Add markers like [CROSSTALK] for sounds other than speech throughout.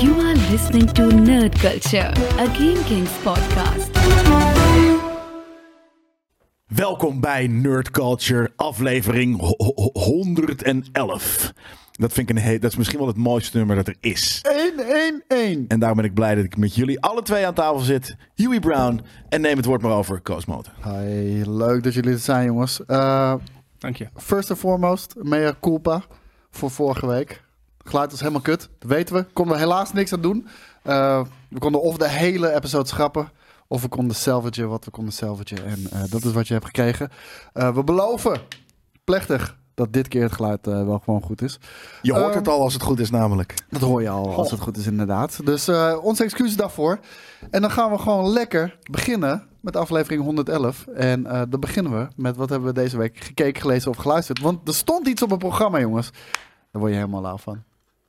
You are listening to Nerd Culture, a Game Kings podcast. Welkom bij Nerd Culture, aflevering ho- ho- 111. Dat, vind ik een he- dat is misschien wel het mooiste nummer dat er is. 1-1-1. En daarom ben ik blij dat ik met jullie alle twee aan tafel zit. Huey Brown en neem het woord maar over, Koos Motor. Hi, leuk dat jullie er zijn, jongens. Eh, Dank je. first and foremost, mea culpa voor vorige week. Geluid was helemaal kut, dat weten we. Konden we helaas niks aan doen. Eh, we konden of de hele episode schrappen, of we konden salvagen wat we konden salvagen. En eh, dat is wat je hebt gekregen. Eh, we beloven, plechtig, dat dit keer het geluid eh, wel gewoon goed is. Je hoort Ehm, het al als het goed is namelijk. Dat hoor je al, als het goed is, inderdaad. Dus eh, onze excuses daarvoor. En dan gaan we gewoon lekker beginnen met aflevering 111. En eh, dan beginnen we met wat hebben we deze week gekeken, gelezen of geluisterd. Want er stond iets op het programma, jongens. Daar word je helemaal lauw van.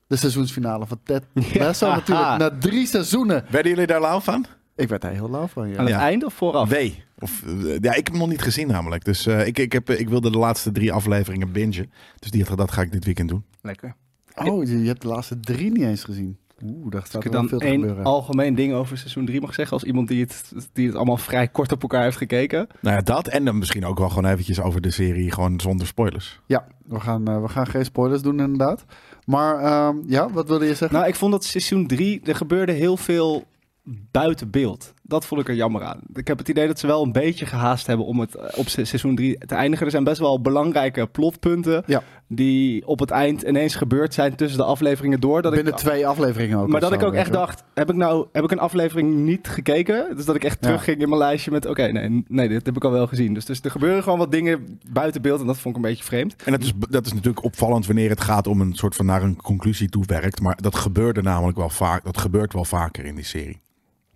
De seizoensfinale van [LAUGHS] Ted Lasso natuurlijk. Na drie seizoenen. Werden jullie daar lauw van? Ik werd daar heel lauw van, ja. Aan Ja. het einde of vooraf? Wee. Of, eh, ja, ik heb hem nog niet gezien namelijk. Dus eh, ik, ik, heb, eh, ik wilde de laatste drie afleveringen bingen. Dus die, dat ga ik dit weekend doen. Lekker. Oh, je, je hebt de laatste drie niet eens gezien. Oeh, daar staat Als ik wel er dan veel te één gebeuren. algemeen ding over seizoen 3 mag zeggen, als iemand die het, die het allemaal vrij kort op elkaar heeft gekeken. Nou ja, dat en dan misschien ook wel gewoon eventjes over de serie, gewoon zonder spoilers. Ja, we gaan, eh, we gaan geen spoilers doen inderdaad. Maar ehm, ja, wat wilde je zeggen? Nou, ik vond dat seizoen 3, er gebeurde heel veel buiten beeld. Dat vond ik er jammer aan. Ik heb het idee dat ze wel een beetje gehaast hebben om het eh, op se- seizoen 3 te eindigen. Er zijn best wel belangrijke plotpunten Ja. die op het eind ineens gebeurd zijn tussen de afleveringen door. Dat Binnen ik, twee afleveringen ook. maar of dat zo, ik ook weet echt je wel. dacht, heb ik nou heb ik een aflevering niet gekeken? Dus dat ik echt Ja. terugging in mijn lijstje met, oké, nee, nee, dit heb ik al wel gezien. Dus, dus er gebeuren gewoon wat dingen buiten beeld en dat vond ik een beetje vreemd. En dat is, dat is natuurlijk opvallend wanneer het gaat om een soort van naar een conclusie toe werkt. Maar dat gebeurde namelijk wel vaak. Dat gebeurt wel vaker in die serie.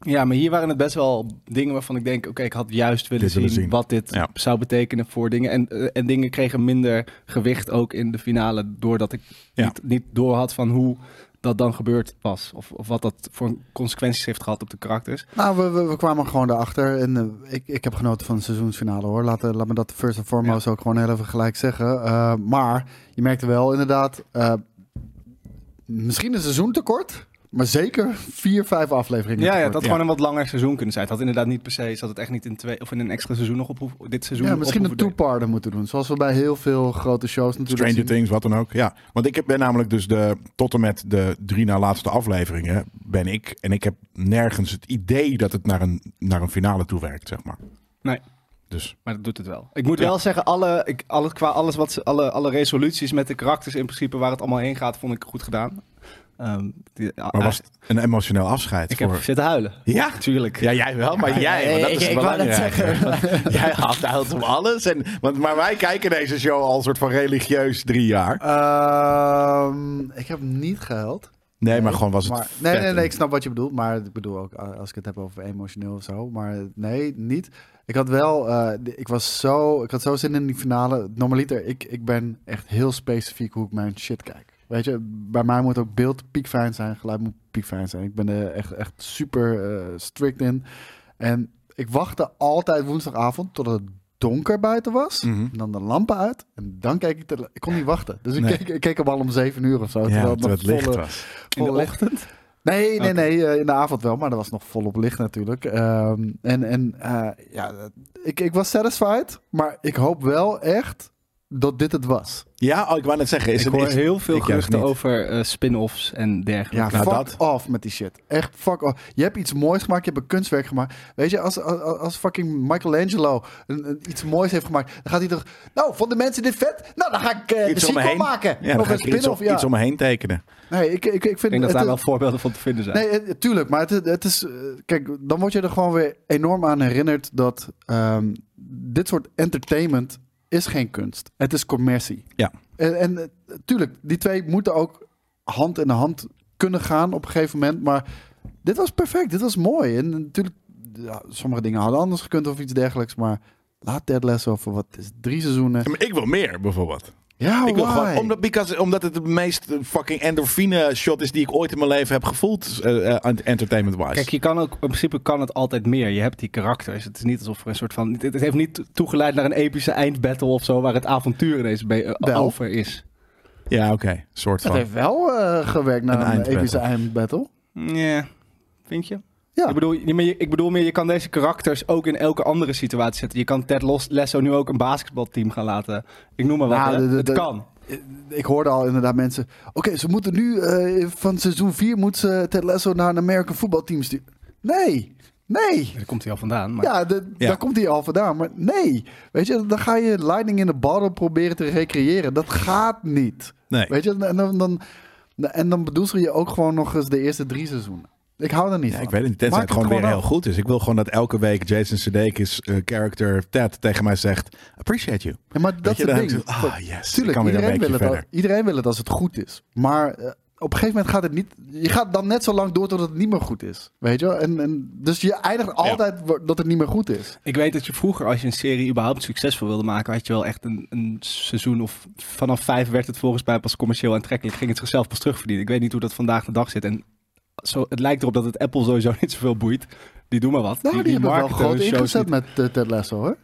Ja, maar hier waren het best wel dingen waarvan ik denk, oké, ik had juist willen, Dit willen zien, zien. wat dit Ja. zou betekenen voor dingen. En, eh, en dingen kregen minder gewicht ook in de finale, doordat ik Ja. niet, niet door had van hoe dat dan gebeurd was. Of, of wat dat voor consequenties heeft gehad op de karakters. Nou, we, we, we kwamen gewoon daarachter. En eh, ik, ik heb genoten van de seizoensfinale hoor. Laat, eh, laat me dat first and foremost ook gewoon heel even gelijk zeggen. Eh, maar je merkte wel inderdaad, eh, misschien een seizoen tekort. Maar zeker vier, vijf afleveringen. Ja, ja, tekort. dat had Ja. gewoon een wat langer seizoen kunnen zijn. Het had inderdaad niet per se, zat het echt niet in twee of in een extra seizoen nog op hoe- dit seizoen. ja, op misschien een hoeven delen. two-parter moeten doen. Zoals we bij heel veel grote shows natuurlijk Stranger zien. Things, wat dan ook. Ja, want ik heb, ben namelijk dus de, tot en met de drie na laatste afleveringen ben ik. En ik heb nergens het idee dat het naar een, naar een finale toe werkt, zeg maar. Nee. Dus Maar dat doet het wel. Ik moet Ja. wel zeggen, alle, ik, alle, qua alles wat ze, alle, alle resoluties met de karakters in principe waar het allemaal heen gaat, vond ik goed gedaan. Ehm, die- maar was het een emotioneel afscheid ik voor... heb zitten huilen. Ja, Natuurlijk. Ja, jij wel, maar jij. want dat is ik, [LAUGHS] Jij [LAUGHS] houdt om alles. En, want, maar wij kijken deze show al soort van religieus drie jaar. Ehm, ik heb niet gehuild. Nee, maar gewoon was het. Maar, nee, vet. nee, nee, ik snap wat je bedoelt. Maar ik bedoel ook eh, als ik het heb over emotioneel of zo. Maar eh, nee, niet. Ik had wel, eh, d- ik was zo, ik had zo zin in die finale. Normaliter, ik, ik ben echt heel specifiek hoe ik mijn shit kijk. Weet je, bij mij moet ook beeld piekfijn zijn, geluid moet piekfijn zijn. Ik ben er echt, echt super eh, strikt in. En ik wachtte altijd woensdagavond totdat het donker buiten was. Mhm. En dan de lampen uit. En dan keek ik, tele- ik kon niet wachten. Dus ik, Nee. keek, ik keek hem al om zeven uur of zo. Ja, terwijl dat nog het licht volle- was. In de volle- ochtend. Nee, nee, Oké. nee. eh, in de avond wel, maar dat was nog volop licht natuurlijk. Ehm, en en eh, ja, dat- ik, ik was satisfied, maar ik hoop wel echt dat dit het was. Ja, oh, ik wou net zeggen. Is ik het, hoor is- heel veel ik juist geruchten niet. over eh, spin-offs en dergelijke. Ja, nou, fuck dat- off met die shit. Echt fuck off. Je hebt iets moois gemaakt, je hebt een kunstwerk gemaakt. Weet je, als, als, als fucking Michelangelo een, een- iets moois heeft gemaakt, dan gaat hij toch... Nou, vonden mensen dit vet? Nou, dan ga ik eh de iets om me sequel heen. maken. Ja, dan of ga een ik er iets, om- spin-off, ja. iets om me heen tekenen. Nee, ik, ik, ik Ik vind... denk dat het- daar wel voorbeelden van te vinden zijn. Nee, het- tuurlijk. Maar het, het is. eh, Kijk, dan word je er gewoon weer enorm aan herinnerd dat ehm, dit soort entertainment is geen kunst. Het is commercie. Ja. En, en eh, tuurlijk, die twee moeten ook hand in hand kunnen gaan op een gegeven moment. Maar dit was perfect. Dit was mooi. En natuurlijk, ja, sommige dingen hadden anders gekund of iets dergelijks. Maar laat Ted Lasso voor wat is het, drie seizoenen. Ja, maar ik wil meer, bijvoorbeeld. Ja, ik wil Oh, why? gewoon, omdat, because, omdat het de meest eh, fucking endorfine shot is die ik ooit in mijn leven heb gevoeld. eh, eh, Entertainment-wise. Kijk, je kan ook, in principe kan het altijd meer. Je hebt die karakters. Het is niet alsof er een soort van. Het het heeft niet toegeleid naar een epische eindbattle of zo, waar het avontuur ineens be- eh, Wel. over is. Ja, oké. Soort Het van. heeft wel eh, gewerkt Een naar een, eindbattle. epische eindbattle. Nee, vind je? Ja. Ik bedoel, nee, maar je- ik bedoel meer, je kan deze karakters ook in elke andere situatie zetten. Je kan Ted Los- Lasso nu ook een basketbalteam gaan laten. Ik noem maar wat, Nou, hè. de- de- het de- kan. Ik hoorde al inderdaad mensen. Oké, ze moeten nu eh, van seizoen 4 moet ze Ted Lasso naar een American voetbalteam sturen. Nee, nee. Daar komt hij al vandaan. Maar... Ja, de- Ja. daar komt hij al vandaan. Maar nee, weet je, dan ga je lightning in de bottle proberen te recreëren. Dat gaat niet. Nee. Weet je, en dan, dan, en dan bedoel je ook gewoon nog eens de eerste drie seizoenen. Ik hou daar niet Ja, van. ik weet het niet. Tenzij Maak het gewoon weer af. heel goed is. Ik wil gewoon dat elke week Jason Sudeikis eh, character Ted tegen mij zegt... Appreciate you. Ja, maar dat je, is het dan ding. heb je zo, ah, yes, ik Tuurlijk, kan weer een iedereen, wil weekje het al- verder. iedereen wil het als het goed is. Maar eh, op een gegeven moment gaat het niet... Je gaat dan net zo lang door tot het niet meer goed is. Weet je wel? En, en, dus je eindigt altijd wa- dat het niet meer goed is. Ik weet dat je vroeger, als je een serie überhaupt succesvol wilde maken, had je wel echt een, een seizoen of vanaf vijf werd het volgens mij pas commercieel aantrekkelijk. Ging het zichzelf pas terugverdienen. Ik weet niet hoe dat vandaag de dag zit. En zo, het lijkt erop dat het Apple sowieso [LAUGHS] niet zoveel boeit. Die doen maar wat. Nou, die, hebben wel marketen groot hun shows ingezet niet. met eh, Ted Lasso, hoor.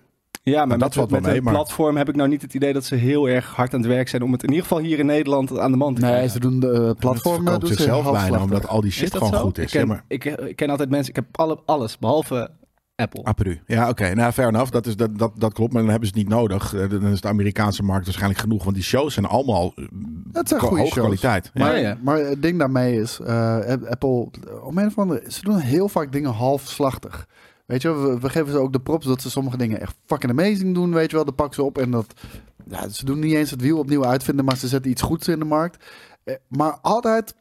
Ja, maar Nou, met, dat valt wel met mee, hun maar- platform heb ik nou niet het idee dat ze heel erg hard aan het werk zijn om het in ieder geval hier in Nederland aan de man te krijgen. Nee, ze doen de eh, Platform platformen... verkoopt doen ze zichzelf halfslachtig. bijna, omdat al die Is shit dat gewoon zo? goed is. Ik ken, Ja, maar- ik, eh, ik ken altijd mensen, ik heb alle, alles behalve Apple. Aperu. Ja, oké. Nou, fair enough. Dat, is, dat, dat, dat klopt, maar dan hebben ze het niet nodig. Eh, Dan is de Amerikaanse markt waarschijnlijk genoeg. Want die shows zijn allemaal eh, Dat zijn ko- goede hoge shows. kwaliteit. Ja. Maar, Ja, ja. maar het ding daarmee is, eh, Apple, om een of andere, ze doen heel vaak dingen halfslachtig. Weet je, wel, we, we geven ze ook de props dat ze sommige dingen echt fucking amazing doen, weet je wel. Dan pakken ze op en dat, ja, ze doen niet eens het wiel opnieuw uitvinden, maar ze zetten iets goeds in de markt. Eh, maar altijd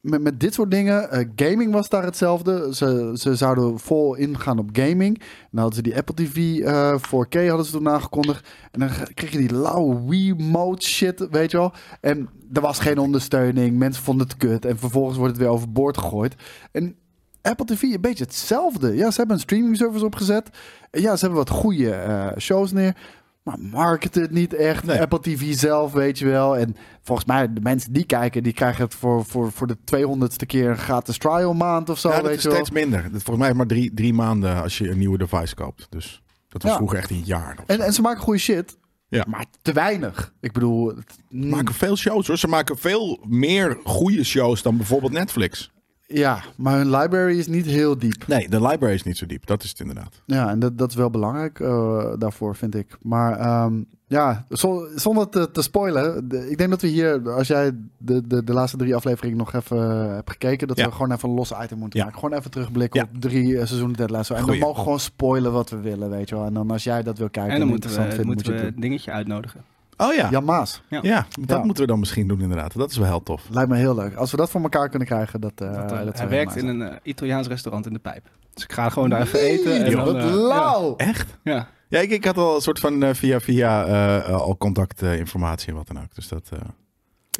met, met dit soort dingen, eh, gaming was daar hetzelfde. Ze, ze zouden vol ingaan op gaming. Dan hadden ze die Apple TV eh, 4K hadden ze toen aangekondigd. En dan ge- kreeg je die lauwe Wiimote shit, weet je wel. En er was geen ondersteuning. Mensen vonden het kut. En vervolgens wordt het weer overboord gegooid. En Apple TV een beetje hetzelfde. Ja, ze hebben een streaming service opgezet. En ja, ze hebben wat goede eh, shows neer. Maar marketen het niet echt. Nee. Apple TV zelf, weet je wel. En volgens mij, de mensen die kijken, die krijgen het voor, voor, voor de 200ste keer een gratis trial maand of zo. Ja, dat weet is je wel. steeds minder. Dat- Volgens mij is maar drie, drie maanden als je een nieuwe device koopt. Dus dat was Ja. vroeger echt een jaar. of En, zo. en ze maken goede shit. Ja. Maar te weinig. Ik bedoel, het- Ze maken veel shows hoor. Ze maken veel meer goede shows dan bijvoorbeeld Netflix. ja, maar hun library is niet heel diep. Nee, de library is niet zo diep. Dat is het inderdaad. Ja, en dat, dat is wel belangrijk eh, daarvoor, vind ik. Maar ehm, ja, zo- zonder te, te spoilen. de- ik denk dat we hier, als jij de, de, de laatste drie afleveringen nog even eh, hebt gekeken, dat Ja. we gewoon even een los item moeten Ja. maken. Gewoon even terugblikken Ja. op drie eh, seizoenen Ted Lasso. En Goeie. we mogen gewoon spoilen wat we willen, weet je wel. En dan als jij dat wil kijken en, en dan moeten interessant we, vindt, moet moeten je we het een dingetje uitnodigen. Oh doen. ja. Jan Maas, Ja, dat Ja. moeten we dan misschien doen inderdaad. Dat is wel heel tof. lijkt me heel leuk. Als we dat voor elkaar kunnen krijgen, dat, eh, Want, dat eh, zou hij heel werkt nice in zijn. een eh, Italiaans restaurant in de pijp. Dus ik ga gewoon daar even eten. en joh, dan, Wat eh, lauw! Echt? ja. Ja. Ja, ik, ik had al een soort van eh, via via eh, eh, al contactinformatie en wat dan ook. Dus dat... eh,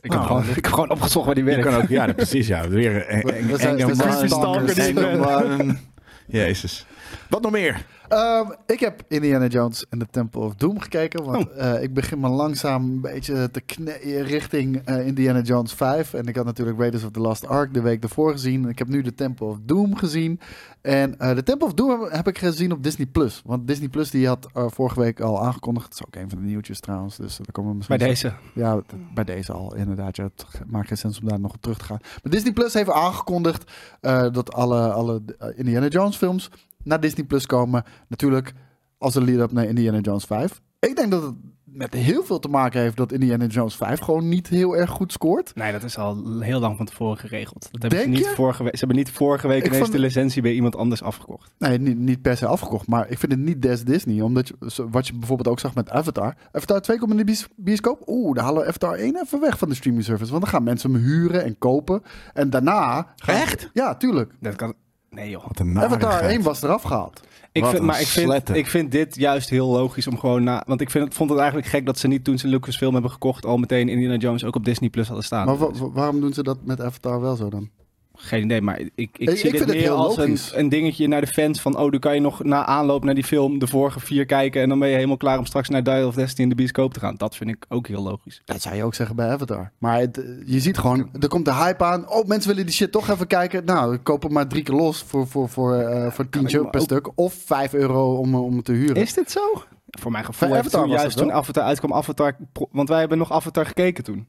Ik, Nou, heb gewoon, ik heb gewoon opgezocht waar die Je werkt. kan ook, ja, dat- precies. Ja, weer een We- we eng- zijn- enge we zijn man. stalkers. Enge man. Jezus. Wat nog meer? Ehm, ik heb Indiana Jones en de Temple of Doom gekeken. Want eh, ik begin me langzaam een beetje te kneeën richting eh, Indiana Jones 5. En ik had natuurlijk Raiders of the Lost Ark de week ervoor gezien. Ik heb nu de Temple of Doom gezien. En eh, de Temple of Doom heb, heb ik gezien op Disney+. Plus. Want Disney+, Plus die had eh, vorige week al aangekondigd. Dat is ook een van de nieuwtjes trouwens. Dus daar komen we misschien Bij deze. ja, t- bij deze al inderdaad. Ja, het ge- maakt geen sens om daar nog op terug te gaan. Maar Disney Plus heeft aangekondigd eh, dat alle, alle eh, Indiana Jones films naar Disney Plus komen. Natuurlijk als een lead-up naar Indiana Jones 5. Ik denk dat het met heel veel te maken heeft dat Indiana Jones 5 gewoon niet heel erg goed scoort. Nee, dat is al heel lang van tevoren geregeld. Dat hebben ze, Denk niet je? vorige week, ze hebben niet vorige week Ik ineens vond- de licentie bij iemand anders afgekocht. Nee, niet, niet per se afgekocht, maar ik vind het niet des Disney. Omdat je, zo- wat je bijvoorbeeld ook zag met Avatar. Avatar 2 komt in de bios- bioscoop. Oeh, dan halen we Avatar 1 even weg van de streaming service. Want dan gaan mensen hem huren en kopen. En daarna... gaan- Echt? Ja, tuurlijk. Dat kan... Nee joh. Wat een Avatar narigheid. 1 was eraf gehaald. Ik Wat vind, een maar ik vind, sletter. ik vind dit juist heel logisch om gewoon na... Want ik vind, het- vond het eigenlijk gek dat ze niet toen ze Lucasfilm hebben gekocht... al meteen Indiana Jones ook op Disney Plus hadden staan. Maar wa- wa- waarom doen ze dat met Avatar wel zo dan? Geen idee, maar ik, ik, ik zie vind dit het meer heel als een, logisch. een dingetje naar de fans van... oh, dan kan je nog na aanloop naar die film de vorige vier kijken... en dan ben je helemaal klaar om straks naar Dial of Destiny in de bioscoop te gaan. Dat vind ik ook heel logisch. Dat zou je ook zeggen bij Avatar. Maar het, eh, je ziet gewoon, er komt de hype aan. Oh, mensen willen die shit toch even kijken. Nou, ik koop hem maar drie keer los voor, voor, voor, eh voor tientje maar per ook- stuk. Of vijf euro om, eh, om het te huren. Is dit zo? Voor mijn gevoel Bij heeft Avatar toen was juist dat toen Avatar uitkwam... Avatar, pro- want wij hebben nog Avatar gekeken toen.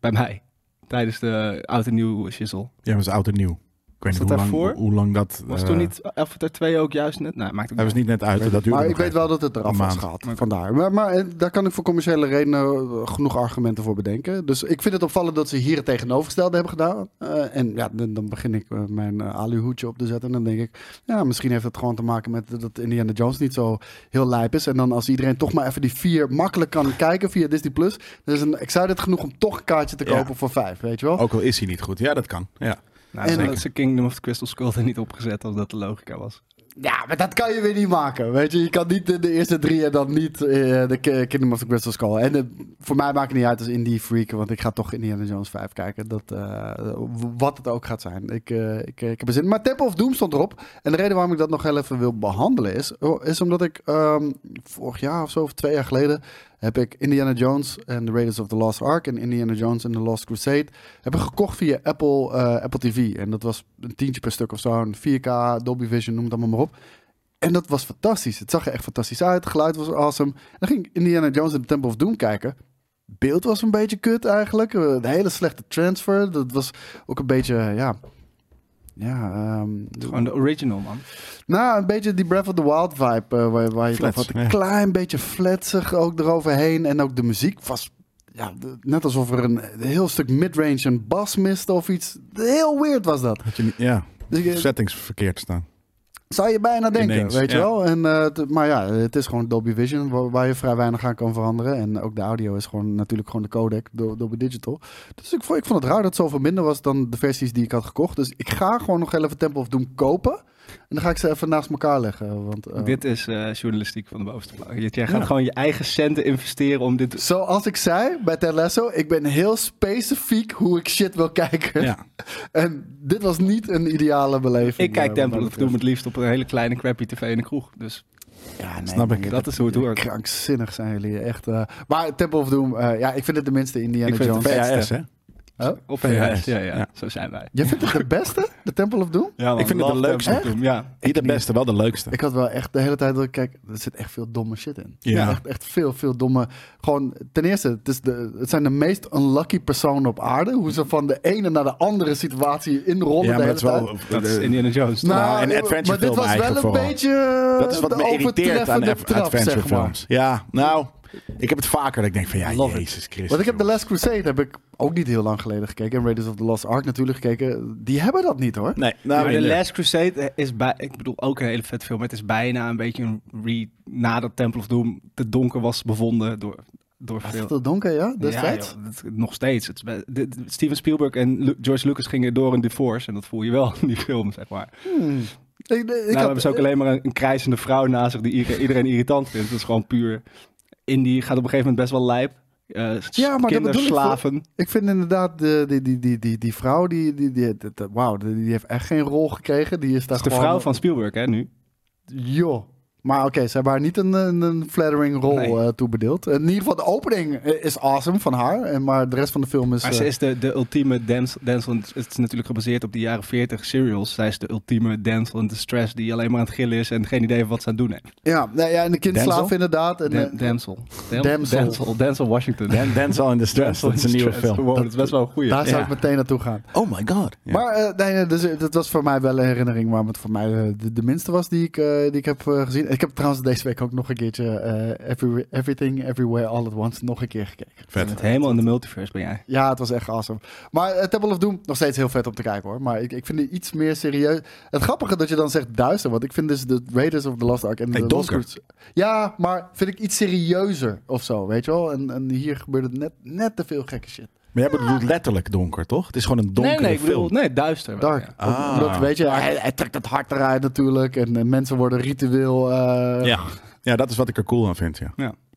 Bij mij. Tijdens de oud en nieuw shizzle. Ja, maar het is oud en nieuw. weet niet dat hoe lang, daarvoor? hoe lang dat... Was eh, toen niet Avatar 2 ook juist net? Nou, maakt ook Hij was niet niet net uit, dat duurde Maar nog ik weet even. wel dat het eraf Een was maand. gehaald. Oké. Vandaar. Maar, maar eh, daar kan ik voor commerciële redenen eh, genoeg argumenten voor bedenken. Dus ik vind het opvallend dat ze hier het tegenovergestelde hebben gedaan. Eh, en ja, dan, dan begin ik eh, mijn eh, aluhoedje op te zetten. En dan denk ik, ja, misschien heeft het gewoon te maken met dat Indiana Jones niet zo heel lijp is. En dan als iedereen toch maar even die vier makkelijk kan kijken via Disney+. Plus, dan is een excited genoeg om toch een kaartje te Ja. kopen voor vijf, weet je wel? Ook al is hij niet goed. Ja, dat kan. Ja. Nou, En- en dat ze Kingdom of the Crystal Skull [LAUGHS] er niet opgezet als dat de logica was. Ja, maar dat kan je weer niet maken. Weet je, je kan niet de, de eerste drie en dan niet eh, de Ki- Kingdom of the Crystal Skull. En eh, voor mij maakt het niet uit als indie freak, want ik ga toch Indiana Jones 5 kijken. Dat, eh, w- wat het ook gaat zijn. Ik, eh, ik, ik heb er zin in. Maar Temple of Doom stond erop. En de reden waarom ik dat nog heel even wil behandelen is, oh, is omdat ik ehm, vorig jaar of zo, of twee jaar geleden, heb ik Indiana Jones en The Raiders of the Lost Ark en Indiana Jones and the Lost Crusade hebben gekocht via Apple, eh, Apple TV. En dat was een tientje per stuk of zo. Een 4K, Dolby Vision, noem het allemaal maar op. En dat was fantastisch. Het zag er echt fantastisch uit. Het geluid was awesome. En dan ging ik Indiana Jones en The Temple of Doom kijken. Beeld was een beetje kut eigenlijk. Eh, Een hele slechte transfer. Dat was ook een beetje, ja... Ja, ehm, Gewoon de original, man. nou, een beetje die Breath of the Wild vibe eh, waar, waar je het Flats, over had. Een ja. klein beetje fletsig ook eroverheen. En ook de muziek was ja, de- net alsof er een heel stuk midrange en bas miste of iets. Heel weird was dat. Had je niet, ja. Dus ik- Settings verkeerd staan. zou je bijna denken, Ineens, weet je ja. wel. En, eh, t- maar ja, het is gewoon Dolby Vision wa- waar, je vrij weinig aan kan veranderen. En ook de audio is gewoon natuurlijk gewoon de codec Do- Dolby Digital. Dus ik vond, ik vond het raar dat het zoveel minder was dan de versies die ik had gekocht. Dus ik ga gewoon nog heel even Temple of Doom kopen. En dan ga ik ze even naast elkaar leggen. Want, eh, Dit is eh, journalistiek van de bovenste plank. Je- Jij gaat Ja. gewoon je eigen centen investeren om dit... Zoals ik zei bij Ted Lasso, ik ben heel specifiek hoe ik shit wil kijken. Ja. [LAUGHS] En dit was niet een ideale beleving. Ik kijk eh, Temple wat of dat betreft. Doom het liefst op een hele kleine crappy tv in de kroeg. Dus Ja, nee, Snap man, ik. jullie- dat is hoe het hoort. Krankzinnig zijn jullie, echt. eh. maar Temple of Doom, eh, ja, ik vind het de minste Indiana Ik vind het Jones. de beste. VHS, hè? Op VHS. VHS, eh, ja, ja, Ja. Zo zijn wij. Je vindt het de [LAUGHS] beste, de Temple of Doom? Ja, Ik vind het de leukste. Ja. Niet de beste, wel de leukste. Ik had wel echt de hele tijd dat ik kijk, er zit echt veel domme shit in. Ja. Echt, echt veel, veel domme. Gewoon, ten eerste, het, is de, het zijn de meest unlucky personen op aarde. Hoe ze van de ene naar de andere situatie inrollen. ja, maar de hele dat is wel... tijd. Dat is Indiana Jones. Nou, en joh, adventure maar dit film was wel een eigenlijk vooral. beetje eh, dat is wat de me irriteert aan overtreffende ad- trap, adventure zeg maar. films. Ja, nou, ik heb het vaker dat ik denk van, ja, Love it. Jezus Christus. Want ik heb The joh. Last Crusade heb ik ook niet heel lang geleden gekeken. En Raiders of the Lost Ark natuurlijk gekeken. Die hebben dat niet hoor. Nee, nou, maar The nee. Last Crusade eh, is bij, ik bedoel ook een hele vet film. maar Het is bijna een beetje een re nadat Temple of Doom te donker was bevonden door, door Was veel. het al donker, ja? Ja, Destijds? joh, dat- nog steeds. Het, is bij- de- de- Steven Spielberg en Lu- George Lucas gingen door in divorce en dat voel je wel in die film, zeg maar. Hmm. Ik, ik nou, had- hebben ze ook alleen maar een, een krijzende vrouw naast zich die ieder- iedereen irritant vindt. Dat is gewoon puur. Indie gaat op een gegeven moment best wel lijp. Eh Ja, maar dat bedoel ik voor- kinderslaven. Ik vind inderdaad, de, die, die, die, die, die vrouw, die, die, die, die- die- wauw, die, die heeft echt geen rol gekregen. Die is daar Dat is de gewoon... vrouw van Spielberg, hè, nu. Joh. Maar oké, ze hebben haar niet een, een, een flattering rol Nee. eh, toebedeeld. In ieder geval, de opening eh, is awesome van haar. En, maar de rest van de film is... Maar eh, ze is de, de ultieme dance, dance on- Het is natuurlijk gebaseerd op de jaren 40 serials. Zij is de ultieme dance on distress die alleen maar aan het gillen is en geen idee heeft wat ze aan het doen heeft. ja, nou ja, en de kindslaaf Denzel? inderdaad. En, Da- eh, Damsel. Dam- Damsel. Damsel. Damsel Washington. Dan- Denzel in Distress, Damsel dat is een in [LAUGHS] nieuwe Distress. film. Wow, dat is best wel een goeie. daar zou ja. ik meteen naartoe gaan. Oh my god. Ja. Maar eh, nee, nee, dus, eh, dat was voor mij wel een herinnering waarom het voor mij eh, de, de minste was die ik, eh, die ik heb eh, gezien. Ik heb trouwens deze week ook nog een keertje eh, Every- Everything, Everywhere, All at Once nog een keer gekeken. Je bent helemaal in de multiverse ben jij. Ja, het was echt awesome. Maar eh, Temple of Doom, nog steeds heel vet om te kijken hoor. Maar ik, ik vind die iets meer serieus. Het grappige dat je dan zegt duister, want ik vind dus de Raiders of the Lost Ark en Nee, de Lost donker. Crusade- Ja, maar vind ik iets serieuzer of zo, weet je wel? En, en hier gebeurde net, net te veel gekke shit. Maar jij bedoelt letterlijk donker, toch? Het is gewoon een donkere nee, nee, ik bedoel, film. nee, duister. wel, Dark. ja. Ah. Omdat, weet je, hij, hij trekt het hart eruit natuurlijk. En, eh, mensen worden ritueel. eh, Ja. ja, dat is wat ik er cool aan vind, ja. [LAUGHS]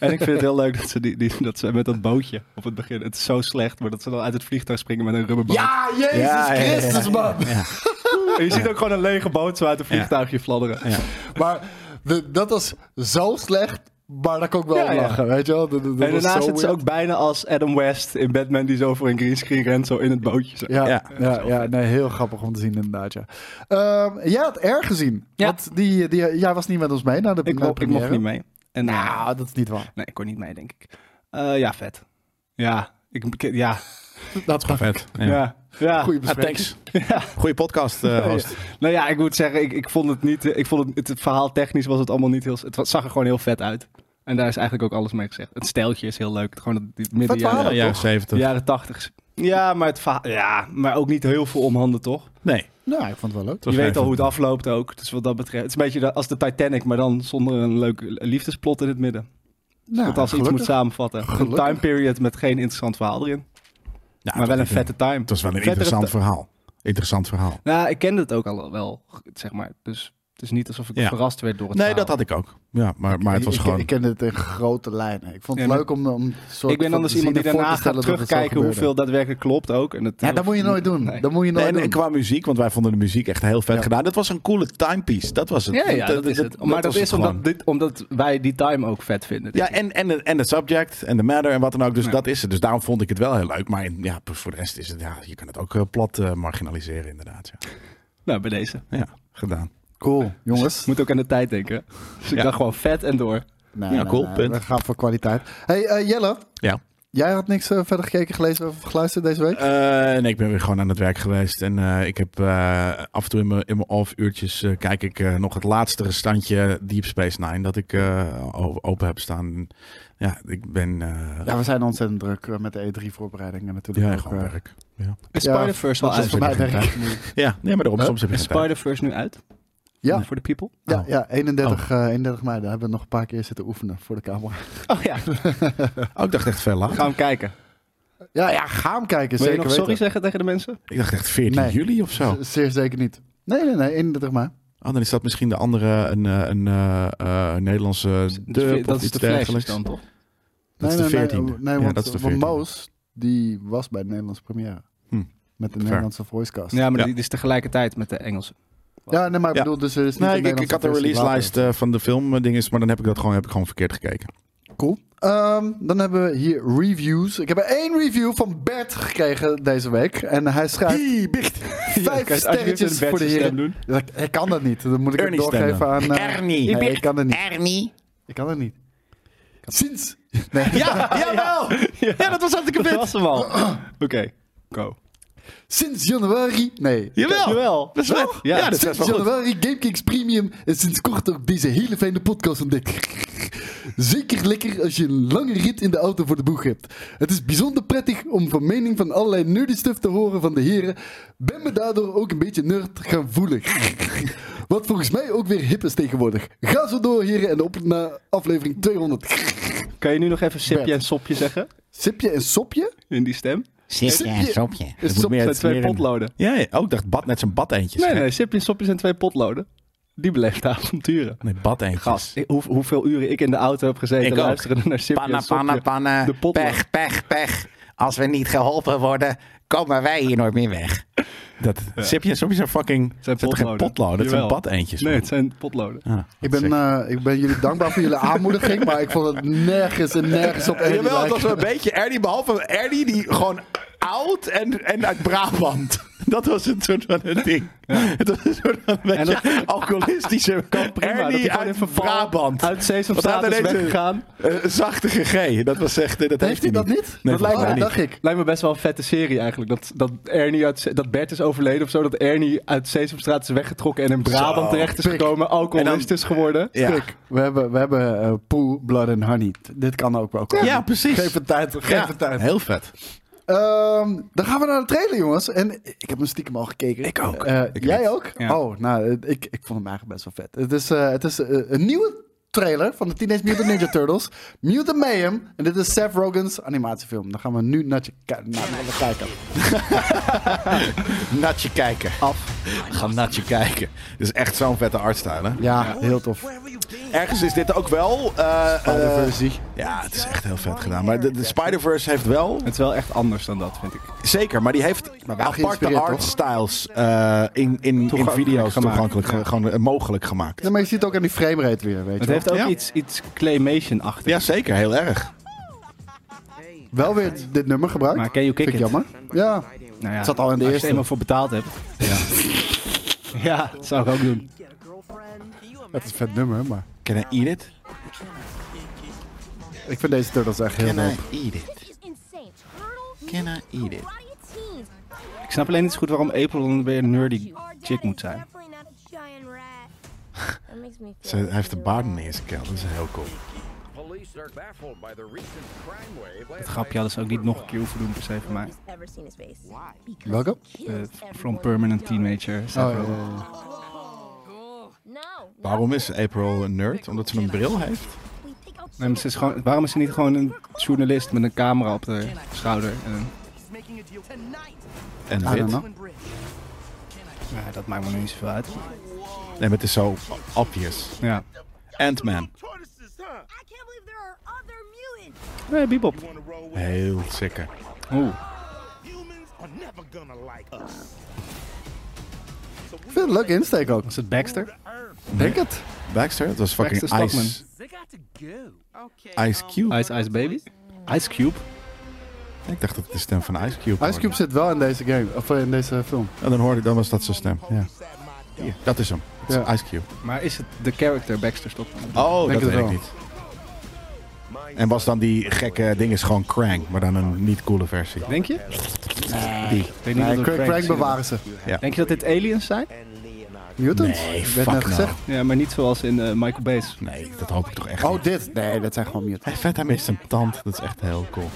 en ik vind het heel leuk dat ze, die, die- dat ze met dat bootje op het begin, het is zo slecht, maar dat ze dan uit het vliegtuig springen met een rubberboot. Ja, Jezus Ja, ja, ja, ja. Christus, man. En je ziet ook gewoon een lege boot zo uit een vliegtuigje fladderen. Ja. Maar de- dat was zo slecht. Maar daar kon ik wel Ja, om ja. lachen, weet je wel? Dat- dat- dat En was daarna zo zit ze weird. ook bijna als Adam West in Batman die zo voor een greenscreen rent, zo in het bootje. zo. Ja, ja, Ja. ja, nee, heel grappig om te zien inderdaad, ja. Ehm, jij had erg gezien. Ja. Want die, die, jij was niet met ons mee naar de Ik, naar de mo- ik mocht première. niet mee. En, eh, Nou, dat is niet waar. nee, ik kon niet mee, denk ik. Eh, ja, vet. Ja, ik, ik- ja, Dat is Vet. ja. Ja, Goeie Ah, bespreking. thanks. Goeie podcast, eh, host. nou ja, ik moet zeggen, ik, ik vond het niet. eh, Ik vond het, het, het verhaal technisch was het allemaal niet heel. Het wa- zag er gewoon heel vet uit. En daar is eigenlijk ook alles mee gezegd. Het stijltje is heel leuk. Gewoon dat die midden verhaal. Ja, jaren, jaren 70. jaren 80. Ja, maar het verhaal, ja, maar ook niet heel veel omhanden, toch? Nee. Nou, ik vond het wel leuk. Je weet al hoe het afloopt ook. Dus wat dat betreft, het is een beetje de- als de Titanic, maar dan zonder een leuk liefdesplot in het midden. Nou, dat als je iets gelukkig. moet samenvatten. Een Gelukkig. time period met geen interessant verhaal erin. maar wel een vette time. Het was wel een vettere interessant ta- verhaal. Interessant verhaal. Nou, ik kende het ook al wel, zeg maar. Dus het is niet alsof ik Ja. verrast werd door het Nee, verhaal. dat had ik ook. Ja, maar, maar het was ik, gewoon... Ik kende het in grote lijnen. Ik vond het Ja, maar- leuk om... om een soort Ik ben van anders te zien iemand die en voor daarna te stellen gaat dat het zo terugkijken gebeurde. hoeveel daadwerkelijk klopt ook. En Ja, dat moet je nooit doen. Nee. Dat moet Nee, je nooit en, en doen. qua muziek, want wij vonden de muziek echt heel vet Ja. gedaan. Dat was een coole timepiece. Dat was het. Ja, ja, dat is het. Maar dat was is het omdat, gewoon. dit, omdat wij die time ook vet vinden. Dus, denk Ja, ik. en, en, de- en de subject en de matter en wat dan ook. Dus Ja. dat is het. Dus daarom vond ik het wel heel leuk. Maar in- ja, voor de rest is het... Ja, je kan het ook eh, plat eh, marginaliseren inderdaad. Ja, Nou, bij deze. ja gedaan. Cool, jongens. Moet ook aan de tijd denken. Dus ik Ja. dacht gewoon vet en door. Nee, Ja, nee, cool, nee, punt. We gaan voor kwaliteit. hey, eh, Jelle. Ja. Jij had niks eh, verder gekeken, gelezen of geluisterd deze week? Eh, nee, ik ben weer gewoon aan het werk geweest. En eh, ik heb eh, af en toe in mijn, in mijn off uurtjes eh, kijk ik eh, nog het laatste restantje Deep Space Nine dat ik eh, o- open heb staan. Ja, ik ben eh, ja, we zijn ontzettend druk eh, met de E3-voorbereidingen natuurlijk. ja, ook, gewoon eh, werk. Is Ja, Spider-Verse al dat is uit? voor mij Uitzending. werk. Ja, Eh, nee, maar daarom Huh? soms heb je Is geen tijd. Spider-Verse nu uit? Ja. Voor de people? Ja, Oh. ja 31, eh, 31 mei. Daar hebben we nog een paar keer zitten oefenen voor de camera. Oh [LAUGHS] ja, Oh, ik dacht echt veel laat. gaan we kijken. Ja, ja, ga hem kijken. Wil je zeker nog weten. sorry zeggen tegen de mensen? Ik dacht echt 14 Nee. juli of zo. Z- Zeer zeker niet. Nee, nee, nee. 31 mei. Oh, dan is dat misschien de andere, een, eh, een eh, eh, Nederlandse dub dat of is iets de flash dergelijks. dan, toch? Dat is nee, de nee, 14e. Nee, nee, Ja, want, dat is de want 14e. Moos, die was bij de Nederlandse première. Hm. Met de Nederlandse voicecast. Ja, Ja, maar Ja. die is tegelijkertijd met de Engelse. nee, maar ik Ja. bedoel, dus er is niet Nee, een ik, ik had de Nederlandse release lijst versie van de film eh, dinges, maar dan heb ik dat gewoon, heb ik gewoon verkeerd gekeken. later. Cool. Ehm, dan hebben we hier reviews. Ik heb er één review van Bert gekregen deze week. En hij schrijft... Hey, bicht. [LAUGHS] Vijf sterretjes voor de heren. Doen. Dat- Ik kan dat niet. Dan moet ik het Ernie doorgeven stemmen. aan... eh, Ernie. nee, ik kan dat niet. Ernie. Ik kan dat niet. Sinds. Nee. Ja, jawel. [LAUGHS] Ja, Ja, dat was hartstikke dat vet. was hem [CLEARS THROAT] al. Oké, go. [LAUGHS] Sinds januari. Nee. Jawel. Jawel. Dat is vet. Ja, Ja, dat is best Sinds [LAUGHS] wel goed. januari GameKings Premium en sinds kort ook deze hele fijne podcast ontdekt. Zeker lekker als je een lange rit in de auto voor de boeg hebt. Het is bijzonder prettig om van mening van allerlei nerdy stuff te horen van de heren. Ben me daardoor ook een beetje nerd gaan voelen. Wat volgens mij ook weer hip is tegenwoordig. Ga zo door heren en op naar aflevering 200. Kan je nu nog even sipje Bert. en sopje zeggen? Sipje en sopje? In die stem? Sipje en sopje. Het Sopje moet meer- zijn twee meer in- potloden. Ja, ja. Oh, ik dacht bad, net zo'n badeentjes. Nee, nee, sipje en sopje zijn twee potloden. Die beleefde avonturen. Nee, badeentjes. Gast, ik- hoe, hoeveel uren ik in de auto heb gezeten Ik ook. luisteren naar sipje en sopje. panna. De potlood. pech, pech. Als we niet geholpen worden, komen wij hier nooit meer weg. Dat sipje en sopje zijn fucking... Het zijn zijn toch geen potloden? potloden, dat zijn Jawel. badeentjes. Nee, het zijn potloden. Ah, Ik ben, sick. eh, ik ben jullie dankbaar voor jullie aanmoediging, maar ik vond het nergens en nergens op één Jawel, het lijken. was wel een beetje Ernie, behalve Ernie die gewoon oud en, en uit Brabant. Dat was een soort van een ding. Het was een soort van een En beetje [LAUGHS] alcoholistische Prima, dat hij Ernie gewoon in uit verval Brabant. Uit Want Sesamstraat hij is had ineens weggegaan. een, eh, zachte G. Dat was echt... eh, Dat Heeft hij dat niet? Nee, dat lijkt me, volgens mij dacht ik. Lijkt me best wel een vette serie eigenlijk. Dat, dat, Ernie uit, Se- dat Bert is overleden of zo. Dat Ernie uit Sesamstraat is weggetrokken en in Brabant Zo, terecht is pik. gekomen. Alcoholist En dan- is geworden. Ja. Kijk, we hebben, we hebben eh, Pooh, Blood and Honey. T- Dit kan ook wel komen. Ja, precies. Geef het tijd, geef Ja, het tijd. heel vet. Ehm, dan gaan we naar de trailer, jongens. En ik heb hem stiekem al gekeken. Ik ook. Eh, Ik jij niet. ook? Ja. Oh, nou, eh, ik, ik vond hem eigenlijk best wel vet. Het is, eh, het is eh, een nieuwe trailer van de Teenage Mutant Ninja [LAUGHS] Turtles. Mutant Mayhem. En dit is Seth Rogen's animatiefilm. Dan gaan we nu naar je ki- naar naar kijken. Natje kijken. Af. Ga natje kijken. Dit is echt zo'n vette artstyle, hè? Ja, heel tof. Eh, Ergens is dit ook wel... eh, eh, Versie. ja, het is echt heel vet gedaan. Maar de, de Spider-Verse heeft wel... Het is wel echt anders dan dat, vind ik. Zeker, maar die heeft wel aparte geïnspireerd, art toch? styles eh, in, in, in Toegankelijk video's gemaakt. toegankelijk ge- gewoon eh, mogelijk gemaakt. Ja, maar je ziet het ook aan die framerate weer, weet je wel. Het heeft ook Ja. iets, iets claymation-achtigs. Ja, zeker, heel erg. Wel weer t- dit nummer gebruikt. Maar Can You Kick Vind ik It? jammer. Ja. Nou ja, Het zat al in de als je eerste. er eenmaal voor betaald hebt. Ja. [LAUGHS] ja, dat zou ik ook doen. Het is een vet nummer, maar Can I eat it? ik vind deze turtles echt heel Can I leuk. eat it? She's insane. Turtles? Can I eat it? Karate teens. Ik snap alleen niet zo goed waarom April dan weer een nerdy... chick moet chick moet zijn. zijn. [LAUGHS] Ze, hij heeft de baard niet eens gekeld. Dat is heel cool. Het grapje hadden ze ook niet nog een keer hoeven doen per se voor mij. Welke? Eh, from Permanent Teenager. Oh, ja, ja, ja. Waarom is April een nerd? Omdat ze een bril heeft? Nee, maar ze is gewoon, waarom is ze niet gewoon een journalist met een camera op de schouder? En, een- En I don't wit? know. nou, dat maakt me nu niet zoveel uit. Nee, maar het is zo obvious. Ja. Ant-Man. Nee, Bebop. Heel sicker. Oeh. Ik vind het een leuke insteek ook. Was het Baxter? Denk het. Baxter? Dat was fucking Baxter Ice, Ice Cube. Ice Ice Baby? Ice Cube? Ik dacht dat het de stem van Ice Cube was. Ice Cube zit wel in deze game, of eh, in deze film. En dan hoorde ik, dan was dat zijn stem. Ja. Hier, dat is hem. Het is Ja. Ice Cube. Maar is het de character Baxter Stockman? Oh, Denk dat het weet ik wel. niet. En was dan die gekke eh, ding is gewoon Krang, maar dan een niet coole versie. Denk Die. je? Ik weet niet Nee, of het Craig, Frank Crank is. bewaren ze. Denk je dat dit aliens zijn? Mutants? Nee, Werd fuck net no. gezegd. Ja, maar niet zoals in eh, Michael Bay's. Nee, dat hoop ik toch echt Oh, niet. dit. Nee, dat zijn gewoon mutants. Hij vet, hij mist een tand. Dat is echt heel cool.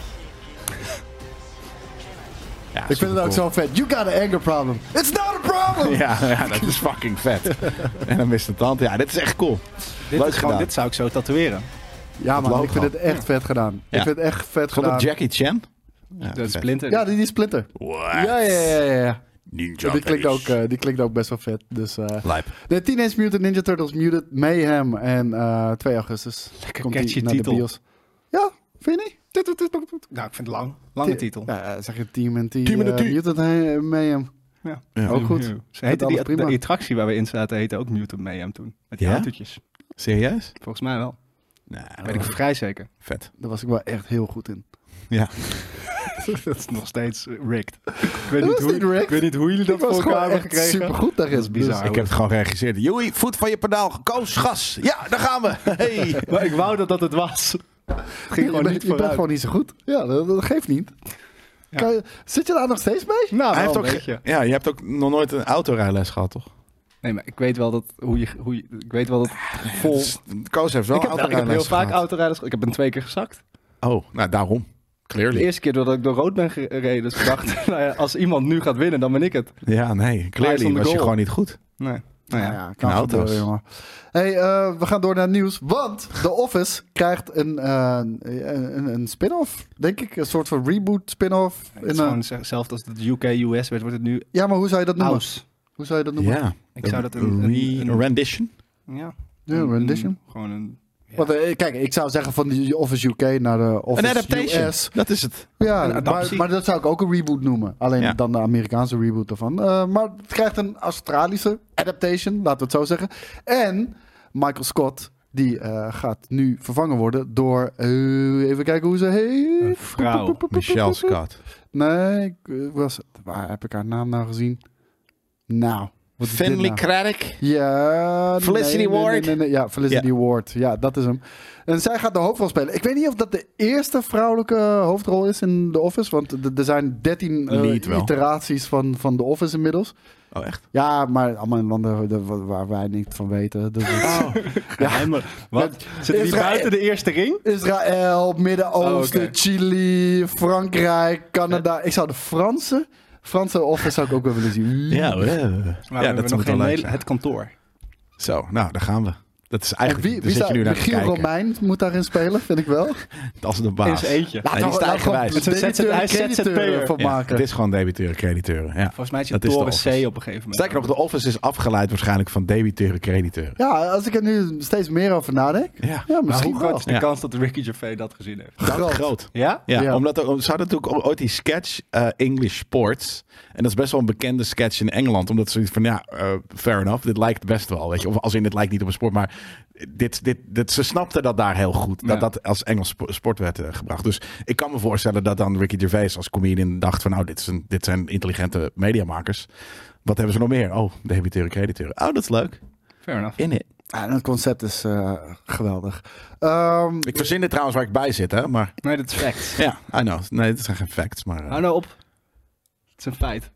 Ja, Ik vind het ook zo vet. You got an anger problem. It's not a problem! Ja, ja, dat is fucking vet. en dan mist een tand. Ja, dit is echt cool. Dit, Leuk is gewoon, gedaan. dit zou ik zo tatoeëren. [LAUGHS] Ja, man, logo. ik vind het echt vet gedaan. Ja. Ik vind het echt vet Vond dat gedaan. Jackie Chan? Ja, Dat vet. is Splinter. Ja, die, die Splinter. What? Ja, ja, ja, ja. ja. Ninja Die, klinkt Face. ook, eh, die klinkt ook best wel vet. Dus, eh, Lijp. de Teenage Mutant Ninja Turtles Muted Mayhem. En eh, 2 augustus Lekker komt catchy die naar titel. de bios. Ja, vind je niet? Nou, ik vind het lang. Lange titel. Ja, zeg je Team en Team en Team. de Team. Mutant eh, Mayhem. Ja. Ja. Ook goed. Ze heette alles die, prima. die attractie waar we in zaten, heette ook Mutant Mayhem toen. Met die Ja? autootjes. Serieus? Volgens mij wel. Nou, Oh. Ben ik vrij zeker. vet. Daar was ik wel echt heel goed in. Ja. [LAUGHS] Dat is nog steeds eh, rigged. Ik weet, [LAUGHS] Dat niet was niet hoe, rigged. ik weet niet hoe jullie dat Ik was voor elkaar gewoon hebben echt gekregen. supergoed daarin. Dat is bizar. Dus Ik heb het gewoon geregisseerd. Joey, voet van je pedaal. Koos, gas. Ja, daar gaan we. Hey. Maar ik wou dat dat het was. [LAUGHS] Het ging Je, gewoon bent, niet je bent vooruit. gewoon niet zo goed. Ja, dat, dat geeft niet. Ja. Kan je- zit je daar nog steeds mee? Nou, Hij wel heeft een ook beetje. ge- ja, je hebt ook nog nooit een autorijles gehad, toch? Nee, maar ik weet wel dat hoe je, hoe je- ik weet wel dat Ah, vol. Dus Koos heeft wel ik, heb, ik heb heel autorijles vaak gehad. autorijders. Ik heb ben twee keer gezakt. Oh, nou daarom. De Clearly. eerste keer doordat ik door rood ben gereden, dus ik [LAUGHS] dacht, nou ja, als iemand nu gaat winnen, dan ben ik het. Ja, nee. Clearly on the was je goal. gewoon niet goed. Nee. Nou ja. Nou ja, kan in gebeuren, auto's. jongen. Hey, eh, we gaan door naar het nieuws. Want The Office [LAUGHS] krijgt een, eh, een, een- een spin-off, denk ik. Een soort van reboot spin-off. Het In is een- gewoon hetzelfde als het UK-US werd, wordt het nu Ja, maar hoe zou je dat noemen? House. Hoe zou je dat noemen? Ja. Ik zou dat een- een- een- rendition. Ja. Ja, rendition. Gewoon een... Want, eh, kijk, ik zou zeggen van de Office UK naar de Office Een adaptation. US. Dat is het. Ja, maar, adaptie. maar dat zou ik ook een reboot noemen. Alleen Ja. dan de Amerikaanse reboot ervan. Eh, maar het krijgt een Australische adaptation, laten we het zo zeggen. En Michael Scott, die eh, gaat nu vervangen worden door... eh, even kijken hoe ze heet. vrouw. Michelle Scott. Nee, ik eh, was... Waar heb ik haar naam nou gezien? Nou, wat is dit Finley nou? Craddock. Ja, Felicity nee, nee, Ward. nee, nee, nee. Ja, Felicity Ward. Ja, dat is hem. En zij gaat de hoofdrol spelen. Ik weet niet of dat de eerste vrouwelijke hoofdrol is in The Office. Want d- er zijn 13 eh, Lead wel. iteraties van, van The Office inmiddels. Oh, echt? Ja, maar allemaal in landen de- wa- waar wij niet van weten. Dus het- Oh. Ja, maar wat? Zitten die Israël- buiten de eerste ring? Israël, Midden-Oosten, Oh, oké. Chili, Frankrijk, Canada. Ik zou de Franse, Franse Office zou ik ook wel willen zien. Ja, we- Maar ja we hebben dat nog moet wel geen leuk hele, zijn. het kantoor. Zo, nou, daar gaan we. Dat is En eigenlijk... wie, daar wie zit zou, je nu naar te Michiel kijken. Romein moet daarin spelen, vind ik wel. Als de baas. In zijn eentje. Nee, die is Laten we- laten we eigenwijs. gewoon Het is een debiteuren ZZP'er. en crediteuren van Ja, maken. het is gewoon debiteuren, crediteuren. Ja. Volgens mij is Dat het is de toren Office. C op een gegeven moment. Sterker nog, de office is afgeleid waarschijnlijk van debiteuren, crediteuren. Ja, als ik er nu steeds meer over nadenk. Ja, Ja, Maar misschien hoe groot is de Ja. kans dat Ricky Gervais dat gezien heeft? groot. groot. groot. Ja? Ja, Ja. omdat er, ze hadden natuurlijk ooit die sketch eh, English Sports. En dat is best wel een bekende sketch in Engeland. Omdat ze zoiets van, ja, eh, fair enough. Dit lijkt best wel, weet je. Of als in, dit lijkt niet op een sport. Maar dit, dit, dit, ze snapten dat daar heel goed. Dat Ja. dat als Engels spo- sport werd eh, gebracht. Dus ik kan me voorstellen dat dan Ricky Gervais als comedian dacht van... Nou, dit, is een, dit zijn intelligente mediamakers. Wat hebben ze nog meer? Oh, debiteuren, crediteuren. Oh, dat is leuk. Fair enough. In it. Ja, en het concept is eh, geweldig. Ehm, Ik verzin dit trouwens waar ik bij zit, hè. Maar Nee, dat is fact. ja, I know. Nee, dit zijn geen facts, maar... eh, Hou nou op. Het is een feit.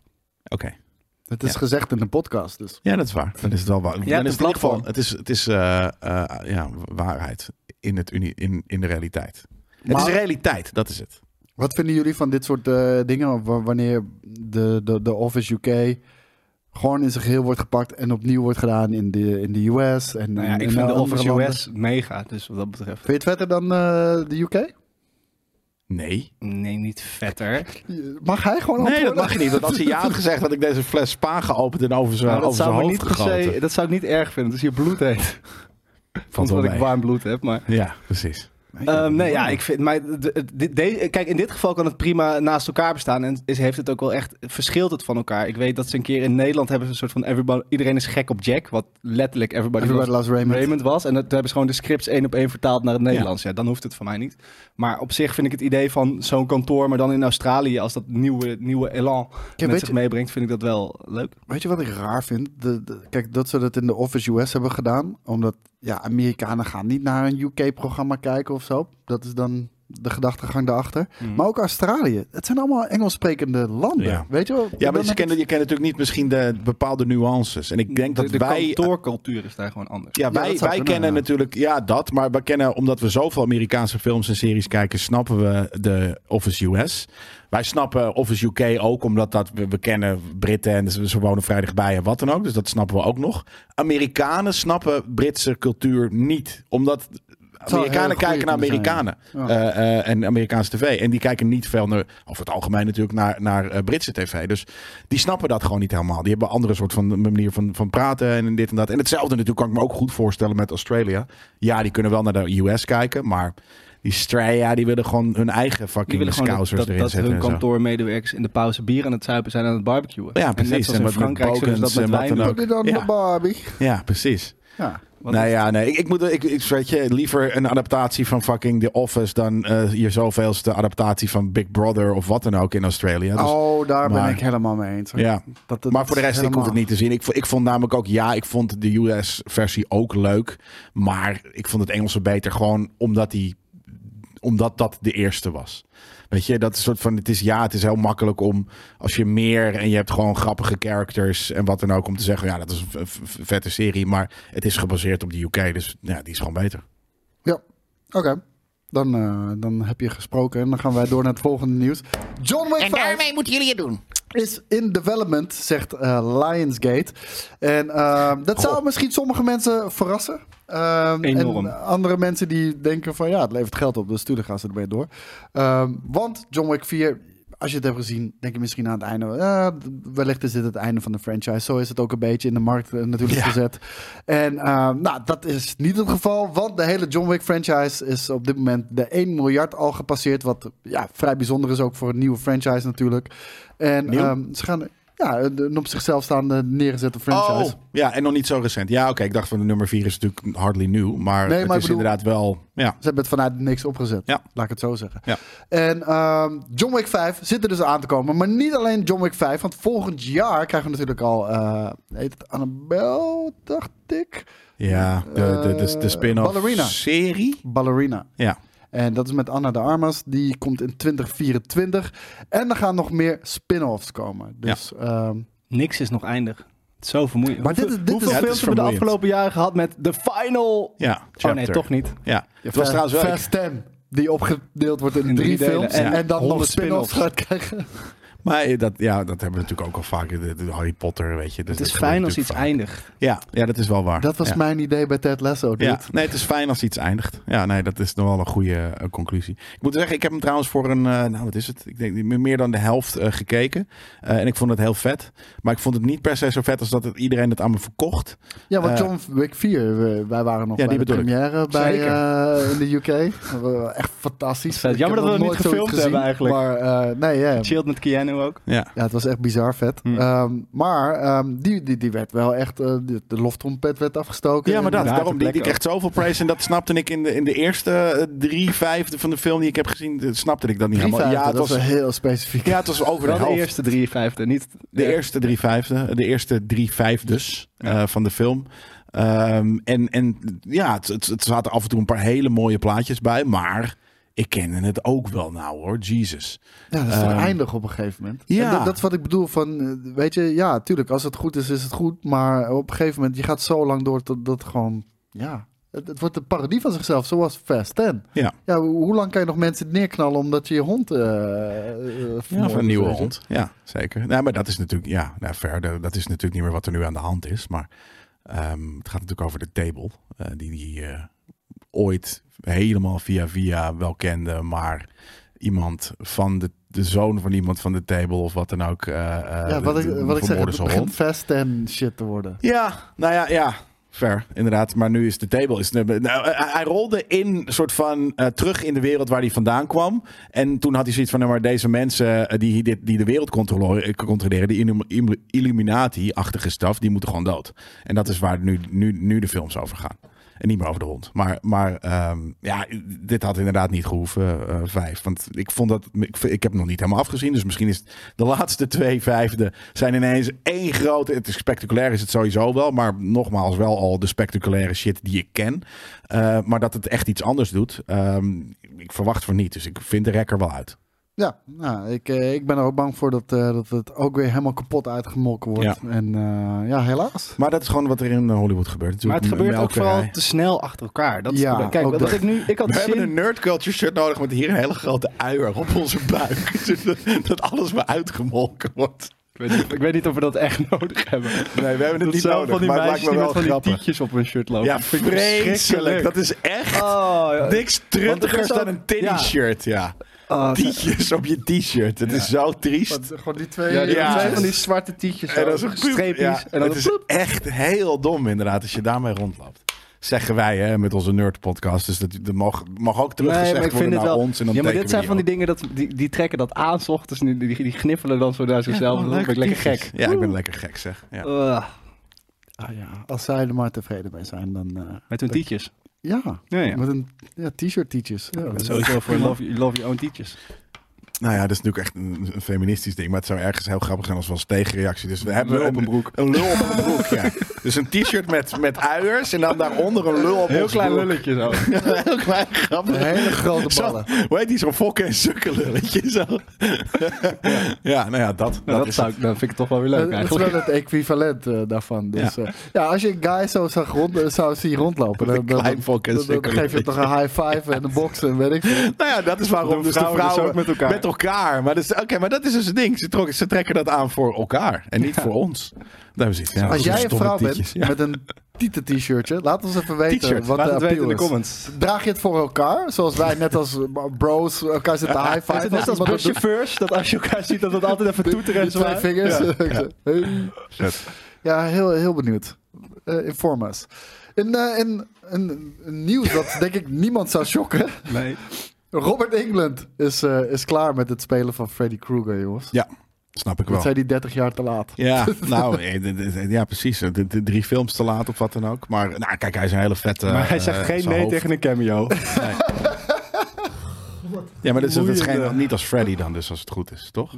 Het is Ja. gezegd in de podcast, dus Ja, dat is waar. Dan is het wel waar. Ja, Dan is het in ieder geval, platform. het is, het is eh, eh, ja, waarheid in, het uni- in, in de realiteit. Maar- het is realiteit, dat is het. Wat vinden jullie van dit soort eh, dingen? Wa- Wanneer de, de, de Office UK gewoon in zijn geheel wordt gepakt en opnieuw wordt gedaan in de, in de US. En, Nou ja, en ik in vind de andere Office landen. US mega, dus wat dat betreft. Vind je het verder dan eh, de UK? Nee. Nee, niet vetter. Nou, Mag hij gewoon Nee, antwoorden? dat mag je niet. Want als hij ja had gezegd, had ik deze fles spa geopend en over zijn, Nou, dat, over zijn zou me hoofd niet per gegoten. se, dat zou ik niet erg vinden. Het is hier bloed heet. Valt wel Omdat ik mee. warm bloed heb, maar... Ja, precies. Ehm, nee, ja, ik vind. Maar de- de- de- de- kijk, in dit geval kan het prima naast elkaar bestaan. En is, heeft het ook wel echt. Verschilt het van elkaar? Ik weet dat ze een keer in Nederland hebben ze een soort van. Everybody, iedereen is gek op Jack. Wat letterlijk Everybody, Everybody loves Loves Raymond. Raymond was. En dat toen hebben ze gewoon de scripts één op één vertaald naar het Nederlands. Ja. dan hoeft het voor mij niet. Maar op zich vind ik het idee van zo'n kantoor, maar dan in Australië. Als dat nieuwe, nieuwe elan met weet zich je- meebrengt, vind ik dat wel leuk. Weet je wat ik raar vind? De, de- kijk, dat ze dat in de Office US hebben gedaan. Omdat ja, Amerikanen gaan niet naar een UK-programma kijken of zo. Dat is dan de gedachtegang daarachter. Maar ook Australië. Het zijn allemaal Engels sprekende landen. Mhm. Ja. Weet je wel? Ja, maar Dan je heb kent, ik- je kent natuurlijk niet misschien de bepaalde nuances. En ik denk de, dat de wij... kantoorcultuur is daar gewoon anders. Ja, Ja, wij, dat zou wij kunnen, kennen ja. natuurlijk, ja, dat. Maar we kennen, omdat we zoveel Amerikaanse films en series kijken, snappen we de Office US. Wij snappen Office UK ook, omdat dat, we, we kennen Britten en ze, ze wonen vrijdag bij en wat dan ook. Dus dat snappen we ook nog. Amerikanen snappen Britse cultuur niet, omdat zou Amerikanen heel goed kijken naar kunnen zijn, Amerikanen ja. eh, eh, en Amerikaanse tv. En die kijken niet veel naar, over het algemeen natuurlijk, naar, naar eh, Britse tv. Dus die snappen dat gewoon niet helemaal. Die hebben een andere soort van manier van, van praten en dit en dat. En hetzelfde natuurlijk kan ik me ook goed voorstellen met Australia. Ja, die kunnen wel naar de US kijken, maar die Straya, die willen gewoon hun eigen Die fucking willen gewoon dat, scousers dat, erin dat zetten. hun en zo. kantoormedewerkers in de pauze bier aan het zuipen zijn aan het barbecuen. Ja, En precies. net zoals En in wat met Frankrijk zullen ze dat bokens met en wat wijn dan doen. ook. Put it on Ja. the Barbie. Ja, precies. Ja. Wat nou is- ja, nee, ik, ik moet ik, ik weet je, liever een adaptatie van fucking The Office dan eh hier zoveelste adaptatie van Big Brother of wat dan ook in Australië. Dus, oh, daar maar- ben ik helemaal mee eens. hoor. ja. Dat, dat Maar voor de rest, ik helemaal- vond het niet te zien. Ik, vo- ik vond namelijk ook, ja, ik vond de US-versie ook leuk. Maar ik vond het Engelse beter gewoon omdat die omdat dat de eerste was. Weet je, dat is een soort van, het is ja, het is heel makkelijk om als je meer en je hebt gewoon grappige characters en wat dan ook om te zeggen, ja, dat is een v- v- vette serie, maar het is gebaseerd op de UK, dus ja, die is gewoon beter. Ja, oké. Dan, eh, dan heb je gesproken en dan gaan wij door naar het volgende nieuws. John Wick 5 moeten jullie het doen. is in development, zegt eh, Lionsgate. En eh, dat zou misschien sommige mensen verrassen. Ehm, Enorm. En andere mensen die denken van ja, het levert geld op, dus tuurlijk gaan ze ermee door. Ehm, want John Wick 4, als je het hebt gezien, denk je misschien aan het einde. eh, wellicht is dit het einde van de franchise. Zo is het ook een beetje in de markt eh, natuurlijk Ja. gezet. En ehm, nou, dat is niet het geval, want de hele John Wick franchise is op dit moment de 1 miljard al gepasseerd. Wat ja, vrij bijzonder is ook voor een nieuwe franchise natuurlijk. En Nieuw? ehm, ze gaan ja, een op zichzelf staande neergezette franchise. Oh, ja, en nog niet zo recent. Ja, oké, ik dacht van de nummer 4 is natuurlijk hardly nieuw, maar, Nee, maar het ik is bedoel- inderdaad wel, ja. Ze hebben het vanuit niks opgezet. Ja. Laat ik het zo zeggen. Ja. En ehm, John Wick 5 zit er dus aan te komen. Maar niet alleen John Wick 5. Want volgend jaar krijgen we natuurlijk al... eh, heet het Annabelle, dacht ik? Ja, de, de, de, de Eh, Ballerina. spin-off serie. Ballerina. Ja, En dat is met Anna de Armas. Die komt in 2024. En er gaan nog meer spin-offs komen. Dus ehm, Niks is nog eindig. Het is zo vermoeiend. Maar dit is- Hoeveel- dit hoeveel is- Ja, het films is hebben we de vermoeiend. afgelopen jaren gehad met de final? ja. Oh nee, chapter. toch niet. Ja, het was trouwens wel... Fast 10, Die opgedeeld wordt in, In drie, drie delen films. en En, dan nog honderd spin-offs spin-offs. gaat krijgen. Maar dat, ja, dat hebben we natuurlijk ook al vaak. De, de Harry Potter, weet je. Dus Het is dat gebeurt fijn als iets natuurlijk eindigt. vaak. Ja, ja, dat is wel waar. Dat was ja. mijn idee bij Ted Lasso, dude. Ja, nee, het is fijn als iets eindigt. Ja, nee, dat is nog wel een goede eh, conclusie. Ik moet zeggen, ik heb hem trouwens voor een, eh, nou wat is het? Ik denk niet meer- meer dan de helft eh, gekeken. Eh, en ik vond het heel vet. Maar ik vond het niet per se zo vet als dat het, iedereen het aan me verkocht. Ja, want Eh, John Wick 4, we- wij waren nog Ja, bij die de bedoel ik. première bij, Zeker. eh, in de UK. [LAUGHS] Eh, Echt fantastisch. Vet. Ik Jammer heb dat we nog dat nooit niet zoiets gefilmd hebben Maar eh, nee, ja. Chilled met Keanu ook. Ja, ja, het was echt bizar vet. Hmm. Ehm, maar ehm, die, die, die werd wel echt, eh, de, de loftrompet werd afgestoken. ja maar dat, Inderdaad, daarom, de die, plek die krijgt zoveel praise. En dat snapte ik in de, in de eerste eh, drie vijfde van de film die ik heb gezien. dat snapte ik dat niet Drie helemaal. Ja, vijfde, het dat was was, heel specifiek. ja, het was over de Wel de helft. eerste drie vijfde, niet De eerste drie vijfde, de eerste drie vijfdes eh, van de film. Ehm, en, en ja, het, het, het zaten af en toe een paar hele mooie plaatjes bij, maar Ik kende het ook wel nou hoor, Jesus. [LAUGHS] Ja, dat is toch Ehm, eindig op een gegeven moment. ja. En dat, dat is wat ik bedoel van, eh, weet je, ja, tuurlijk, als het goed is, is het goed. Maar op een gegeven moment, je gaat zo lang door tot dat gewoon, ja, het, het wordt een parodie van zichzelf, zoals Fast 10. Ja. ja ho- hoe lang kan je nog mensen neerknallen omdat je je hond... eh, eh, Ja, vermoordt, of een nieuwe weet je? hond. Ja, zeker. Nou, maar dat is natuurlijk, ja, nou, verder, dat is natuurlijk niet meer wat er nu aan de hand is. Maar ehm, het gaat natuurlijk over de table, eh, die die eh, ooit helemaal via via wel kende, maar iemand van de, de zoon van iemand van de table of wat dan ook. eh, eh, Ja, wat de- ik, de wat ik zeg, vermoorde het zijn begint hond. Fast 10 shit te worden. Ja, nou ja, ja. Ver, inderdaad. Maar nu is de table. Is, nou, eh, hij rolde in, soort van eh, terug in de wereld waar hij vandaan kwam. En toen had hij zoiets van: nou, maar deze mensen eh, die, dit, die de wereld controleren, eh, controleren die Illum- Illum- Illuminati-achtige staf, die moeten gewoon dood. En dat is waar nu, nu, nu de films over gaan. En niet meer over de hond. Maar, maar ehm, ja, dit had inderdaad niet gehoeven, eh, vijf. Want ik vond dat. Ik, ik heb hem nog niet helemaal afgezien. Dus misschien is het de laatste twee vijfde zijn ineens één grote. Het is spectaculair, is het sowieso wel. Maar nogmaals, wel al de spectaculaire shit die ik ken. Eh, maar dat het echt iets anders doet. ehm, ik verwacht van niet. Dus ik vind de rekker wel uit. Ja, nou, ik, eh, ik ben er ook bang voor dat, eh, dat het ook weer helemaal kapot uitgemolken wordt. En eh, ja, helaas. Maar dat is gewoon wat er in Hollywood gebeurt. Maar Natuurlijk het gebeurt ook melkerij. vooral te snel achter elkaar. Dat is- Ja, kijk, ook wat dat. ik nu. Ik had We zin- hebben een nerd culture shirt nodig met hier een hele grote uier op onze buik. [LAUGHS] Zodat- dat alles maar uitgemolken wordt. Ik weet, niet, ik weet niet of we dat echt [LAUGHS] nodig hebben. Nee, we hebben het Dat niet zijn nodig, van die maar het lijkt meisjes me die wel met van die grappig. tietjes op hun shirt lopen. Ja, Dat vind ik verschrikkelijk. vreselijk. Dat is echt Oh, ja. niks er truttiger is ook- dan een tinny ja. shirt. Ja. Oh, Tietjes op je t-shirt. Het is zo triest. gewoon die twee... Ja, die Ja. zijn van die zwarte En tietjes. zo, dat is een poep. streepjes. Ja, en dan het is echt heel dom inderdaad als je daarmee rondloopt. Zeggen wij hè, met onze nerd podcast. Dus dat, dat mag, mag ook teruggezegd worden naar ons. En dan ja, tekenen maar dit we zijn van die ook. dingen dat die, die trekken dat aan 's ochtends en die, die, die gniffelen dan zo naar zichzelf. Ja, dat leuke ben ik lekker tietjes. gek. Ja, ik ben lekker gek zeg. Ja. Ugh, Ah ja, als zij er maar tevreden mee zijn, dan... eh, met hun tietjes. ja, Ja, ja. met een ja, t-shirt tietjes. Ja, dat is Sowieso voor love, you- love your own tietjes. Nou ja, dat is natuurlijk echt een, een feministisch ding. Maar het zou ergens heel grappig zijn als we als tegenreactie. Dus we hebben Lul op een, een broek. Een lul op een broek, ja. Dus een t-shirt met, met uiers en dan daaronder een lul op Heel ons klein broek. lulletje zo. Nou, heel klein, grappig. hele [LAUGHS] grote Zo, ballen. hoe heet die? Zo'n fokken en sukkelulletje. Zo. Ja. nou ja, dat. Nou, dat is zou het. ik, dan vind ik het toch wel weer Eh, leuk Dat is wel eigenlijk. het equivalent eh, daarvan. Dus, ja. ja, als je een guy zo zag rond, eh, zou zien rondlopen, [LAUGHS] Met dan, een dan, klein dan, fucking dan- dan geef je hem toch een high five en een box en weet ik [LAUGHS] veel. Nou ja, dat is waarom Doen dus de vrouwen dus vrouwen ook met elkaar. Met elkaar. Maar, dat is- oké, maar dat is dus het ding. Ze, trok- ze trekken dat aan voor elkaar en niet voor ons. Daar zit, ja, Als zo'n jij een stomme vrouw tietjes. bent Ja. met een tieten t-shirtje, laat ons even weten T-shirt, wat Laat de het weten appeal in de is. comments. Draag je het voor elkaar, zoals wij net als bros elkaar zitten high Is het five. net als buschauffeurs, dat als je elkaar ziet dat het altijd even toeteren en zo. twee vingers. [LAUGHS] Hey. Zet. Ja, heel, heel benieuwd. Eh inform us. In, eh, in, in, in [LAUGHS] nieuws dat denk ik niemand zou shocken. Nee. Robert England is, eh, is klaar met het spelen van Freddy Krueger, jongens. Ja, snap ik wel. Dat zijn die 30 jaar te laat. Ja, [LAUGHS] nou, eh, d- d- d- ja, precies. De, de drie films te laat of wat dan ook. Maar nou, kijk, hij is een hele vette. Maar hij eh, zegt geen zijn nee hoofd. tegen een cameo. [LAUGHS] Ja, maar dat is, dat is geen, Boeiende. Mm. niet als Freddy dan, dus als het goed is, toch?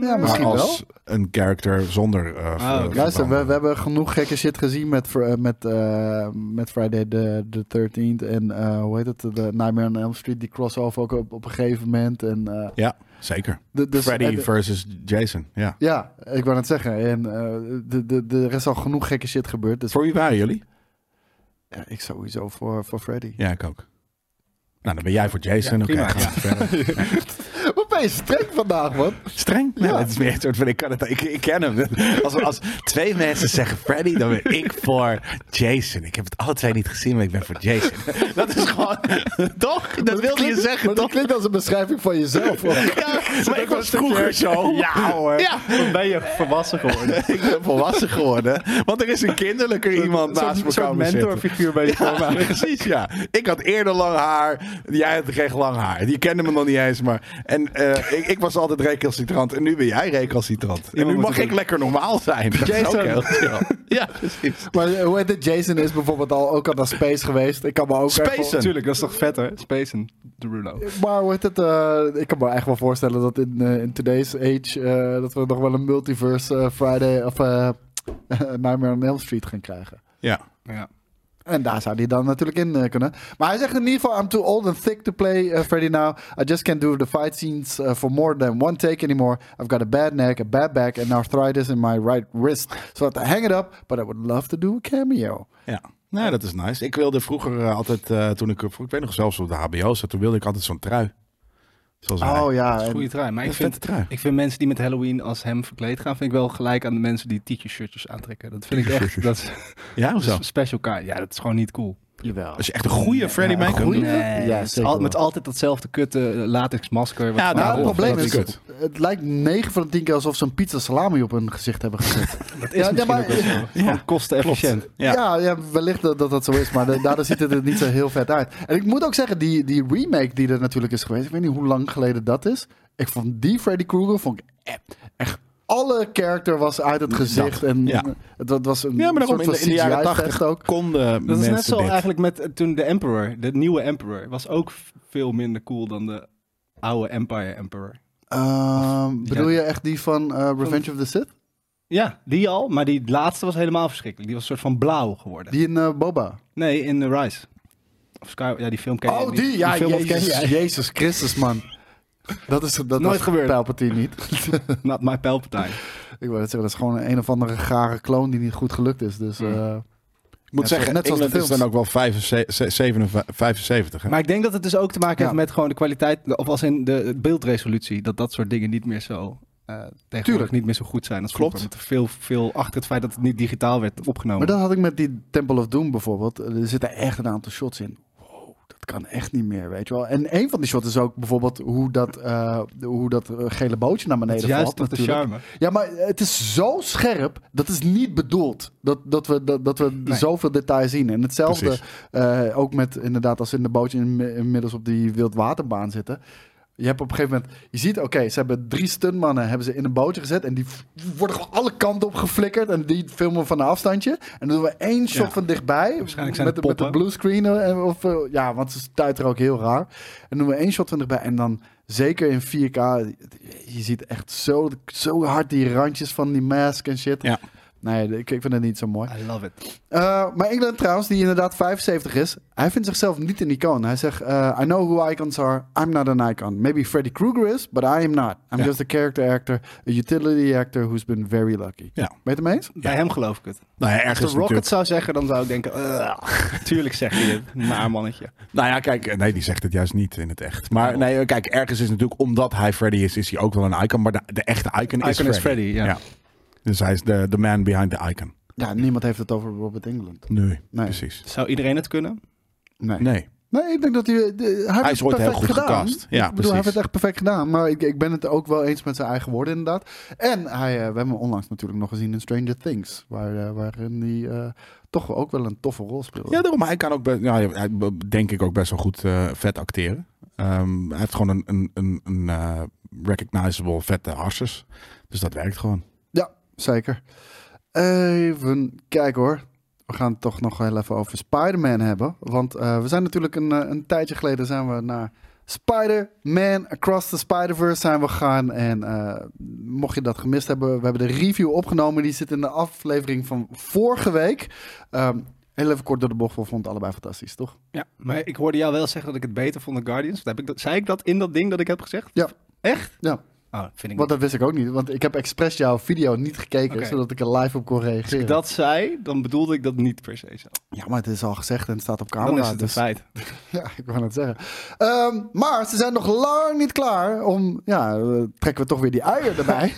Ja, misschien maar wel. als een character zonder. eh, ver- oké. Ah, Luister, we, verbanden. we hebben genoeg gekke shit gezien met, Fr- eh, met, eh, met Friday the, the 13th en eh, hoe heet het, de Nightmare on Elm Street, die crossover ook op, op een gegeven moment. En, eh, Ja, zeker. de- dus- Freddy en de- versus Jason. Ja. Ja, ik wou net zeggen. En eh, de, de, de, er is al genoeg gekke shit gebeurd. Dus Voor wie waren jullie? ja, ik sowieso voor, voor Freddy. Ja, ik ook. Nou, dan ben jij voor Jason. Ja, Oké, prima. gaan we verder. [LAUGHS] Wat ben je streng vandaag, [LAUGHS] man? Streng? Nee, Ja. het is meer een soort van, ik kan het, ik, ik ken hem. Als, als twee mensen zeggen Freddy, dan ben ik voor Jason. Ik heb het alle twee niet gezien, maar ik ben voor Jason. Dat is gewoon, toch? Dat wilde je klinkt- zeggen, maar dat toch? klinkt als een beschrijving van jezelf. [LAUGHS] hoor. Ja, maar ik was een vroeger stukje- zo. Ja hoor. Ja. Dan ben je volwassen geworden. Ik ben volwassen geworden. Want er is een kinderlijker iemand naast me Zo'n komen zitten. mentorfiguur [LAUGHS] ben je voor Ja, mij. precies, ja. Ik had eerder lang haar. Jij had geen lang haar. Die kende me nog niet eens. Maar... En eh, ik, ik was altijd recalcitrant. En nu ben jij recalcitrant. En nu moet mag het ik doen. lekker normaal zijn. Dat is ook Jason. heel [LAUGHS] chill. Ja, precies. Maar eh, hoe heet het? Jason is bijvoorbeeld al ook al naar Space geweest. Ik kan me ook echt wel- Spacen. Tuurlijk, dat is toch vet hè? Spacen, Derulo. Maar hoe heet het? eh, ik kan me echt wel voorstellen dat in, eh, in today's age... eh, dat we nog wel een [LAUGHS] multiverse eh, Friday of eh, Nightmare on Elm Street gaan krijgen. Ja. Ja. En daar zou hij dan natuurlijk in eh, kunnen. Maar hij zegt in ieder geval: I'm too old and thick to play eh, Freddy now. I just can't do the fight scenes eh, for more than one take anymore. I've got a bad neck, a bad back and arthritis in my right wrist. So I have to hang it up, but I would love to do a cameo. Ja. Nou, dat is nice. Ik wilde vroeger eh, altijd, eh, toen ik, ik weet nog zelfs op de HBO zat, toen wilde ik altijd zo'n trui. Zoals hij. Oh ja, Ah, is een en- goede trui. Maar Een ik vette vind, trui. ik vind mensen die met Halloween als hem verkleed gaan, vind ik wel gelijk aan de mensen die teacher-shirtjes aantrekken. Dat vind ik echt, dat is, Ja, of dat is zo? een special kind. Ja, dat is gewoon niet cool. jawel. Als je echt een goede Freddy Ja, een make-up goeie- doet. Nee, Ja, het is zeker al- wel. met altijd datzelfde kutte eh, latex masker. Ja, Nou, het Ja, probleem dat is, is kut. het lijkt 9 van de 10 keer alsof ze een pizza salami op hun gezicht hebben gezet. [LAUGHS] dat Ja, is misschien maar- ook wel zo. [LAUGHS] Gewoon kostenefficiënt. ja. Ja. Ja, wellicht dat dat, dat zo is, maar da- daardoor ziet het er niet zo heel vet uit. En ik moet ook zeggen, die, die remake die er natuurlijk is geweest, ik weet niet hoe lang geleden dat is. Ik vond die Freddy Krueger, vond ik e- echt, alle character was uit het gezicht. en ja. het, het was Ja, een maar daarom soort in van de, in de jaren CGI-fest 80 ook. konden Dat is mensen net zo dit. eigenlijk met eh, toen de Emperor, de nieuwe Emperor, was ook f- veel minder cool dan de oude Empire Emperor. Ehm, bedoel je Ja. echt die van eh, Revenge of the Sith? Ja, die al, maar die laatste was helemaal verschrikkelijk. Die was een soort van blauw geworden. Die in eh, Boba? Nee, in The Rise. Of Sky, ja, die film ken je Oh, niet. die! Ja, film ken Jezus, jij. Jezus Christus, man. Dat is dat Nooit was gebeurd. Palpatine niet. [LAUGHS] Not my Palpatine. Ik wil het zeggen, dat is gewoon een, een of andere gare kloon die niet goed gelukt is. Dus, Hmm. eh, Ik moet Ja, zeggen, net net zoals de Engeland is films. dan ook wel 75, 75 hè? Maar ik denk dat het dus ook te maken heeft Ja. met gewoon de kwaliteit, of als in de beeldresolutie, dat dat soort dingen niet meer zo... eh tegenwoordig Tuurlijk. niet meer zo goed zijn. Dat Klopt. klopt. Veel, veel achter het feit dat het niet digitaal werd opgenomen. Maar dat had ik met die Temple of Doom bijvoorbeeld. Er zitten echt een aantal shots in. Wow, dat kan echt niet meer, weet je wel. En een van die shots is ook bijvoorbeeld hoe dat, eh, hoe dat eh, gele bootje naar Dat beneden is juist valt. toch de natuurlijk. charme. Ja, maar het is zo scherp. Dat is niet bedoeld. Dat, dat we, dat, dat we zoveel detail zien. En hetzelfde eh, ook met inderdaad als ze in de bootje in, inmiddels op die wildwaterbaan zitten. Je hebt op een gegeven moment, je ziet, oké, ze hebben drie stuntmannen hebben ze in een bootje gezet. En die v- worden gewoon alle kanten op geflikkerd. En die filmen we van een afstandje. En dan doen we één shot Ja. van dichtbij. Waarschijnlijk zijn met, het de- met de poppen. bluescreen. eh, Of, eh, ja, want ze stuiteren ook heel raar. En doen we één shot van dichtbij. En dan zeker in 4K. Je ziet echt zo, zo hard die randjes van die mask en shit. Ja. Nee, ik, ik vind het niet zo mooi. I love it. Eh, maar England trouwens, die inderdaad 75 is, hij vindt zichzelf niet een icoon. Hij zegt, eh, I know who icons are, I'm not an icon. Maybe Freddy Krueger is, but I am not. I'm Ja. just a character actor, a utility actor who's been very lucky. Ja. Ben je het ermee eens? Bij hem geloof ik het. Nou ja, Als de ergens Rocket natuurlijk. zou zeggen, dan zou ik denken... "Ugh." [LAUGHS] tuurlijk zeg je het, maar mannetje. Nou ja, kijk, nee, die zegt het juist niet in het echt. Maar nee, eh, kijk, ergens is natuurlijk, omdat hij Freddy is, is hij ook wel een icon. Maar de, de echte icon, Icon is Freddy. is Freddy, ja. Dus hij is de, de man behind the icon. Ja, niemand heeft het over Robert England. Nee, Nee. precies. Zou iedereen het kunnen? Nee. nee. Nee. ik denk dat hij... de- hij, heeft Hij het is ooit heel perfect goed gedaan. gecast. Ja, ik bedoel, hij heeft precies. het echt perfect gedaan. Maar ik, ik ben het ook wel eens met zijn eigen woorden inderdaad. En hij, eh, we hebben hem onlangs natuurlijk nog gezien in Stranger Things. Waar, eh, waarin hij eh, toch ook wel een toffe rol speelde. Ja, daarom. maar Hij kan ook, best, nou, hij, denk ik, ook best wel goed eh, vet acteren. Ehm, hij heeft gewoon een, een, een, een eh, recognizable vette harsers. Dus dat werkt gewoon. Ja, zeker. Even kijken hoor. We gaan het toch nog heel even over Spider-Man hebben. Want eh, we zijn natuurlijk een, eh, een tijdje geleden zijn we naar Spider-Man Across the Spider-Verse zijn we gegaan. En eh, mocht je dat gemist hebben, we hebben de review opgenomen. Die zit in de aflevering van vorige week. Ehm, heel even kort door de bocht, we vonden het allebei fantastisch, toch? Ja, maar ik hoorde jou wel zeggen dat ik het beter vond dan Guardians. Heb ik dat, zei ik dat in dat ding dat ik heb gezegd? Ja. Echt? Ja. Oh, vind ik Want dat wist ik ook niet. Want ik heb expres jouw video niet gekeken, Oké. zodat ik er live op kon Als ik reageren. dat zei, dan bedoelde ik dat niet per se zo. Ja, maar het is al gezegd en het staat op camera. Dan is het een dus- feit. [LAUGHS] Ja, ik wou net zeggen. Ehm, maar ze zijn nog lang niet klaar om... Ja, eh, trekken we toch weer die uier erbij.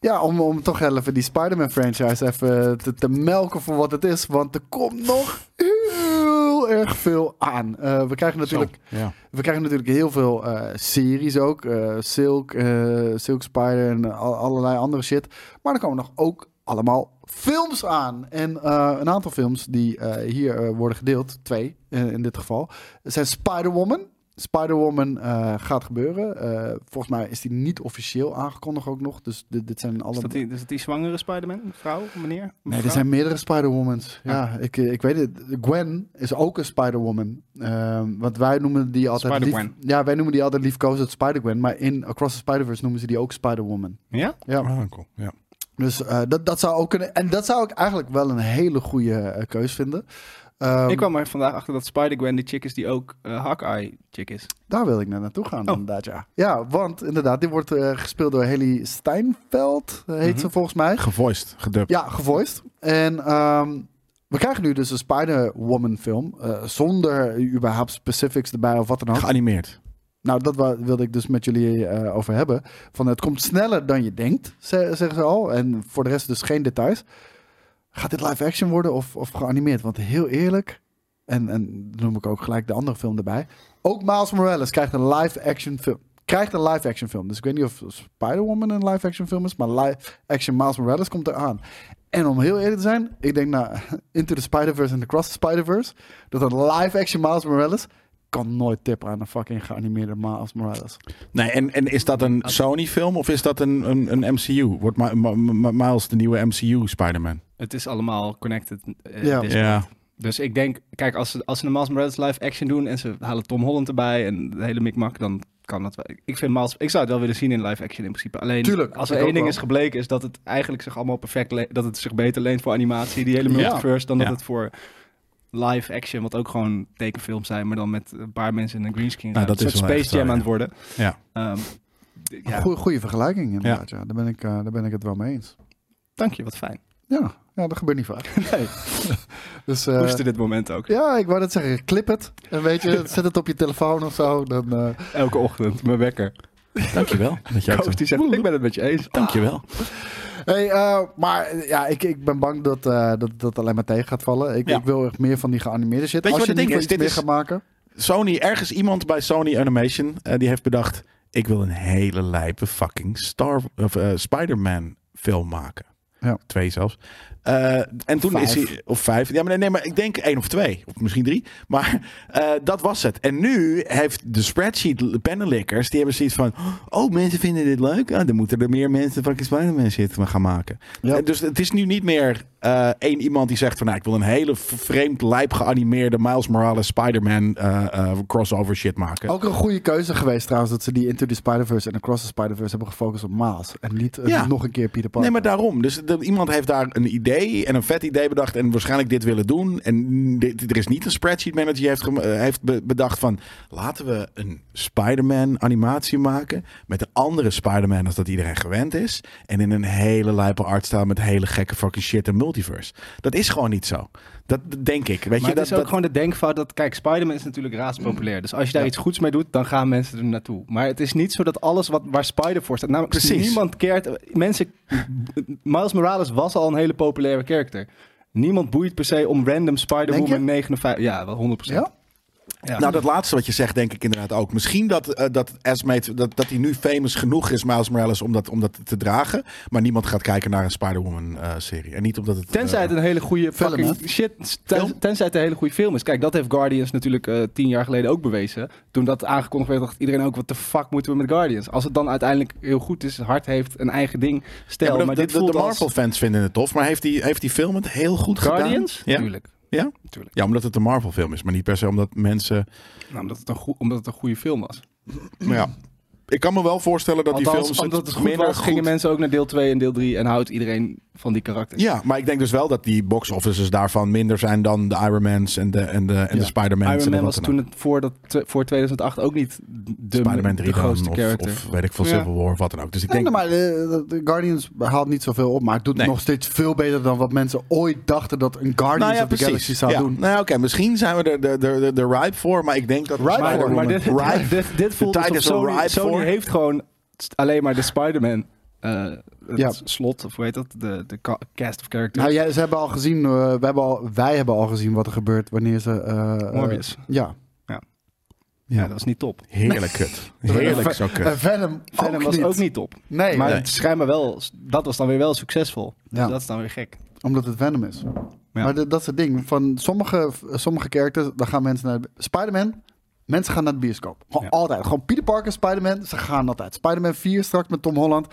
Ja, om, om toch even die Spider-Man franchise even te, te melken voor wat het is. Want er komt nog heel erg veel aan. Eh, we, krijgen natuurlijk, Ja. we krijgen natuurlijk heel veel eh, series ook. eh, Silk, eh, Silk Spider en al- allerlei andere shit. Maar er komen nog ook allemaal films aan. En eh, een aantal films die eh, hier eh, worden gedeeld, twee eh, in dit geval, zijn Spider-Woman. Spider-Woman eh, gaat gebeuren. Eh, volgens mij is die niet officieel aangekondigd ook nog. Dus dit, dit zijn alle... Is dat, die, is dat die zwangere Spider-Man? Vrouw? Meneer? Nee, er Vrouw? zijn meerdere Spider-Womans. Ja, Ah. ik, eh, ik weet het. Gwen is ook een Spider-Woman. Ehm, want wij noemen die altijd... lief- Spider-Gwen. ja, wij noemen die altijd liefkozend Spider-Gwen. Maar in Across the Spider-Verse noemen ze die ook Spider-Woman. Ja? Ja. Ah, cool. ja. Dus eh, dat, dat zou ook kunnen. En dat zou ik eigenlijk wel een hele goede eh, keus vinden. Ehm, ik kwam er vandaag achter dat Spider-Gwen de chick is die ook eh, Hawkeye chick is. Daar wil ik naar naartoe gaan, Oh. inderdaad, ja. Ja, want inderdaad, dit wordt eh, gespeeld door Haley Steinfeld, eh, heet ze Mhm. volgens mij. Gevoiced, gedubt. Ja, gevoiced. En ehm, we krijgen nu dus een Spider-Woman film, eh, zonder überhaupt specifics erbij of wat dan ook. Geanimeerd. Nou, dat wa- wilde ik dus met jullie eh, over hebben. Van het komt sneller dan je denkt, ze- zeggen ze al. En voor de rest dus geen details. Gaat dit live action worden of, of geanimeerd? Want heel eerlijk, en, en dan noem ik ook gelijk de andere film erbij. Ook Miles Morales krijgt een live action film. Krijgt een live action film. Dus ik weet niet of Spider-Woman een live action film is, maar live action Miles Morales komt eraan. En om heel eerlijk te zijn, ik denk na [LAUGHS] Into the Spider-Verse en Across the Spider-Verse, dat een live action Miles Morales kan nooit tippen aan een fucking geanimeerde Miles Morales. Nee, en, en is dat een Sony-film of is dat een, een, een MCU? Wordt Ma- Ma- Ma- Miles de nieuwe MCU-Spider-Man? Het is allemaal connected. eh, Ja. dit- Ja. Dus ik denk, kijk, als ze, als ze een Miles Morales live action doen en ze halen Tom Holland erbij en de hele mikmak, dan kan dat wel. Ik vind Miles, ik zou het wel willen zien in live action in principe. Alleen, Tuurlijk, als ik er ook één ding wel. is gebleken, is dat het eigenlijk zich allemaal perfect, le- dat het zich beter leent voor animatie, die hele multiverse, dan dat Ja. het voor live action, wat ook gewoon tekenfilms zijn, maar dan met een paar mensen in een greenscreen. Nou, ruimte. dat een is soort wel Space echt Jam zo, aan het worden. Ja. Ehm, d- ja, Goeie, goeie vergelijking inderdaad, ja. Daar, ben ik, eh, daar ben ik het wel mee eens. dank je, wat fijn. [LAUGHS] Ja, ja dat gebeurt niet vaak. Nee, Dus, eh, moesten dit moment ook. ja, ik wou dat zeggen, clip het. En weet je, zet het op je telefoon of zo. Dan, eh, Elke ochtend, mijn wekker. Dankjewel. Dat jij ook zo- Koos die zegt, ik ben het met je eens. Dankjewel. Hey, eh, maar eh, ja, ik, ik ben bang dat, eh, dat dat alleen maar tegen gaat vallen. Ik, Ja. ik wil echt meer van die geanimeerde shit. Weet je Als wat het je in ding is? ieder geval iets Dit meer is- gaat maken. Sony, ergens iemand bij Sony Animation, eh, die heeft bedacht... ik wil een hele lijpe fucking Star, of, eh, Spider-Man film maken. Ja. Twee zelfs. Eh, en toen Vijf. is hij... Of vijf. Ja, maar nee, nee, maar ik denk één of twee. Of misschien drie. Maar eh, dat was het. En nu heeft de spreadsheet pennenlikkers... die hebben zoiets van... Oh, mensen vinden dit leuk. Ah, dan moeten er meer mensen fucking Spider-Man shit van gaan maken. Ja. Eh, Dus het is nu niet meer eh, één iemand die zegt van... Nou, ik wil een hele v- vreemd, lijp geanimeerde Miles Morales Spider-Man eh, eh, crossover shit maken. Ook een goede keuze geweest trouwens dat ze die Into the Spider-Verse en Across the Spider-Verse hebben gefocust op Maas. En niet eh, Ja. nog een keer Peter Nee, Parker. maar daarom. Dus dat- iemand heeft daar een idee en een vet idee bedacht en waarschijnlijk dit willen doen. En dit, er is niet een spreadsheet manager die heeft, gem- eh, heeft be- bedacht van laten we een Spider-Man animatie maken met een andere Spider-Man als dat iedereen gewend is. En in een hele lijpe artstyle met hele gekke fucking shit en multiverse. Dat is gewoon niet zo. Dat dat denk ik. Weet Maar je, het dat, is ook dat- gewoon de denkfout dat, kijk, Spider-Man is natuurlijk raadspopulair. Dus als je daar iets goeds mee doet, dan gaan mensen er naartoe. Maar het is niet zo dat alles wat, waar Spider voor staat, namelijk Precies. niemand keert, mensen, Miles Morales was al een hele populaire character. Niemand boeit per se om random Denk je? Spider-Woman 59, ja, wel 100%. Ja? Ja. Nou, dat laatste wat je zegt, denk ik inderdaad ook. Misschien dat, eh, dat Esmate, dat, dat hij nu famous genoeg is, Miles Morales, om dat, om dat te dragen. Maar niemand gaat kijken naar een Spider-Woman-serie. en niet omdat het... Tenzij het eh, een hele goede film, fucking hè? shit. ten- Film? tenzij het een hele goede film is. Kijk, dat heeft Guardians natuurlijk eh, tien jaar geleden ook bewezen. Toen dat aangekondigd werd, dacht iedereen ook: wat de fuck moeten we met Guardians? Als het dan uiteindelijk heel goed is, hard heeft, een eigen ding. Stel, ja, maar maar, de, dit de, de voelt als Marvel-fans vinden het tof. Maar heeft die, heeft die film het heel goed Guardians? gedaan? Ja. Tuurlijk. Ja? Tuurlijk. ja, omdat het een Marvel-film is. Maar niet per se omdat mensen... Nou, omdat, het een goe- omdat het een goede film was. Maar ja, ik kan me wel voorstellen dat die Althans, films... omdat het goed was, gingen mensen ook naar deel 2 en deel 3 en houdt iedereen van die karakters. Ja, maar ik denk dus wel dat die box-offices daarvan minder zijn dan de Iron Man's en de, en de, en Ja. de Spider-Man's. en Iron de Man wat dan was ook. toen het voor, dat, voor 2008 ook niet de, Spider-Man 3 de grootste dan, of, character. of weet ik veel, Ja. Civil War of wat dan ook. Dus ik Ja, denk, maar de, de Guardians haalt niet zoveel op, maar het doet Nee. nog steeds veel beter dan wat mensen ooit dachten dat een Guardians nou ja, of the Galaxy precies. zou Ja. doen. Nou, ja, oké, misschien zijn we er de, de, de, de ripe voor, maar ik denk dat Ripe Maar, voor, Spider-Man- maar dit, ripe. dit, dit, dit voelt tijd alsof is er Sony, ripe Sony voor. heeft gewoon st- alleen maar de Spider-Man eh, het Ja. slot, of hoe heet dat, de, de ca- cast of characters. Nou, jij, ze hebben al gezien, eh, we hebben al, wij hebben al gezien wat er gebeurt wanneer ze. eh, eh, Morbius. ja. ja. dat was niet top. Heerlijk [LAUGHS] kut. Heerlijk zo kut. En Venom, Venom ook was niet. ook niet top. Nee, eh, maar nee. het schijnbaar wel, dat was dan weer wel succesvol. Dus Ja. dat is dan weer gek. omdat het Venom is. Maar de- dat is het ding. Van sommige, sommige characters, daar gaan mensen naar. Spider-Man, mensen gaan naar de bioscoop. Gewoon Ja. altijd. Gewoon Peter Parker, Spider-Man, ze gaan altijd. Spider-Man 4 straks met Tom Holland.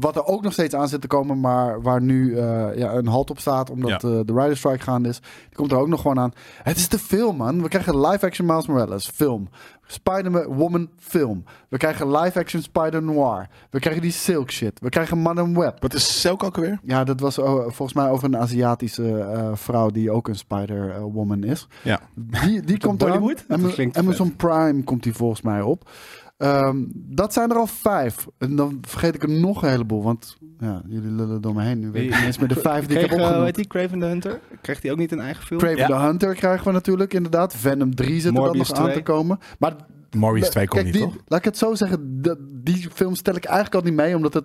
Wat er ook nog steeds aan zit te komen, maar waar nu eh, ja, een halt op staat, omdat Ja. eh, de Rider Strike gaande is. Die komt er ook nog gewoon aan. Het is te film, man. We krijgen live-action Miles Morales, film. Spider-Woman, film. We krijgen live-action Spider-Noir. We krijgen die Silk shit. We krijgen Madame Web. Wat is Selk ook alweer? Ja, dat was oh, volgens mij over een Aziatische eh, vrouw die ook een Spider-Woman is. Ja. Die, die komt eraan. Bollywood? Dat Ama- klinkt Amazon Prime komt die volgens mij op. Ehm, dat zijn er al vijf. En dan vergeet ik er nog een heleboel, want ja, jullie lullen door me heen. Nu weet ik niet eens meer de vijf die ik heb Kreeg, eh, hoe opgenoemd. heet die? Craven the Hunter? Krijgt hij ook niet een eigen film? Craven Ja. the Hunter krijgen we natuurlijk, inderdaad. Venom 3 zit er dan Morbius nog aan 2. te komen. Maar Morbius kijk, 2 komt niet, die, toch? Laat ik het zo zeggen, dat- die film stel ik eigenlijk al niet mee, omdat het...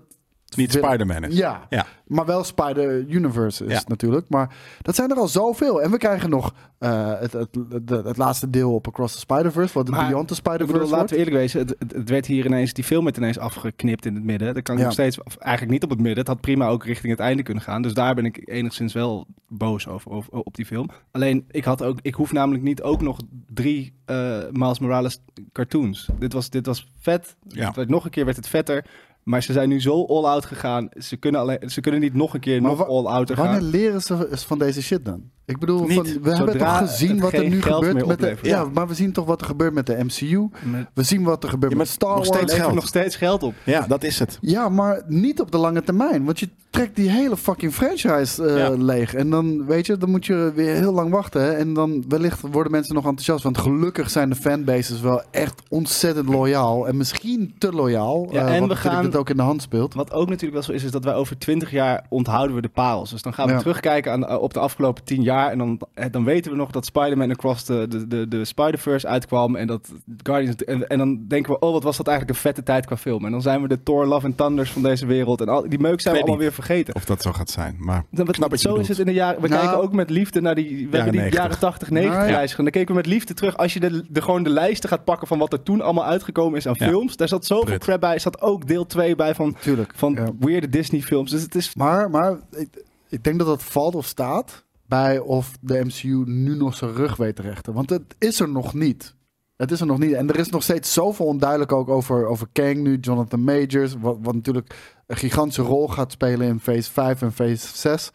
Niet Wil- Spider-Man is. Ja, Ja. maar wel Spider-Universe is Ja. natuurlijk. Maar dat zijn er al zoveel. En we krijgen nog eh, het, het, het, het laatste deel op Across the Spider-Verse, wat Maar, Beyond the Ik bedoel, Spider-Verse wordt. laten we eerlijk wezen. Het, het, het werd hier ineens, die film werd ineens afgeknipt in het midden. Dat kan ik Ja. nog steeds, of eigenlijk niet op het midden. Het had prima ook richting het einde kunnen gaan. Dus daar ben ik enigszins wel boos over, over- op die film. Alleen, ik, had ook, ik hoef namelijk niet ook nog drie eh, Miles Morales cartoons. Dit was, dit was vet. Ja. Het werd- nog een keer werd het vetter. Maar ze zijn nu zo all-out gegaan. Ze kunnen, alleen, ze kunnen niet nog een keer Maar wa- nog all-outer gaan. Wanneer leren ze van deze shit dan? Ik bedoel, Niet. van, we hebben Zodra toch gezien het wat er geen nu geld gebeurt meer met de, oplevert. ja, maar we zien toch wat er gebeurt met de MCU. Met- We zien wat er gebeurt Ja, met maar Star nog Wars. steeds levert geld. nog steeds geld op. Ja, dat is het. Ja, maar niet op de lange termijn. Want je trekt die hele fucking franchise eh, Ja. leeg. En dan, weet je, dan moet je weer heel lang wachten. hè. En dan wellicht worden mensen nog enthousiast. Want gelukkig zijn de fanbases wel echt ontzettend loyaal. En misschien te loyaal. Ja, eh, en wat we natuurlijk gaan- dit ook in de hand speelt. Wat ook natuurlijk wel zo is, is dat wij over 20 jaar onthouden we de parels. Dus dan gaan we Ja. terugkijken aan, eh, op de afgelopen 10 jaar. En dan, eh, dan weten we nog dat Spider-Man Across de, de, de, de Spider-Verse uitkwam. En dat Guardians. En, en dan denken we, oh, wat was dat eigenlijk een vette tijd qua film. En dan zijn we de Thor, Love and Thunders van deze wereld. En al, die meuk zijn we Ik weet allemaal weer vergeten. Of dat zo gaat zijn. Maar Dan- wat- Snap wat je zo is bedoelt. het in de jaren. We Nou, kijken ook met liefde naar die, we hebben die 90. jaren 80, 90 Nou, ja. reis. gedaan. Dan keken we met liefde terug. Als je de, de, gewoon de lijsten gaat pakken van wat er toen allemaal uitgekomen is aan Ja. films. Daar zat zoveel Prut. crap bij. Er zat ook deel 2 bij van Tuurlijk. van Ja. weirde Disney films. Dus het is Maar, maar ik, ik denk dat dat valt of staat bij of de MCU nu nog zijn rug weet te rechten. Want het is er nog niet. Het is er nog niet. En er is nog steeds zoveel onduidelijk ook over, over Kang nu, Jonathan Majors. Wat, wat natuurlijk een gigantische rol gaat spelen in phase 5 en phase 6.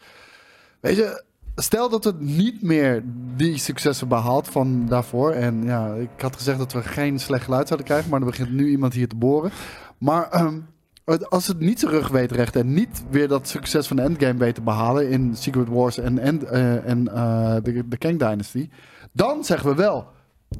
Weet je, stel dat het niet meer die successen behaalt van daarvoor. En ja, ik had gezegd dat we geen slecht geluid zouden krijgen, maar er begint nu iemand hier te boren. Maar ehm, het- als het niet zijn rug weet rechten en niet weer dat succes van Endgame weet te behalen in Secret Wars en, End- eh, en eh, de, de Kang Dynasty, dan zeggen we wel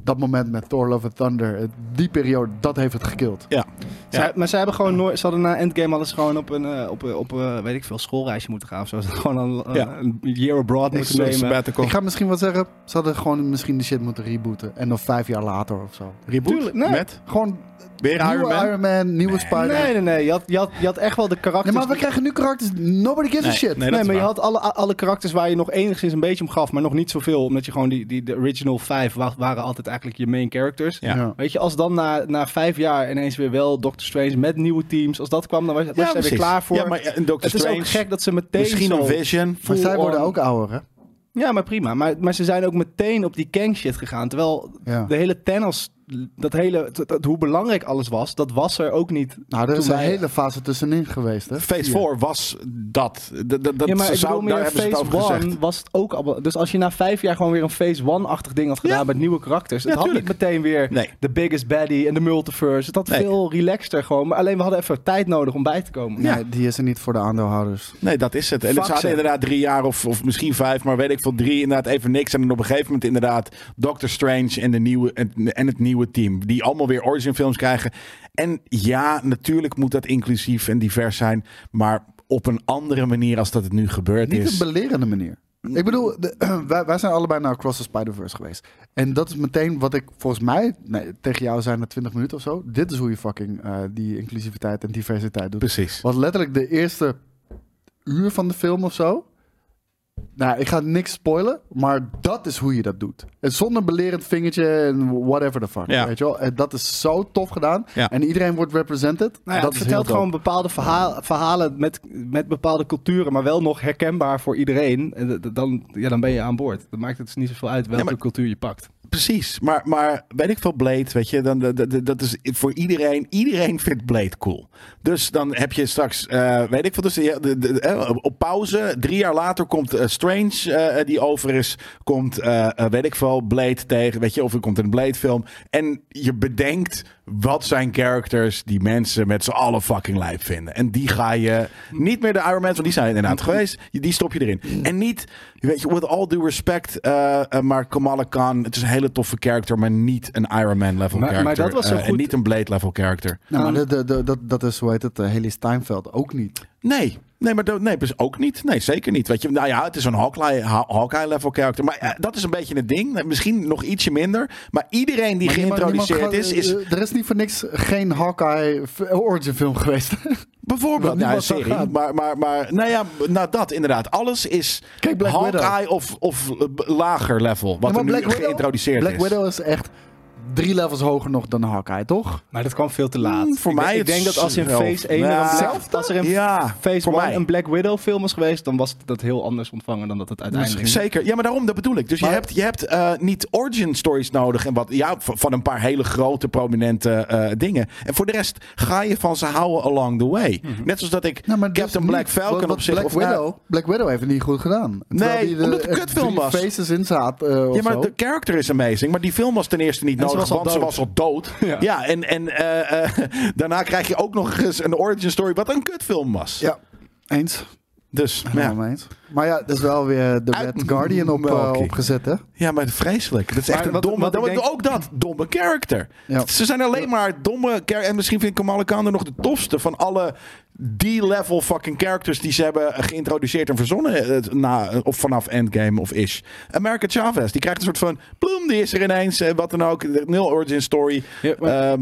dat moment met Thor Love and Thunder, eh, die periode, dat heeft het gekild. ja. Zij- maar ze hebben gewoon nooit. Ze hadden na Endgame alles gewoon op een, eh, op, een- op, een, weet ik veel, schoolreisje moeten gaan of zo. Ze hadden gewoon een, Ja. een year abroad moeten Nemen. nemen. Ik ga misschien wat zeggen, ze hadden gewoon misschien de shit moeten rebooten. En dan vijf jaar later of zo. Reboot? Tuurlijk, nee. Met? Gewoon Weer Iron nieuwe Man? Iron Man, nieuwe Spider. Nee, nee, nee. Je had, je had, je had echt wel de Nee, karakters. maar we die- krijgen nu karakters. Nobody gives a Nee, shit. nee, dat Nee, is maar je waar. had alle, alle karakters waar je nog enigszins een beetje om gaf, maar nog niet zoveel. Omdat je gewoon die, die de original vijf wa- waren altijd eigenlijk je main characters. Ja. Ja. Weet je, als dan na, na vijf jaar ineens weer wel Doctor Strange met nieuwe teams, als dat kwam, dan was, was je er weer precies. klaar voor. Ja, maar ja, en Doctor het is Strange. ook gek dat ze meteen Misschien zo- een Vision. Maar zij worden on. ook ouder, hè? Ja, maar prima. Maar, maar ze zijn ook meteen op die Kang shit gegaan. Terwijl Ja. de hele tennis, dat hele, dat- dat- hoe belangrijk alles was, dat was er ook niet. Nou, er is Toen een wij- hele fase tussenin geweest, hè? Phase 4 was dat. Dat, dat, dat ja, maar ik zou, bedoel daar meer hebben ze het over Phase gezegd. 1 was het ook al. Dus als je na vijf jaar gewoon weer een Phase 1-achtig ding had gedaan Ja. met nieuwe karakters. Ja, het had tuurlijk. niet meteen weer Nee. de biggest baddie en de multiverse. Het had Nee. veel relaxter gewoon. Maar alleen we hadden even tijd nodig om bij te komen. Nee, die is er niet voor de aandeelhouders. Nee, dat is het. En Fuck ze hadden ze. inderdaad drie jaar of, of misschien vijf, maar weet ik veel, drie inderdaad even niks. En dan op een gegeven moment inderdaad Doctor Strange en, de nieuwe, en, en het nieuwe team. Die allemaal weer origin films krijgen. En ja, natuurlijk moet dat inclusief en divers zijn. Maar op een andere manier als dat het nu gebeurd Niet is. op een belerende manier. Ik bedoel, de- [CLEARS THROAT] wij, wij zijn allebei naar Across the Spider-Verse geweest. En dat is meteen wat ik volgens mij... Nee, tegen jou zijn het 20 minuten of zo. Dit is hoe je fucking eh, die inclusiviteit en diversiteit doet. Precies. Wat letterlijk de eerste uur van de film of zo. Nou, ik ga niks spoilen, maar dat is hoe je dat doet. En zonder belerend vingertje en whatever the fuck. Ja. Weet je wel? En dat is zo tof gedaan. Ja. En iedereen wordt represented. Nou ja, dat het is heel vertelt dope. gewoon bepaalde verhaal- verhalen met, met bepaalde culturen, maar wel nog herkenbaar voor iedereen. En d- d- dan, ja, dan ben je aan boord. Dan maakt het dus niet zoveel uit welke maar- cultuur je pakt. precies. Maar, maar weet ik veel, Blade, weet je, dan, dat, dat- dat is voor iedereen, iedereen vindt Blade cool. Dus dan heb je straks, eh, weet ik veel, dus, je- de- de- eh, op pauze, drie jaar later komt eh, Strange, eh, die over is, komt, eh, eh, weet ik veel, Blade tegen, weet je, of er komt een Blade film. En je bedenkt, wat zijn characters die mensen met z'n allen fucking lijp vinden. En die ga je, niet meer de Iron Man, want die zijn inderdaad geweest, die stop je erin. En niet, weet je, with all due respect, eh, eh, maar Kamala Khan, het is een hele toffe character, maar niet een Iron Man level Maar- maar character. dat was zo eh, en goed. niet een Blade level character. Nou, maar de- de- de- dat, dat is, hoe heet het, eh, Haley Steinfeld ook niet. Nee. Nee, maar dat- nee, dus ook niet. Nee, zeker niet. Weet je, nou ja, het is een Hawkeye, Ha- Hawkeye-level character. Maar eh, dat is een beetje het ding. Misschien nog ietsje minder. Maar iedereen die Maar niemand- geïntroduceerd niemand gaat- is, is eh, Er is niet voor niks geen Hawkeye f- origin film geweest. [LAUGHS] Bijvoorbeeld, Wat nou, een niemand zou serie. gaan. Maar, maar, maar, nou ja, nou dat inderdaad. Alles is Kijk, Black Hawkeye of, of eh, b- lager level. Wat Ja, er maar nu Black Widow- geïntroduceerd Black is. Widow is echt drie levels hoger nog dan Hawkeye, toch? Maar dat kwam veel te laat. Mm, voor ik, mij denk- ik het denk dat als in zelf. Phase 1 Ja. en dan Black, Hetzelfde? als er in Ja, Phase voor 1 mij. een Black Widow film was geweest, dan was dat heel anders ontvangen dan dat het uiteindelijk Zeker. Ja, maar daarom, dat bedoel ik. Dus je Maar- hebt, je hebt eh, niet origin stories nodig. En wat, ja, v- van een paar hele grote, prominente eh, dingen. En voor de rest ga je van ze houden along the way. Net zoals dat ik Nou, maar dus Captain Black niet. Falcon Want- op want zich... Black, of, nou, Widow, Black Widow heeft het niet goed gedaan. Nee, die er omdat het een echt kutfilm drie was. faces in zaten. eh, of Ja, maar zo. de character is amazing. Maar die film was ten eerste niet En ze nodig, was al want ze dood. was al dood. Ja, [LAUGHS] Ja. en, en eh, eh, [LAUGHS] daarna krijg je ook nog eens een origin story wat een kutfilm was. Ja, eens. Dus, ja. Helemaal mee eens. Maar ja, dat is wel weer de Uit- Red Guardian op, eh, Melkie. opgezet, hè? ja, maar vreselijk. Dat is Maar echt een wat- domme... wat ik dat- denk- Ook dat, domme character. Ja. Ze zijn alleen maar domme character. En misschien vindt Kamala Khan er nog de tofste van alle D-level fucking characters die ze hebben geïntroduceerd en verzonnen eh, na, eh, of vanaf Endgame of ish. America Chavez, die krijgt een soort van bloem, die is er ineens, eh, wat dan ook. Nul origin story. Ja, maar- Ehm,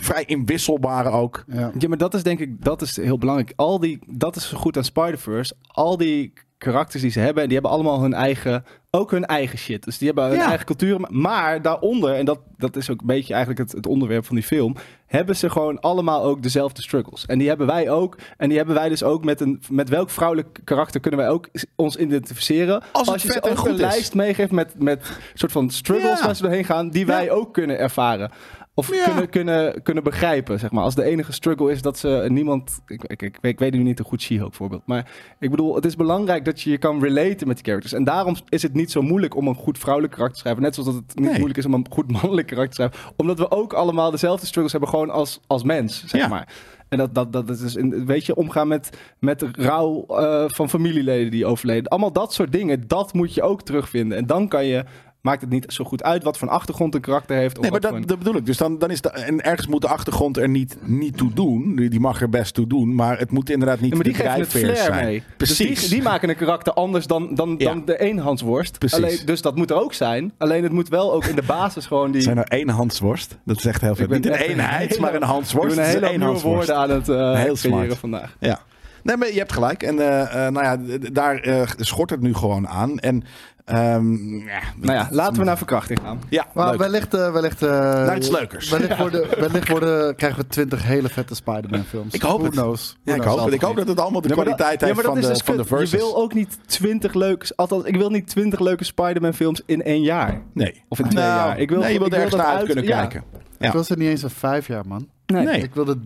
vrij inwisselbare ook. Ja. Ja, maar dat is denk ik, dat is heel belangrijk. Al die, dat is goed aan Spider-Verse. Al die karakters die ze hebben, die hebben allemaal hun eigen, ook hun eigen shit. Dus die hebben hun Ja. eigen cultuur. Maar- Maar daaronder, en dat, dat is ook een beetje eigenlijk het, het onderwerp van die film, hebben ze gewoon allemaal ook dezelfde struggles. En die hebben wij ook. En die hebben wij dus ook met een, met welk vrouwelijk karakter kunnen wij ook s- ons identificeren. Als het je vet ze en ook goed een is. lijst meegeeft met, met soort van struggles Ja. waar ze doorheen gaan, die wij Ja. ook kunnen ervaren. Of Ja. kunnen, kunnen, kunnen begrijpen, zeg maar. Als de enige struggle is dat ze niemand... Ik, ik, ik, ik weet nu niet een goed She-Hulk voorbeeld. Maar ik bedoel, het is belangrijk dat je je kan relaten met die characters. En daarom is het niet zo moeilijk om een goed vrouwelijk karakter te schrijven. Net zoals dat het niet Nee. moeilijk is om een goed mannelijk karakter te schrijven. Omdat we ook allemaal dezelfde struggles hebben, gewoon als, als mens, zeg Ja. maar. En dat, dat, dat is dus, in, weet je, omgaan met, met rouw eh, van familieleden die overleden. Allemaal dat soort dingen, dat moet je ook terugvinden. En dan kan je... Maakt het niet zo goed uit wat voor een achtergrond een karakter heeft. Of Nee, maar dat, wat voor een- dat bedoel ik. Dus dan, dan is de, en ergens moet de achtergrond er niet, niet toe doen. Die die mag er best toe doen, maar het moet inderdaad niet Ja, maar die de geven het drijfveer flair zijn. mee. Precies. Dus die, die maken een karakter anders dan, dan, Ja. dan de eenhandsworst. Precies. Alleen, dus dat moet er ook zijn. Alleen het moet wel ook in de basis gewoon die... Zijn er één handsworst? Dat is echt heel veel. ben Niet een echt een eenheid, hele- maar een Ik handsworst. ben Het een is hele één hoop nieuwe handsworst. woorden aan het eh Heel creëren smart. vandaag. Ja. Nee, maar je hebt gelijk. En eh, eh, nou ja, d- daar eh, schort het nu gewoon aan. En ehm, ja, Nou ja, laten we naar verkrachting gaan. ja, Maar leuk. wellicht... eh, wellicht eh, Naar iets leukers. Wellicht, worden, wellicht worden, krijgen we twintig hele vette Spider-Man films. Ik hoop Who het. Knows? Ja, ik Who knows? hoop, het. ik hoop dat het allemaal de Ja, maar dat- kwaliteit heeft ja, maar dat van, de, is dus van de kut. versus. Je wil ook niet twintig leuke... Althans, ik wil niet twintig leuke Spider-Man films in één jaar. Nee. Of in twee Nou, jaar. Ik wil, nee, je ik wilt wil ergens dat naar uit uit- kunnen ja. kijken. Ik was er niet eens een vijf jaar, man. Nee. Nee. Ik wilde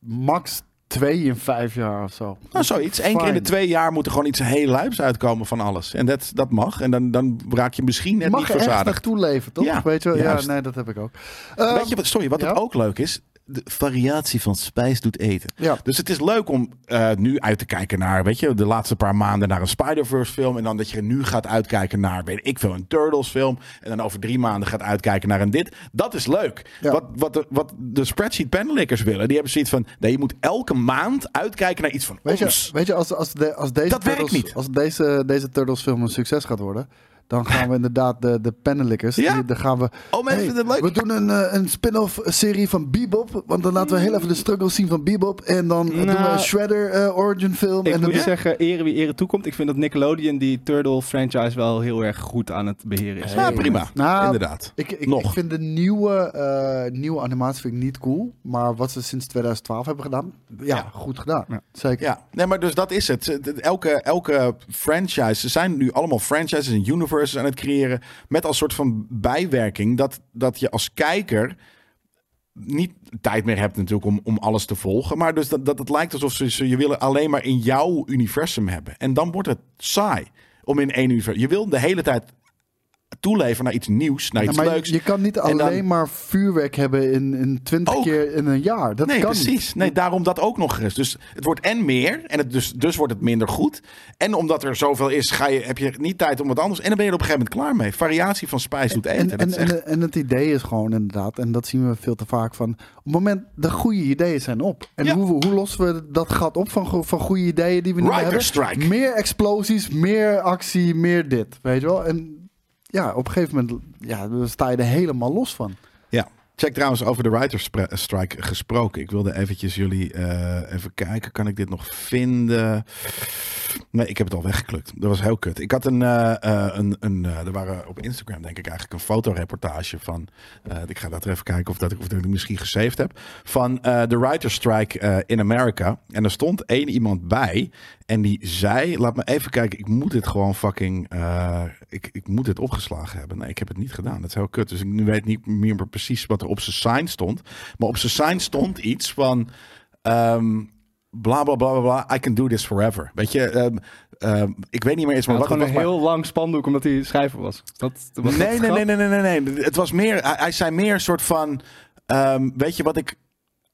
max twee in vijf jaar of zo. Nou, zoiets. Eén keer in de Fine. twee jaar moet er gewoon iets heel luips uitkomen van alles. En dat, dat mag. En dan, dan raak je misschien net mag niet er echt verzadigd. echt toeleven, toch? Ja, Weet je wel? Ja, juist. nee, dat heb ik ook. Weet je wat, sorry, wat Ehm, ja? het ook leuk is? De variatie van spijs doet eten. Ja. Dus het is leuk om eh, nu uit te kijken naar, weet je, de laatste paar maanden naar een Spider-Verse film. En dan dat je nu gaat uitkijken naar, weet ik veel, een Turtles film. En dan over drie maanden gaat uitkijken naar een dit. Dat is leuk. Ja. Wat, wat, de, wat de spreadsheet panelickers willen, die hebben zoiets van, nee, je moet elke maand uitkijken naar iets van Weet je, ons. weet je als, als, de, als deze Dat werkt Turtles, niet. Als deze, deze Turtles film een succes gaat worden, dan gaan we inderdaad de, de panelickers. Ja? die- Dan gaan we. Oh, mensen Hey, vinden het leuk. We doen een, eh, een spin-off serie van Bebop. Want dan laten we heel even de struggles zien van Bebop. En dan eh, doen we Nou, een Shredder eh, origin film. Ik en dan, moet zeggen, ere wie ere toekomt. Ik vind dat Nickelodeon die Turtle franchise wel heel erg goed aan het beheren is. Ja, prima. Nou, Inderdaad. ik, ik, Nog. ik vind de nieuwe, eh, nieuwe animatie vind ik niet cool. Maar wat ze sinds 2012 hebben gedaan, ja, Ja. goed gedaan. Ja. Zeker. Ja, nee, maar dus dat is het. Elke, elke franchise, ze zijn nu allemaal franchises en universes universes aan het creëren. Met als soort van bijwerking dat, dat je als kijker niet tijd meer hebt natuurlijk om, om alles te volgen. Maar dus dat, dat het lijkt alsof ze, ze je willen alleen maar in jouw universum hebben. En dan wordt het saai om in één universum... Je wil de hele tijd toeleven naar iets nieuws, naar iets Ja, maar leuks. je kan niet En dan- alleen maar vuurwerk hebben in, in 20 Ook. keer in een jaar. Dat nee, kan niet. precies. Nee, daarom dat ook nog eens. Dus het wordt en meer, en het dus, dus wordt het minder goed. En omdat er zoveel is, ga je, heb je niet tijd om wat anders. En dan ben je er op een gegeven moment klaar mee. Variatie van spijs doet eten. En, dat en, eh, is echt- en, en het idee is gewoon inderdaad, en dat zien we veel te vaak van. Op het moment de goede ideeën zijn op. En Ja. hoe, hoe lossen we dat gat op van, go- van goede ideeën die we nu Rider hebben? strike. Meer explosies, meer actie, meer dit. Weet je wel? En ja, op een gegeven moment ja, dan sta je er helemaal los van. Ja. Check trouwens over de writers spra- strike gesproken. Ik wilde eventjes jullie eh, even kijken. Kan ik dit nog vinden? Nee, ik heb het al weggeklukt. Dat was heel kut. Ik had een, eh, eh, een, een eh, er waren op Instagram denk ik eigenlijk een fotoreportage van. eh, ik ga dat er even kijken of dat ik, of dat ik die misschien gesaved heb. Van eh, de writers strike eh, in Amerika. En er stond één iemand bij en die zei, laat me even kijken. Ik moet dit gewoon fucking, eh, ik, ik moet dit opgeslagen hebben. Nee, ik heb het niet gedaan. Dat is heel kut. Dus ik nu weet niet meer precies wat er op zijn sign stond. Maar op zijn sign stond iets van. ehm, Bla bla bla bla bla. I can do this forever. Weet je, ehm, ehm, ik weet niet meer eens, maar had wat het gewoon een was, maar- heel lang spandoek omdat hij schrijver was. Is Dat, was dat Nee, het nee, grap? nee, nee, nee, nee, nee. Het was meer, hij, hij zei meer een soort van, ehm, weet je wat ik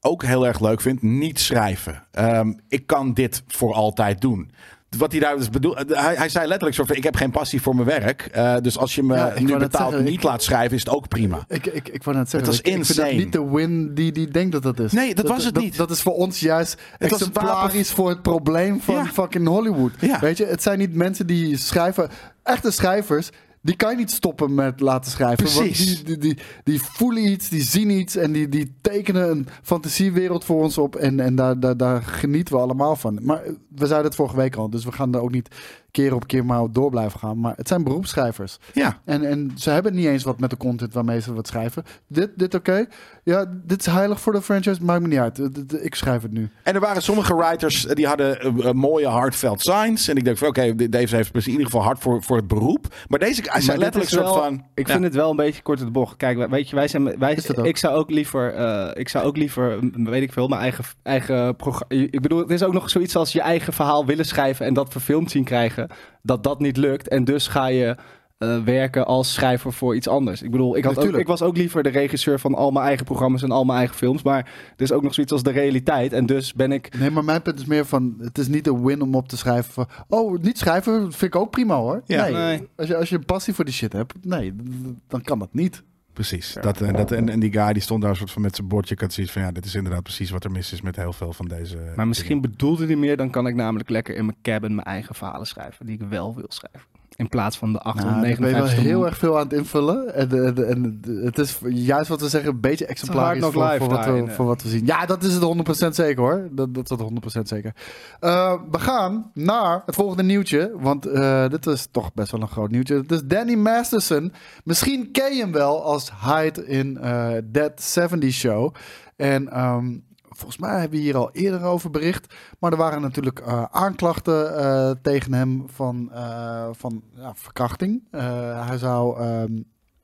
ook heel erg leuk vind? Niet schrijven. Ehm, ik kan dit voor altijd doen. Wat hij daar dus bedoel, hij, hij zei letterlijk soort van, ik heb geen passie voor mijn werk. Eh, dus als je me Ja, ik nu wou net betaalt zeggen, niet ik- laat schrijven, is het ook prima. Ik, ik, ik wou net zeggen, was ik, ik vind dat insane. niet de win die, die denkt dat dat is. Nee, dat was het niet. Dat, is voor ons juist Het was een exemplarisch voor het probleem van Ja. fucking Hollywood. Ja. Weet je, het zijn niet mensen die schrijven, echte schrijvers, die kan je niet stoppen met laten schrijven. Precies. Want die, die, die, die voelen iets, die zien iets en die, die tekenen een fantasiewereld voor ons op en, en daar, daar, daar genieten we allemaal van. Maar we zeiden het vorige week al, dus we gaan er ook niet keer op keer maar op door blijven gaan. Maar het zijn beroepsschrijvers. Ja. En, en ze hebben niet eens wat met de content waarmee ze wat schrijven. Dit, dit oké. Ja, dit is heilig voor de franchise. Maakt me niet uit. D- d- Ik schrijf het nu. En er waren sommige writers eh, die hadden eh, eh, mooie heartfelt signs. En ik denk van, oké, deze heeft dus in ieder geval hard voor, voor het beroep. Maar deze, hij zei Maar dit letterlijk is soort wel- van... Ik ja. vind het wel een beetje kort op de bocht. Kijk, wij- weet je, wij zijn. Wij, Is dat ook? Ik zou ook liever. eh, ik zou ook liever. m- Weet ik veel. Mijn eigen. eigen programma. Ik bedoel, het is ook nog zoiets als je eigen verhaal willen schrijven. en dat verfilmd zien krijgen. Dat dat niet lukt. En dus ga je. eh, werken als schrijver voor iets anders. Ik bedoel, ik, had ook, Natuurlijk. ik was ook liever de regisseur van al mijn eigen programma's en al mijn eigen films. Maar er is ook nog zoiets als de realiteit. En dus ben ik. Nee, maar mijn punt is meer van... Het is niet een win om op te schrijven van... Oh, niet schrijven vind ik ook prima hoor. Ja. nee. Nee. Als, je, als je een passie voor die shit hebt... Nee, d- d- dan kan dat niet. Precies. Dat, en, dat, en, en die guy die stond daar soort van met zijn bordje. Ik had zoiets van ja, dit is inderdaad precies wat er mis is met heel veel van deze. Maar misschien bedoelde hij meer, dan kan ik namelijk lekker in mijn cabin mijn eigen verhalen schrijven. Die ik wel wil schrijven. In plaats van de Nou, ik 859. ben je wel heel erg veel aan het invullen. En, de- de- en de- het is juist wat we zeggen... een beetje exemplarisch knock voor, life voor, wat daarin, we, eh. voor wat we zien. Ja, dat is het 100% zeker hoor. Dat, dat is het 100% zeker. Eh, we gaan naar het volgende nieuwtje. Want eh, dit is toch best wel een groot nieuwtje. Het is Danny Masterson. Misschien ken je hem wel als Hyde in eh That 70 Show. En ehm, volgens mij hebben we hier al eerder over bericht. Maar er waren natuurlijk eh, aanklachten eh, tegen hem van, eh, van ja, verkrachting. Eh, hij zou ehm,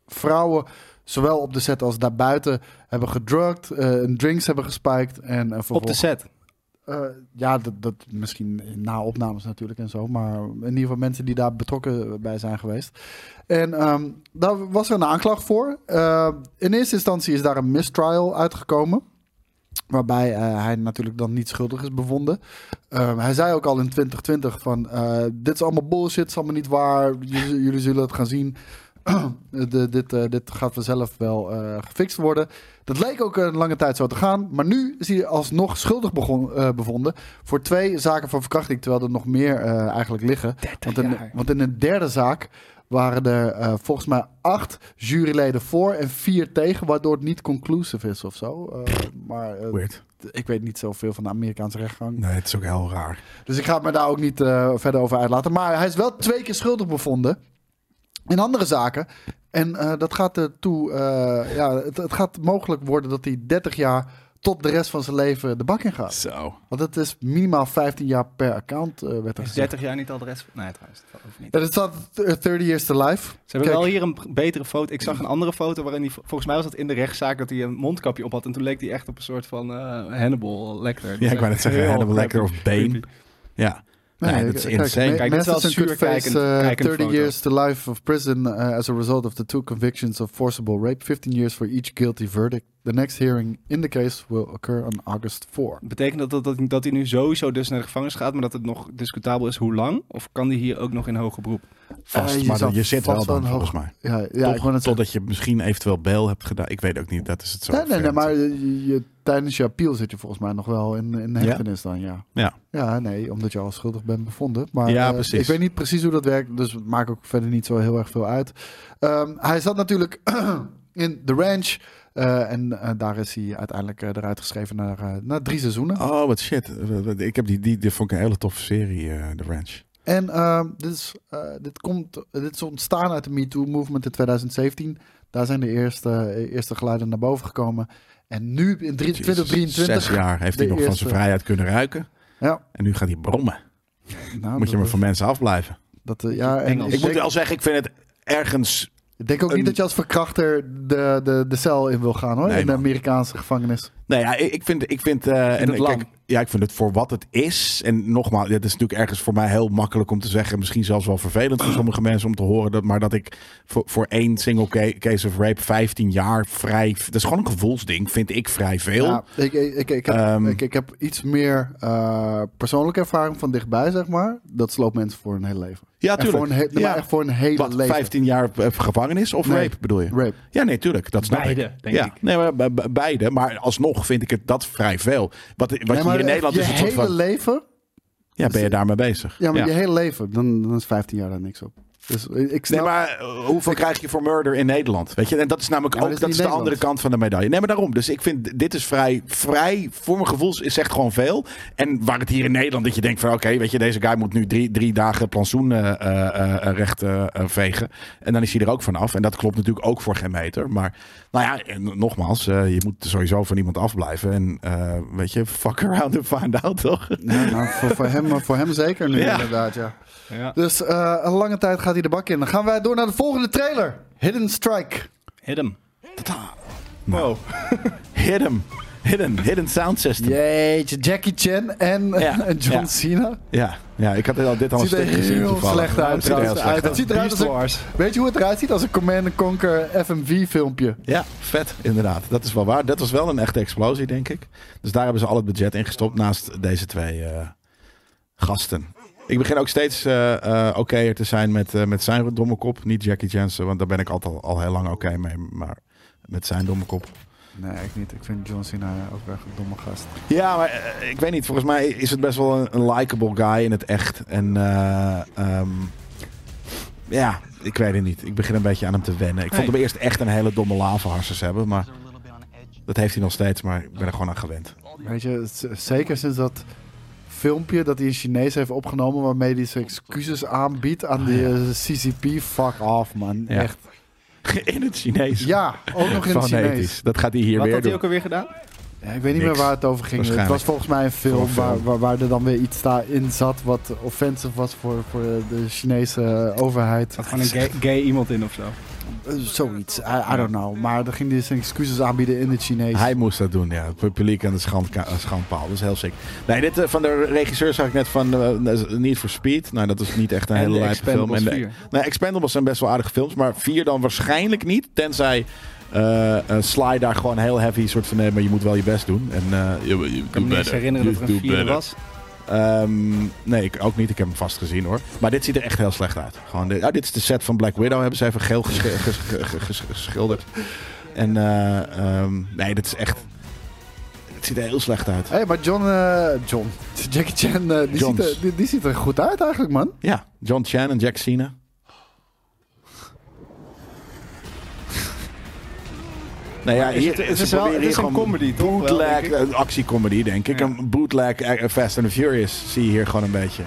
vrouwen zowel op de set als daarbuiten hebben gedrukt, eh, en drinks hebben gespiked en eh, op de vervolgens set. eh, ja, dat, dat misschien na opnames natuurlijk en zo. Maar in ieder geval mensen die daar betrokken bij zijn geweest. En ehm, daar was er een aanklacht voor. Eh, in eerste instantie is daar een mistrial uitgekomen. Waarbij eh, hij natuurlijk dan niet schuldig is bevonden. Eh, hij zei ook al in 2020 van... eh, dit is allemaal bullshit, het is allemaal niet waar. Jullie, jullie zullen het gaan zien. [CLEARS THROAT] De, dit, eh, dit gaat vanzelf wel eh, gefixt worden. Dat leek ook een lange tijd zo te gaan. Maar nu is hij alsnog schuldig begon, eh, bevonden. Voor twee zaken van verkrachting. Terwijl er nog meer eh, eigenlijk liggen. Want in, jaar. want in een derde zaak waren er eh, volgens mij acht juryleden voor en vier tegen. Waardoor het niet conclusive is of zo. Eh, maar eh, Weird. ik weet niet zoveel van de Amerikaanse rechtgang. Nee, het is ook heel raar. Dus ik ga het me daar ook niet eh, verder over uitlaten. Maar hij is wel twee keer schuldig bevonden. In andere zaken. En eh, dat gaat ertoe. eh, ja, het, het gaat mogelijk worden dat hij 30 jaar tot de rest van zijn leven de bak in gaat. Zo. Want dat is minimaal 15 jaar per account, eh, werd er Is gezegd. 30 jaar niet al de rest? van- Nee, trouwens. Dat valt over niet. Ja, dat staat eh, 30 years to life. Ze hebben Kijk. wel hier een betere foto. Ik zag een andere foto waarin hij, volgens mij was dat in de rechtszaak, dat hij een mondkapje op had. En toen leek hij echt op een soort van eh, Hannibal Lecter. Dat Ja, is ik wou [LAUGHS] net echt zeggen, heel Hannibal Lecter of creepy. Bane. Ja. Nee, dat is kijk, insane. me- Kijk, dit is wel mensen zuur could face, kijkend- eh, kijkende 30 foto. years to life of prison eh, as a result of the two convictions of forcible rape. 15 years for each guilty verdict. The next hearing in the case will occur on August 4. Betekent dat, dat, dat, dat hij nu sowieso dus naar de gevangenis gaat, maar dat het nog discutabel is hoe lang? Of kan hij hier ook nog in hoger beroep? Vast, Eh, je maar zal dan- je zit wel vast wel dan, een volgens hoog- mij. Ja, ja Toch, ik wou net zeggen. totdat je misschien eventueel bail hebt gedaan. Ik weet ook niet, dat is het zo. Nee, nee, nee, vervelend. maar je, je- tijdens je appeal zit je volgens mij nog wel in, in hechtenis dan, ja. Ja. Ja, nee, omdat je al schuldig bent bevonden. Maar Ja, eh, precies. ik weet niet precies hoe dat werkt, dus het maakt ook verder niet zo heel erg veel uit. Ehm, hij zat natuurlijk [CLEARS THROAT] in The Ranch eh, en eh, daar is hij uiteindelijk eh, eruit geschreven naar, eh, naar drie seizoenen. Oh, wat shit. Ik heb die, die, die vond ik een hele toffe serie, eh The Ranch. En ehm, dit, is, eh, dit, komt, dit is ontstaan uit de MeToo-movement in 2017. Daar zijn de eerste, eh, eerste geluiden naar boven gekomen. En nu in drie- Jezus, 2023... Zes jaar heeft hij de nog van zijn eerste. vrijheid kunnen ruiken. Ja. En nu gaat hij brommen. Nou, moet je dat- maar van mensen afblijven. Dat, eh, ja, en Engels. ik, Ik moet denk, wel zeggen, ik vind het ergens... ik denk ook een- niet dat je als verkrachter de, de, de cel in wil gaan hoor. Nee, in de man. Amerikaanse gevangenis. Nou ja, ik ik vind... Ik vind, eh, en, het lang. kijk, ja, ik vind het voor wat het is. En nogmaals, dit is natuurlijk ergens voor mij heel makkelijk om te zeggen. Misschien zelfs wel vervelend voor sommige mensen om te horen. Dat, maar dat ik voor, voor één single ca- case of rape 15 jaar vrij... Dat is gewoon een gevoelsding, vind ik vrij veel. Ja, ik, ik, ik, ik, heb, Ehm. ik, ik heb iets meer eh, persoonlijke ervaring van dichtbij, zeg maar. Dat sloopt mensen voor hun hele leven. Ja, En Voor een he- nee, Ja. maar echt voor een hele Wat, leven. 15 jaar eh, gevangenis of Nee. rape bedoel je? Rape. Ja, nee, tuurlijk. Dat snap Beide, ik. denk ja. ik. Nee, maar be- be- beide. Maar alsnog vind ik het dat vrij veel. Wat, wat Nee, je hier maar in Nederland je is een hele soort van... leven. Ja, ben je daarmee bezig? Ja, maar Ja. je hele leven. Dan, dan is 15 jaar daar niks op. Dus eh, ik snap. Nee, maar eh, hoeveel krijg je voor murder in Nederland? Weet je, en dat is namelijk Ja, maar ook dat is, dat is de niet andere Nederland. kant van de medaille. Nee, maar daarom. Dus ik vind dit is vrij, vrij voor mijn gevoel is echt gewoon veel. En waar het hier in Nederland dat je denkt van, oké, weet je, deze guy moet nu drie, drie dagen plantsoen eh, eh, eh, recht eh, eh, vegen. En dan is hij er ook van af. En dat klopt natuurlijk ook voor geen meter. Maar nou ja, en nogmaals, eh, je moet sowieso van iemand afblijven. En eh, weet je, fuck around and find out, toch? Ja, nou, voor, voor, hem, voor hem zeker nu, Ja. inderdaad. Ja. Ja. Dus eh, een lange tijd gaat hij de bak in. Dan gaan wij door naar de volgende trailer: Hidden Strike. Hit hem. Nou. Hit him. Hidden, hidden sound system. Jeetje, Jackie Chan en Ja, en [LAUGHS] John ja. Cena. Ja, ja ik had dit al, dit al een Het ziet er stukje gezien. heel toevallig. slecht uit. Het ziet er heel trouwens. slecht Het ziet eruit als Beast een, Wars. weet je hoe het eruit ziet? Als een Command Conquer FMV filmpje. Ja, vet, inderdaad. Dat is wel waar. Dat was wel een echte explosie, denk ik. Dus daar hebben ze al het budget in gestopt naast deze twee eh, gasten. Ik begin ook steeds eh eh okéer te zijn met, eh, met zijn domme kop. Niet Jackie Jansen, want daar ben ik altijd al, al heel lang oké mee. Maar met zijn domme kop. Nee, ik niet. Ik vind John Cena ook echt een domme gast. Ja, maar eh, ik weet niet. Volgens mij is het best wel een, een likable guy in het echt. En eh, ehm, ja, ik weet het niet. Ik begin een beetje aan hem te wennen. Ik vond hem eerst echt een hele domme lavaharses hebben. Maar dat heeft hij nog steeds. Maar ik ben er gewoon aan gewend. [LAUGHS] Weet je, z- zeker sinds dat filmpje dat hij in Chinees heeft opgenomen... waarmee hij zijn excuses aanbiedt aan die eh, CCP. Fuck off, man. Ja. Echt. In het Chinees. Ja, ook nog in het Chinees. Fonetisch. Dat gaat hij hier Wat weer had hij doen. ook alweer gedaan? Ja, ik weet niet Niks. meer waar het over ging. Het was Waarschijnlijk. volgens mij een film, Gewoon een film. Waar, waar, waar er dan weer iets daar in zat wat offensive was voor, voor de Chinese eh, overheid. Had gewoon een gay, gay iemand in of zo. Eh, Zoiets, I, I don't know. Maar dan ging hij zijn excuses aanbieden in het Chinees. Hij moest dat doen, ja. Het publiek aan de schandka- aan de schandpaal. Dat is heel sick. Nee, dit eh, van de regisseur zag ik net van eh, Need for Speed. Nou, dat is niet echt een En hele de lijpe film. Expendables de- 4. nee, Expendables zijn best wel aardige films. Maar vier dan waarschijnlijk niet. Tenzij eh eh, Sly daar gewoon heel heavy soort van... Nee, maar je moet wel je best doen. En, eh, je, je, Ik kan me niks herinneren dat er een vierde was. Ehm, nee, ik ook niet. Ik heb hem vast gezien hoor. Maar dit ziet er echt heel slecht uit. Gewoon dit, oh, dit is de set van Black Widow. Hebben ze even geel gesche- [LAUGHS] ges- ge- ge- ges- geschilderd. En eh, ehm, nee, dit is echt. Het ziet er heel slecht uit. Hé, maar John, eh, John, [LAUGHS] Jackie Chan, eh, die, ziet Johns. er, die, die ziet er goed uit eigenlijk, man. Ja, John Chan en Jack [LAUGHS] Cena. Nou ja, Is hier, het- het ze is wel- proberen het is hier een gewoon comedy, toch wel, Bootleg, denk een actiecomedy denk ik. Ja. Een bootleg eh, Fast and the Furious zie je hier gewoon een beetje.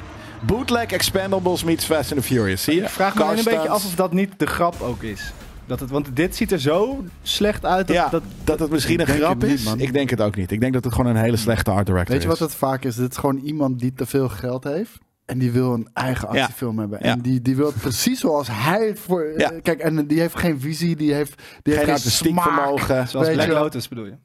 Bootleg Expendables meets Fast and the Furious, zie je? Ik vraag me alleen een Car beetje af stunts. of dat niet de grap ook is. Dat het, want dit ziet er zo slecht uit. Dat, ja, dat, dat, het misschien een Ik denk grap het niet, is. man. ik denk het ook niet. Ik denk dat het gewoon een hele slechte art director Weet je wat is. het vaak is? Dit is gewoon iemand die te veel geld heeft. En die wil een eigen Ja. actiefilm hebben. Ja. En die, die wil het precies zoals hij het voor. Ja. Kijk, en die heeft geen visie, die heeft, die Geen heeft geen artistiek smaak. vermogen. zoals weet Black je wel. Lotus bedoel je.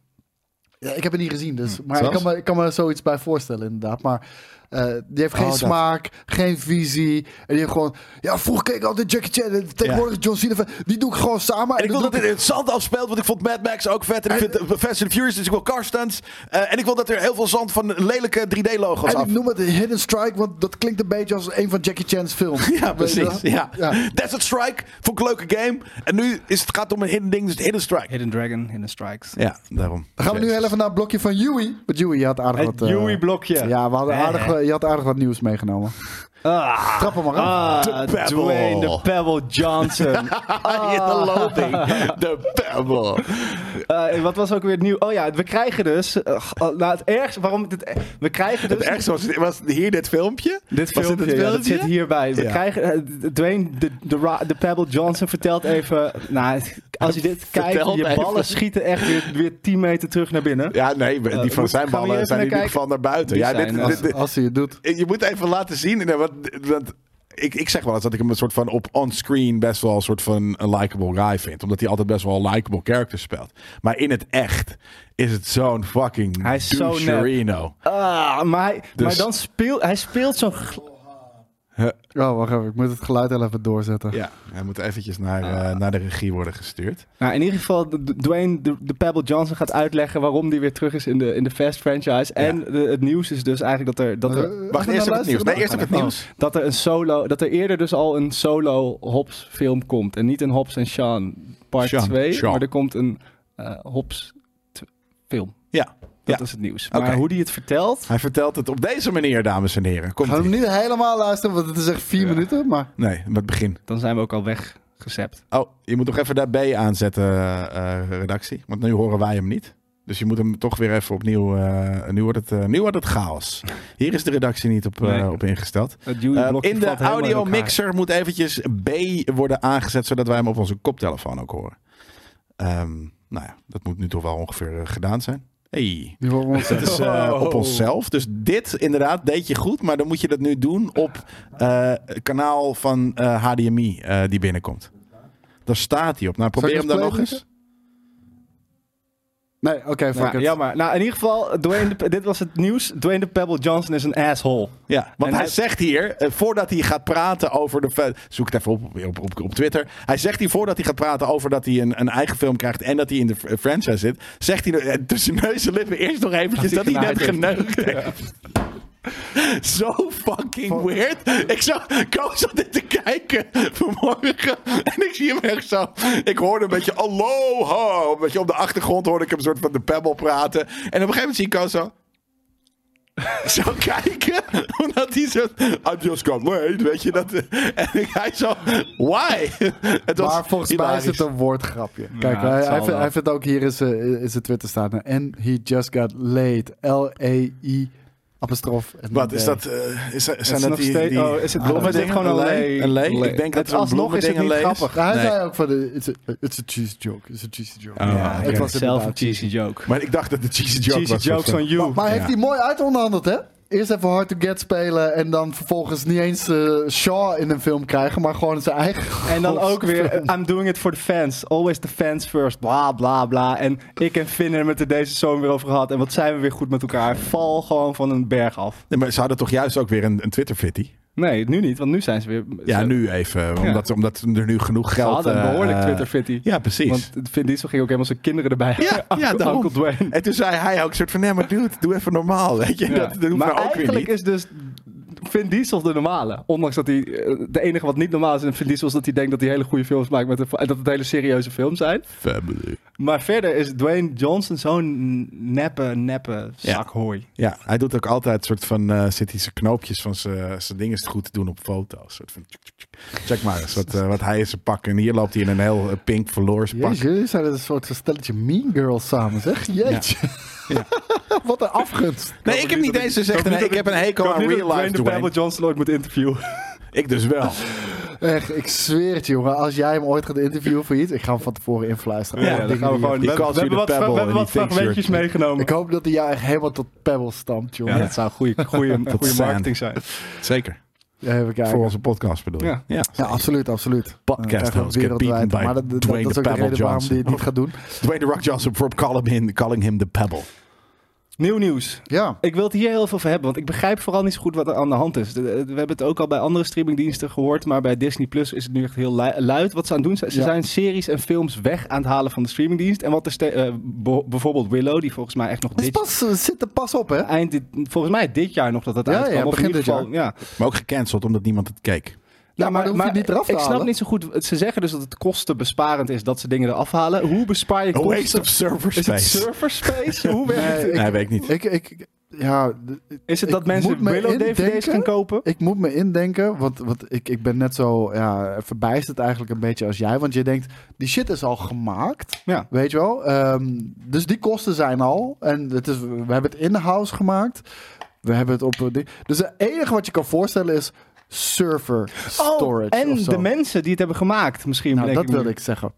Ja, ik heb het niet gezien, dus. Maar ik Zoals? kan, me, ik kan me zoiets bij voorstellen, inderdaad. Maar eh, die heeft geen Oh, dat. smaak, geen visie. En die heeft gewoon. Ja, vroeger keek ik altijd Jackie Chan. En tegenwoordig John Cena. Die doe ik gewoon samen. En ik wil dan dat doe dit in het zand afspeelt, want ik vond Mad Max ook vet. En ik vind eh, Fast and Furious, dus ik wil car stunts. Eh, en ik wil dat er heel veel zand van lelijke 3D-logo's En af. ik noem het een Hidden Strike, want dat klinkt een beetje als een van Jackie Chan's [LAUGHS] films. Ja, Weet je precies. wel? Ja. Desert Strike vond ik een leuke game. En nu is het, gaat het om een hidden ding, dus het Hidden Strike. Hidden Dragon, Hidden Strikes. Ja, daarom. Dan gaan we nu heel even naar het blokje van Yui. Want Yui, je had aardig Het wat... eh, Yui-blokje. Ja, we Eh. hadden Hè, aardig, hè. je had aardig wat nieuws meegenomen. Ah, Trap hem maar af. ah, Pebble. Dwayne de Pebble [LAUGHS] Johnson. Ah, in de loading. De pebble. Eh, en wat was ook weer het nieuw? Oh ja, we krijgen dus. eh, g- oh, nou, het ergste waarom dit. We krijgen dus. Het ergste was, was hier dit filmpje. Dit Was dit filmpje, het ja, dat filmpje? zit hierbij. We Ja. krijgen, eh, Dwayne de, de, Ra- de Pebble Johnson vertelt even... Nou, als je [LAUGHS] dit kijkt, Vertelt je ballen even. schieten echt weer, weer 10 meter terug naar binnen. Ja, nee, Eh, die van zijn moet- gaan we hier ballen even zijn in naar ieder geval naar buiten. Die Ja, zijn, dit, eh, dit- dit- Als hij het doet. Eh, je moet even laten zien. eh, Want, want ik, ik zeg wel eens dat ik hem een soort van op onscreen best wel een soort van een likable guy vind. Omdat hij altijd best wel een likable character speelt. Maar in het echt is het zo'n fucking Hij is zo nep. doucherino. Ah, maar, hij, Dus- maar dan speelt... Hij speelt zo'n... gl- Oh, wacht even. Ik moet het geluid heel even doorzetten. Ja, hij moet eventjes naar, Ah. eh, naar de regie worden gestuurd. Nou, in ieder geval, D- D- Dwayne de, de Pebble Johnson gaat uitleggen... waarom die weer terug is in de, in de Fast franchise. En de- het nieuws is dus eigenlijk dat er... Dat er Eh, Wacht, gaan we eerst even nou het nieuws. luisteren? Nee, eerst even het nieuws. dat er een solo, dat er eerder dus al een solo Hobbs film komt en niet een Hobbs en Sean part Sean, 2, Sean. maar er komt een eh Hobbs t- film. Ja, Dat Ja. is het nieuws. Oké. Maar hoe die het vertelt, hij vertelt het op deze manier, dames en heren. Komt Gaan we hem ie. niet helemaal luisteren, want het is echt vier Ja. minuten. Maar Nee, met het begin. dan zijn we ook al weggezept. Oh, je moet nog even daar B aanzetten, eh, eh, redactie. Want nu horen wij hem niet. Dus je moet hem toch weer even opnieuw... eh, nu, wordt het, eh, nu wordt het chaos. Hier is de redactie niet op, eh, Nee. op ingesteld. Het Eh, Dewey-blokje in de valt helemaal audio elkaar. mixer moet eventjes B worden aangezet... zodat wij hem op onze koptelefoon ook horen. Ehm, nou ja, dat moet nu toch wel ongeveer eh, gedaan zijn. Hey. die horen we ons. Dat is eh, Oh. op onszelf. Dus dit inderdaad deed je goed, maar dan moet je dat nu doen op eh, het kanaal van eh, HDMI eh, die binnenkomt. Daar staat hij op. Nou, probeer ik hem dan eens nog play eens. [LAUGHS] Nee, oké, fuck Nou, it. jammer. Nou, in ieder geval, Dwayne de- dit was het nieuws. Dwayne de Pebble Johnson is een asshole. Ja, want En hij hij- zegt hier, eh, voordat hij gaat praten over de... fe- Zoek het even op, op, op, op Twitter. Hij zegt hier, voordat hij gaat praten over dat hij een, een eigen film krijgt... en dat hij in de fr- franchise zit... zegt hij eh, tussen neus en lippen eerst nog eventjes dat Dat hij hij net geneukt heeft. Zo fucking weird. Ik zag, Koos zat dit te kijken vanmorgen. En ik zie hem echt zo. Ik hoorde een beetje aloha. Een beetje op de achtergrond hoorde ik hem soort van de pebble praten. En op een gegeven moment zie ik Koos zo. Zo kijken. [LAUGHS] Omdat hij zo. I just can't wait. Weet je dat. [LAUGHS] En hij zo. Why? [LAUGHS] Het was maar volgens mij is hilarisch. het een woordgrapje. Kijk, het hij, zal hij, vindt- wel. hij vindt ook hier in zijn- in zijn Twitter staan. En he just got laid. E L-E-I apostrof. en Wat een is D. dat? eh, is, zijn is dat nog die, steeds- die Ah, oh, is het- bloemen is het dingen? gewoon een lee? lee? Een lee? Lee. Ik denk dat Het- het een alsnog is het bloemending een niet lee is. grappig. Hij Nee. zei ook van, de- it's a, it's a cheese joke, it's a cheese joke. Oh, ja, oké. het was Zelf een inderdaad cheesy joke. Maar ik dacht dat de cheesy joke cheesy was. jokes van you. Maar, maar heeft Ja. hij mooi uitonderhandeld, hè? Eerst even hard to get spelen en dan vervolgens niet eens eh, Shaw in een film krijgen, maar gewoon zijn eigen. En dan ook weer, film. I'm doing it for the fans. Always the fans first. Bla bla bla. En ik en Finn hebben het er deze zomer weer over gehad. En wat zijn we weer goed met elkaar. Val gewoon van een berg af. Nee, maar ze hadden toch juist ook weer een, een Twitter-fitty? Nee, nu niet, want nu zijn ze weer. Ja, ze- nu even. Omdat, omdat er nu genoeg Ze geld... hadden een eh, behoorlijk eh, Twitter-fitty. Ja, precies. Want Vin Diesel ging ook helemaal zijn kinderen erbij. Ja, ja, [LAUGHS] Uncle- daarom. Uncle Dwayne. En toen zei hij ook soort van... Nee, maar dude, doe even normaal, weet je. Ja. Dat, dat hoeft maar nou ook weer eigenlijk niet. is dus Vin Diesel de normale. Ondanks dat hij. eh, De enige wat niet normaal is in Vin Diesel is dat hij denkt dat hij hele goede films maakt. Met een, en dat het hele serieuze films zijn. Family. Maar verder is Dwayne Johnson zo'n neppe, neppe Ja. zak hooi. Ja, hij doet ook altijd soort van... eh zit hij zijn knoopjes van zijn zijn ding is het goed te doen op foto's. Soort van... tjuk, tjuk, tjuk. Check maar eens wat, eh, wat hij in zijn pak... En hier loopt hij in een heel eh, pink verloors pak. Jezus, jullie zijn een soort van stelletje mean girls samen, zeg. Jeetje. Wat een afgunst. Nee, ik heb niet eens gezegd... nee, Ik heb een hekel aan hoop niet dat real life Dwayne de Pebble Dwayne. [LAUGHS] Johnson ooit moet interviewen. Ik dus wel. Nou, Echt, ik zweer het je, jongen. Als jij hem ooit gaat interviewen voor iets, ik ga hem van tevoren influisteren. Ja, Alle dan dingen gaan we die gewoon- je- We die hebben- kans- we hebben wat- we hebben wat fragmentjes meegenomen. Ik hoop dat hij jou echt helemaal tot pebble stampt, jongen. Ja, dat zou goede, goede, goede zijn. marketing zijn. [LAUGHS] Zeker. Even kijken. Voor onze podcast bedoel ik. Ja. Ja, absoluut, absoluut. Podcast Dan krijgen we host, get wereldwijd. beaten by Maar dat, dat- dat Dwayne is ook The de Pebble reden waarom hij het niet Johnson. gaat doen. Dwayne The Rock Johnson from calling him, calling him the pebble. Nieuw nieuws. Ja, Ik wil het hier heel veel over hebben, want ik begrijp vooral niet zo goed wat er aan de hand is. De- de- We hebben het ook al bij andere streamingdiensten gehoord, maar bij Disney Plus is het nu echt heel lu- luid wat ze aan het doen zijn. Ze Ja. zijn series en films weg aan het halen van de streamingdienst. En wat er ste- eh, bo- bijvoorbeeld Willow, die volgens mij echt nog het is dit, pas, het zit er pas op, hè? eind dit- volgens mij dit jaar nog dat dat Ja, uitkwam. ja, of in begin ieder dit geval, ja. Nou, Maar ook gecanceld omdat niemand het keek. Ja, maar dan hoef je het niet eraf te Ik snap halen. niet zo goed. Ze zeggen dus dat het kostenbesparend is dat ze dingen eraf halen. Hoe bespaar je A kosten? waste of server Is het space. [LAUGHS] serverspace? Hoe werkt Nee, het? ik- Nee, weet ik niet. Ik, ik, ja, d- Is het Ik dat mensen moet me Willow-DVD's indenken. gaan kopen? ik moet me indenken, want, want ik, ik ben net zo ja, verbijsterd eigenlijk een beetje als jij. Want je denkt, die shit is al gemaakt, Ja. weet je wel. Ehm, dus die kosten zijn al. En het is, we hebben het in-house gemaakt. We hebben het op... een ding- Dus het enige wat je kan voorstellen is server storage oh, en of zo. de mensen die het hebben gemaakt misschien. Nou, bedenk dat me wilde nu. ik zeggen.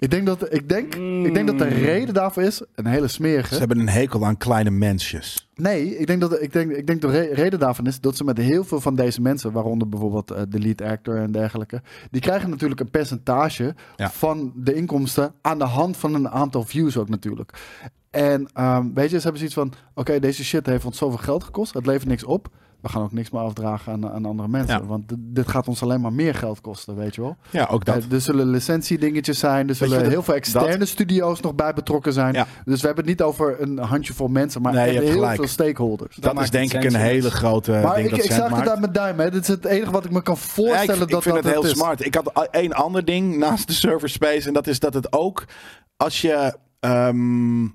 Ik denk, dat, ik, denk, ik denk Mm. dat de reden daarvoor is, een hele smerige... Ze hebben een hekel aan kleine mensjes. Nee, ik denk dat ik denk, ik denk de re- reden daarvan is dat ze met heel veel van deze mensen, waaronder bijvoorbeeld eh, de lead actor en dergelijke, die krijgen natuurlijk een percentage Ja. van de inkomsten aan de hand van een aantal views ook natuurlijk. En ehm, weet je, ze hebben zoiets van: oké, deze shit heeft ons zoveel geld gekost, het levert niks op. We gaan ook niks meer afdragen aan, aan andere mensen. Ja. Want d- dit gaat ons alleen maar meer geld kosten, weet je wel. Ja, ook dat. Eh, er zullen licentiedingetjes zijn. Er je zullen wat heel het- veel externe studio's nog bij betrokken zijn. Ja. Dus we hebben het niet over een handjevol mensen, maar Nee, je echt hebt heel gelijk. veel stakeholders. Dan dat maakt is het denk ik sense een ineens. hele grote maar ding ik, dat ik cent zag het maakt. uit mijn duim. Hè. Dit is het enige wat ik me kan Ja, ik, voorstellen ik dat vind dat het heel is. smart. Ik had a- één ander ding [LAUGHS] naast de server space. En dat is dat het ook als je. ehm,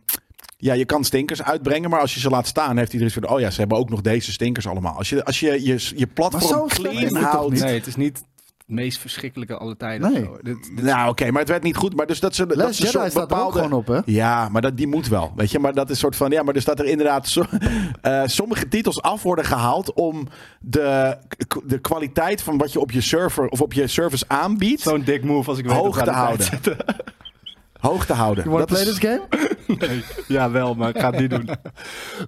ja, je kan stinkers uitbrengen, maar als je ze laat staan, heeft iedereen zoiets van... Oh ja, ze hebben ook nog deze stinkers allemaal. Als je als je, je, je platform Maar zo slecht is clean het toch houdt... Nee, het is niet het meest verschrikkelijke alle tijden. Nee. of zo. Dit- dit- Nou, oké, maar het werd niet goed. Maar dus dat ze, dat Les ze een Jedi soort staat er ook bepaalde... gewoon op, hè? Ja, maar dat, die moet wel. Weet je, maar dat is soort van. Ja, maar dus dat er inderdaad zo- [LAUGHS] eh, sommige titels af worden gehaald. om de, de kwaliteit van wat je op je server of op je service aanbiedt. Zo'n dik move als ik weet hoog dat te we aan de houden. tijd [LAUGHS] Hoog te houden. You wanna Dat play is- this game? zitten. [LAUGHS] Ja, wel, maar ik ga het niet doen.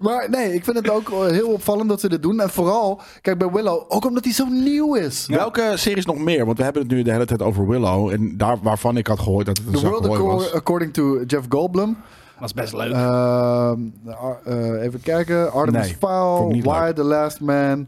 Maar nee, ik vind het ook eh, heel opvallend dat ze dit doen. En vooral, kijk bij Willow, ook omdat hij zo nieuw [LAUGHS] is. Welke series nog meer? Want we hebben het nu de hele tijd over Willow. En daar waarvan ik had gehoord dat het een The zak World hooi Accor- was. According to Jeff Goldblum. Was best leuk. Ehm, Ar- eh, even kijken. Artemis Nee, vond Fowl, ik niet Why leuk. the Last Man.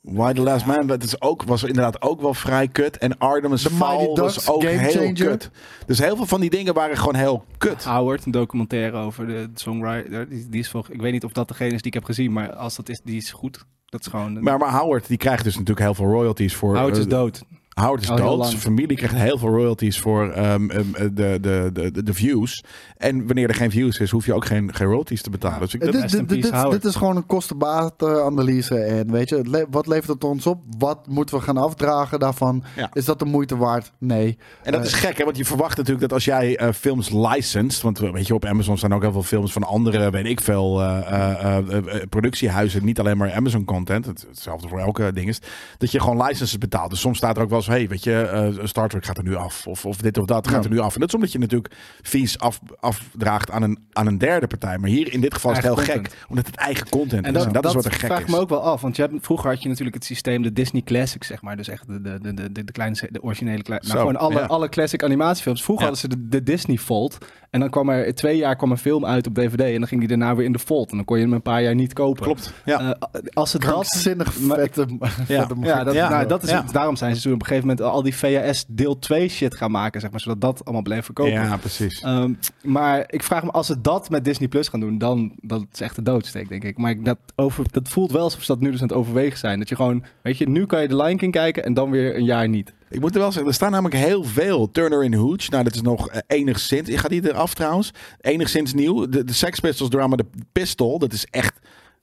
Why the Last Man dat is ook, was inderdaad ook wel vrij kut. En Artemis The Mighty Fowl was Ducks, ook Game heel Changer. kut. Dus heel veel van die dingen waren gewoon heel kut. Howard, een documentaire over de songwriter. Die, die is volgens, ik weet niet of dat degene is die ik heb gezien, maar als dat is, die is goed. Dat is gewoon... Maar, maar Howard die krijgt dus natuurlijk heel veel royalties voor. Howard is eh, dood. Howard is Al heel dood. lang. Zijn familie krijgt heel veel royalties voor ehm, ehm, eh, de, de, de, de, de views. En wanneer er geen views is, hoef je ook geen, geen royalties te betalen. Dus ik, Eh, dat, Dit, Rest in dit, dit, peace, dit, Howard. dit is gewoon een kostenbatenanalyse. En weet je, het le- wat levert het ons op? Wat moeten we gaan afdragen daarvan? Ja. Is dat de moeite waard? Nee. Eh, en Eh. dat is gek, hè? Want je verwacht natuurlijk dat als jij eh, films licensed. Want eh, weet je, op Amazon staan ook heel veel films van andere, weet ik veel, eh, eh, eh, eh, productiehuizen. Niet alleen maar Amazon content. Het- Hetzelfde voor elke ding is. Dat je gewoon licenses betaalt. Dus soms staat er ook wel eens, hey, weet je, eh, Star Trek gaat er nu af. Of, of dit of dat gaat er nu af. En dat is omdat je natuurlijk fees af, afdraagt aan een, aan een derde partij. Maar hier in dit geval is het heel Eigen gek. Omdat het eigen content En is. dat, en dat, dat is wat er gek vraag is. me ook wel af. Want je hebt, vroeger had je natuurlijk het systeem, de Disney Classics, zeg maar. Dus echt de, de, de, de, de kleine, se- de originele, kle- Zo, nou, gewoon alle, ja. alle classic animatiefilms. Vroeger Ja. hadden ze de, de Disney Fold. En dan kwam er, twee jaar kwam een film uit op DVD. En dan ging die daarna weer in de Fold. En dan kon je hem een paar jaar niet kopen. Klopt. Ja. Eh, als het dat... Krankzinnig maar- vette, vette Ja, dat, Ja. nou, dat is het. Ja. Daarom zijn ze toen op een gegeven moment al die VHS deel 2 shit gaan maken, zeg maar. Zodat dat allemaal bleef verkopen. ja, precies. Ehm, maar ik vraag me, als ze dat met Disney Plus gaan doen, dan dat is echt de doodsteek, denk ik. Maar ik- dat, over, dat voelt wel alsof ze dat nu dus aan het overwegen zijn. Dat je gewoon, weet je, nu kan je de Lion King kijken en dan weer een jaar niet. Ik moet er wel zeggen, er staan namelijk heel veel Turner in Hooch. Nou, dat is nog eh, enigszins. Ik ga die eraf trouwens. Enigszins nieuw. De, de Sex Pistols drama, de Pistol, dat is echt.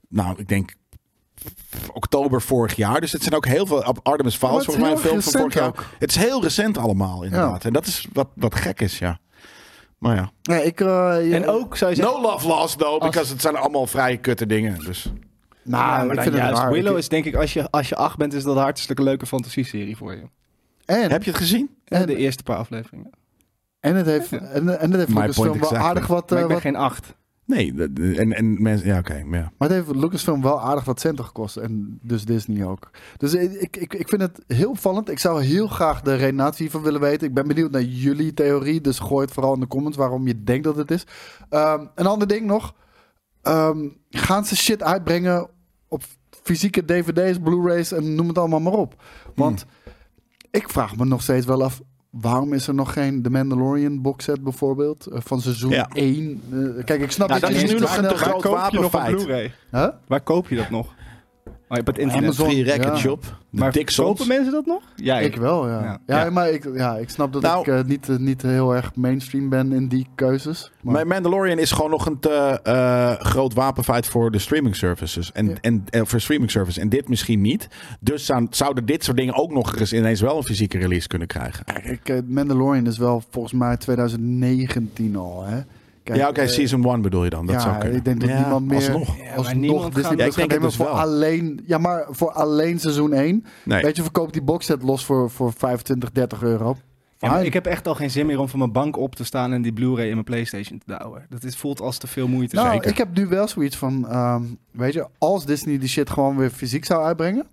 Nou, ik denk oktober vorig jaar. Dus het zijn ook heel veel Ab- Artemis Fowl. Maar is het is Volgens mij een heel film van vorig jaar. recent Het is heel recent allemaal, inderdaad. En dat is wat, wat gek is, ja. Maar ja. [LAUGHS] Nee, ik, eh, ja, En ook zou je No zeggen, love lost, though, because het zijn allemaal vrij kutte dingen. Dus. nou, maar ik dan vind het juist, raar. Willow Ik- is denk ik, als je, als je acht bent, is dat een hartstikke leuke fantasieserie voor je. En, Heb je het gezien? en, de eerste paar afleveringen. en het heeft, Ja. en, en het heeft My Lucasfilm point wel exactly. aardig wat, eh, maar ik ben wat- geen acht. Nee, dat- en, en mensen, ja, oké. ja. Maar het heeft Lucasfilm wel aardig wat centen gekost. En dus Disney ook. Dus ik, ik, ik vind het heel opvallend. Ik zou heel graag de redenatie hiervan willen weten. Ik ben benieuwd naar jullie theorie. Dus gooi het vooral in de comments waarom je denkt dat het is. Ehm, een ander ding nog. Ehm, gaan ze shit uitbrengen op fysieke DVD's, Blu-rays en noem het allemaal maar op. Want ik vraag me nog steeds wel af... Waarom is er nog geen The Mandalorian boxset bijvoorbeeld? eh, Van seizoen Ja. 1. Eh, kijk, ik snap Ja, dat, dat je is niet nu nog een snel- te groot wapenfeit. Blu-ray? Huh? Waar koop je dat nog? Oh, ja, op het internet. Amazon. Free Ja. Record Shop. De Maar Dixons. kopen mensen dat nog? Ja, Ik wel, ja. Ja. Ja, Ja. maar ik, ja, ik snap dat Nou. ik eh, niet, eh, niet heel erg mainstream ben in die keuzes. Maar, Maar Mandalorian is gewoon nog een te, eh, groot wapenfeit voor de streaming services. En, Ja. en, en voor streaming services. En dit misschien niet. Dus zou- zouden dit soort dingen ook nog eens ineens wel een fysieke release kunnen krijgen. kijk, eh, Mandalorian is wel volgens mij 2019 al, hè? Kijk, ja, oké, eh, season 1 bedoel je dan. Dat ja, zou kunnen. ik denk dat Ja, niemand meer- Alsnog. Ja, maar Alsnog niemand Disney gaat- Plus Ja, ik gaat denk het nemen dus voor wel. alleen... Ja, maar voor alleen seizoen 1. Nee. Weet je, verkoop die boxset los voor, voor 25, 30 euro. Ja, maar Fine. ik heb echt al geen zin meer om van mijn bank op te staan en die Blu-ray in mijn PlayStation te douwen. Dat is, voelt als te veel moeite. nou, zeker. ik heb nu wel zoiets van... ehm, weet je, als Disney die shit gewoon weer fysiek zou uitbrengen...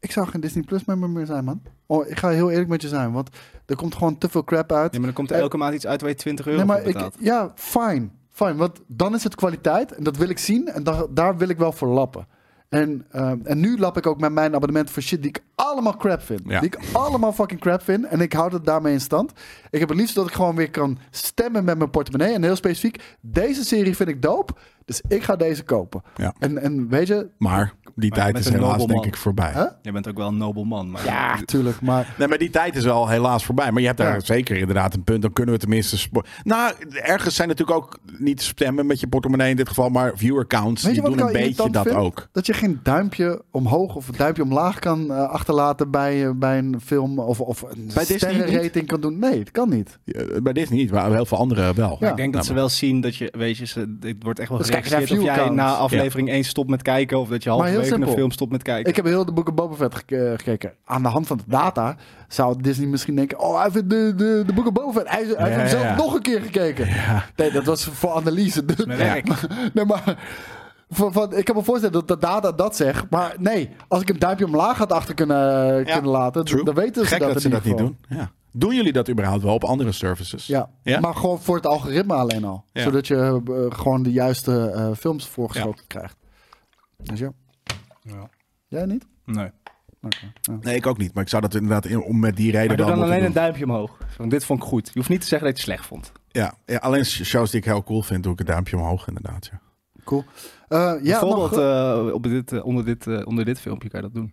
Ik zou geen Disney Plus member meer zijn, man. Oh, ik ga heel eerlijk met je zijn, want er komt gewoon te veel crap uit. Ja, maar dan komt er Eh, elke maand iets uit waar je 20 euro Nee, maar voor ik, betaalt. ja, fine. fine. Want dan is het kwaliteit en dat wil ik zien en da- daar wil ik wel voor lappen. En, ehm, en nu lap ik ook met mijn abonnement voor shit die ik allemaal crap vind. Ja. Die ik allemaal fucking crap vind. En ik houd het daarmee in stand. Ik heb het liefst dat ik gewoon weer kan stemmen met mijn portemonnee. En heel specifiek, deze serie vind ik dope. Dus ik ga deze kopen. Ja. En, en weet je... Maar die Maar tijd met is een helaas nobleman. denk ik voorbij. Huh? Je bent ook wel een nobel man. Maar Ah, Ja, tuurlijk. Maar Nee, maar die tijd is al helaas voorbij. Maar je hebt daar Ja. zeker inderdaad een punt. Dan kunnen we tenminste... spo- Nou, ergens zijn natuurlijk ook niet stemmen met je portemonnee in dit geval. Maar viewer counts, Weet je die wat doen ik een al beetje irritant dat vind? ook. dat je geen duimpje omhoog of een duimpje omlaag kan eh, achterlaten bij, eh, bij een film. Of, of een Bij Disney sterrenrating kan doen. Nee, het kan niet. Ja, Bij Disney niet, maar heel veel anderen wel. Nou, Ja. Ik denk dat ze wel zien dat je, weet je, ze, dit wordt echt wel Dus kijk eens geregistreerd of naar jij view na counts. aflevering 1 stopt met kijken of dat je heel halverwege een simpel. film stopt met kijken. Ik heb heel de boeken Boba Fett gek- eh, gekeken. Aan de hand van de data zou Disney misschien denken... Oh, hij vindt de, de, de boeken Boba Fett. Hij, hij heeft Ja, hem zelf ja. nog een keer gekeken. Nee, dat was voor analyse. dus- Mijn Ja. werk. [LAUGHS] nee, maar... Van, van, ik kan me voorstellen dat de data dat zegt. Maar nee, als ik een duimpje omlaag had achter kunnen, eh, Ja, kunnen laten... True. Dan weten ze Gek dat, dat, in ze ieder dat niet geval. doen. Ja. Doen jullie dat überhaupt wel op andere services? Ja. Ja? maar gewoon voor het algoritme alleen al. Ja. Zodat je eh, gewoon de juiste eh, films voorgeschoten krijgt. Dus ja. Ja. Jij niet? Nee. Oké, ja. Nee, ik ook niet. Maar ik zou dat inderdaad in- om met die Maar reden wel doe dan moeten alleen een doen. duimpje omhoog. Want dit vond ik goed. Je hoeft niet te zeggen dat je het slecht vond. Ja. ja, alleen sh- shows die ik heel cool vind, doe ik een duimpje omhoog inderdaad. Ja. Cool. Eh, ja, nog, Bijvoorbeeld eh, op dit, eh, onder, dit, eh, onder dit filmpje kan je dat doen.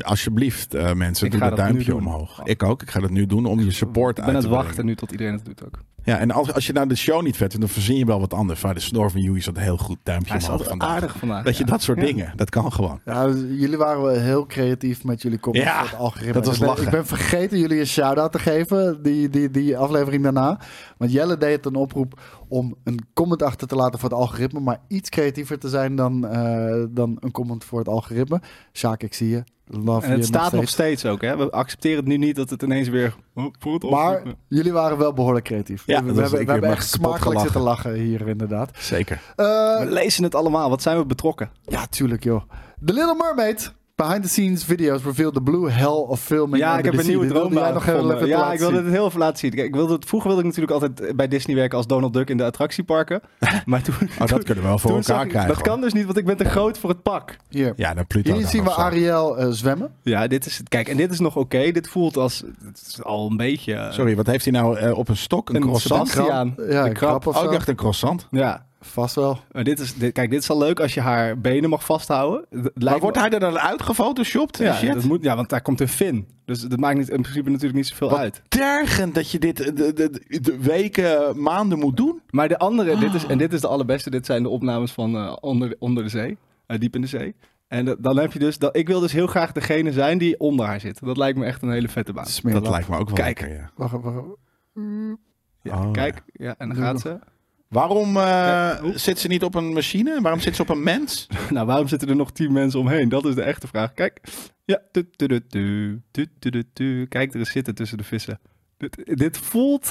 Alsjeblieft eh, mensen, Ik doe ga dat dat nu duimpje doen. omhoog. Ik ook. Ik ga dat nu doen om je support uit Ik ben te aan het brengen. wachten nu tot iedereen het doet ook. Ja, en als, als je nou de show niet vet vindt, dan verzin je wel wat anders. Maar de snor van Joey is dat heel goed duimpje Hij is omhoog altijd vandaag. aardig vandaag. Dat je ja. dat soort Ja. dingen, dat kan gewoon. Ja, dus jullie waren wel heel creatief met jullie comments Ja, voor het algoritme. dat was ik, ben, lachen. ik ben vergeten jullie een shout-out te geven, die, die, die aflevering daarna. Want Jelle deed een oproep om een comment achter te laten voor het algoritme, maar iets creatiever te zijn dan, eh, dan een comment voor het algoritme. Sjaak, ik zie je. Love En het je staat nog steeds. steeds ook. Hè? We accepteren het nu niet dat het ineens weer... [LAUGHS] Oh, voor het Maar algoritme. jullie waren wel behoorlijk creatief. Ja, we dat was- hebben, ik we hebben heb echt me kapot smakelijk zitten lachen hier inderdaad. Zeker. Oh, Eh, we lezen het allemaal. Wat zijn we betrokken? ja, tuurlijk joh. The Little Mermaid. Behind the scenes videos reveal the blue hell of filming. ja, under ik heb the een sea. nieuwe Dit wilde droom jij nog heel even Ja, laten ik wilde zien. het heel even laten zien. Kijk, ik wilde het, vroeger wilde ik natuurlijk altijd bij Disney werken als Donald Duck in de attractieparken. Maar toen... Oh, dat kunnen we wel voor toen zag elkaar ik- krijgen. dat kan dus niet, want ik ben te groot voor het pak. Hier. Ja, naar Pluto. Hier dan zien we of zo. Ariel eh, zwemmen. Ja, dit is het. Kijk, en dit is nog oké. Dit voelt als... Het is al een beetje... eh, Sorry, wat heeft hij nou eh, op een stok? Een, Een croissant? Sebastiaan. Aan. Ja, De een krab. krab of Oh, zo. ik dacht een croissant. Ja, Vast wel. maar dit is, dit- kijk, dit is al leuk als je haar benen mag vasthouden. Het lijkt Maar me- wordt hij er dan uitgefotoshopt? en ja, shit? dat moet, ja, want daar komt een fin. Dus dat maakt niet, in principe natuurlijk niet zoveel Wat uit. tergend dat je dit de, de, de weken, maanden moet doen. Maar de andere, dit is, Ah. en dit is de allerbeste, dit zijn de opnames van eh, onder, onder de zee, eh, diep in de zee. En dat- dan heb je dus, dat, ik wil dus heel graag degene zijn die onder haar zit. Dat lijkt me echt een hele vette baan. Smeerlap. Dat lijkt me ook wel Kijk. lekker, ja. Wacht, wacht. Ja, Oh, kijk, ja, en dan [LAUGHS] Doe gaat nog. ze. [LAUGHS] Waarom eh, Ja, hoe? zit ze niet op een machine? Waarom zit ze op een mens? Nou, waarom zitten er nog tien mensen omheen? Dat is de echte vraag. Kijk. Ja. tu, tu, tu, tu, tu, tu, tu, tu. Kijk er eens zitten tussen de vissen. Dit, dit voelt...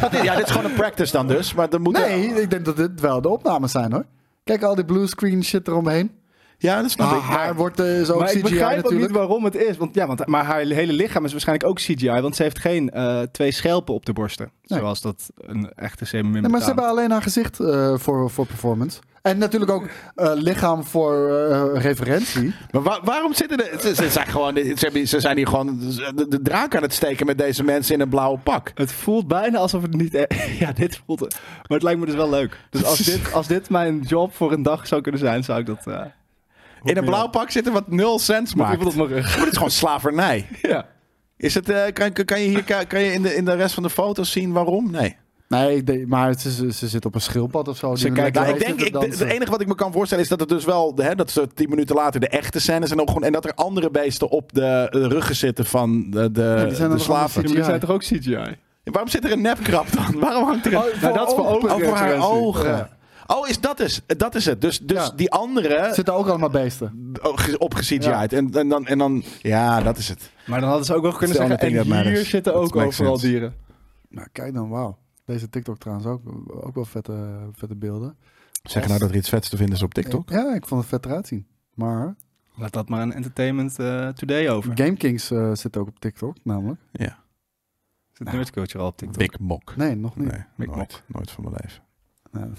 Wat is- ja, dit is gewoon een practice dan dus. Maar er moet Nee, ik denk dat dit wel de opnames zijn hoor. Kijk al die bluescreen shit eromheen. Ja, dat snap Ah, Maar ik. haar wordt eh, zo Maar CGI ik begrijp ook natuurlijk. niet waarom het is. Want, ja, want, maar haar hele lichaam is waarschijnlijk ook CGI. Want ze heeft geen eh, twee schelpen op de borsten. Nee. Zoals dat een echte zeemermin Nee, maar ze betaamt. hebben alleen haar gezicht eh, voor, voor performance. En natuurlijk ook eh, lichaam voor eh, referentie. Maar wa- waarom zitten er... Ze, ze zijn gewoon, ze, hebben- ze zijn hier gewoon de, de draak aan het steken met deze mensen in een blauwe pak. Het voelt bijna alsof het niet... e- [LAUGHS] Ja, dit voelt... Maar het lijkt me dus wel leuk. Dus als [LAUGHS] dit, als dit mijn job voor een dag zou kunnen zijn, zou ik dat... eh In een blauw pak zitten wat nul cents maakt. Maakt. op Maar mijn rug. [LAUGHS] dit is gewoon slavernij. Ja. Is het, eh, kan, kan je, hier, kan, kan je in, de, in de rest van de foto's zien waarom? Nee. Nee, ik denk- maar ze, ze, ze zit op een schildpad of zo. Ze kijkt- Nou, ik denk, ik, het enige wat ik me kan voorstellen is dat het dus wel, hè, dat ze tien minuten later de echte scènes en ook gewoon, en dat er andere beesten op de, de ruggen zitten van de, de, die zijn de nog allemaal slaven. CGI. Jullie zijn toch ook CGI? Waarom zit er een nepkrap dan? [LAUGHS] Waarom hangt Oh, er een... Nou, dat is voor ogen. over haar referentie. ogen. Oh, is dat, is, dat is het. Dus, dus Ja. die andere eh, Zitten ook allemaal beesten. opgezien en, en, dan, en dan... Ja, dat is het. Maar dan hadden ze ook wel kunnen It's the zeggen, only en thing hier that matters. zitten That ook overal makes sense. dieren. Nou, kijk dan, wauw. Deze TikTok trouwens ook, ook wel vette, vette beelden. Zeg nou dat er iets vets te vinden is op TikTok. Ja, ik vond het vet eruit zien. Maar Laat dat maar een Entertainment eh, Today over. GameKings eh, zit ook op TikTok namelijk. Ja. Zit nerdculture al op TikTok? Big Mok. Nee, nog niet. Nee, Big nooit. Nooit van mijn leven. Nee. [LAUGHS]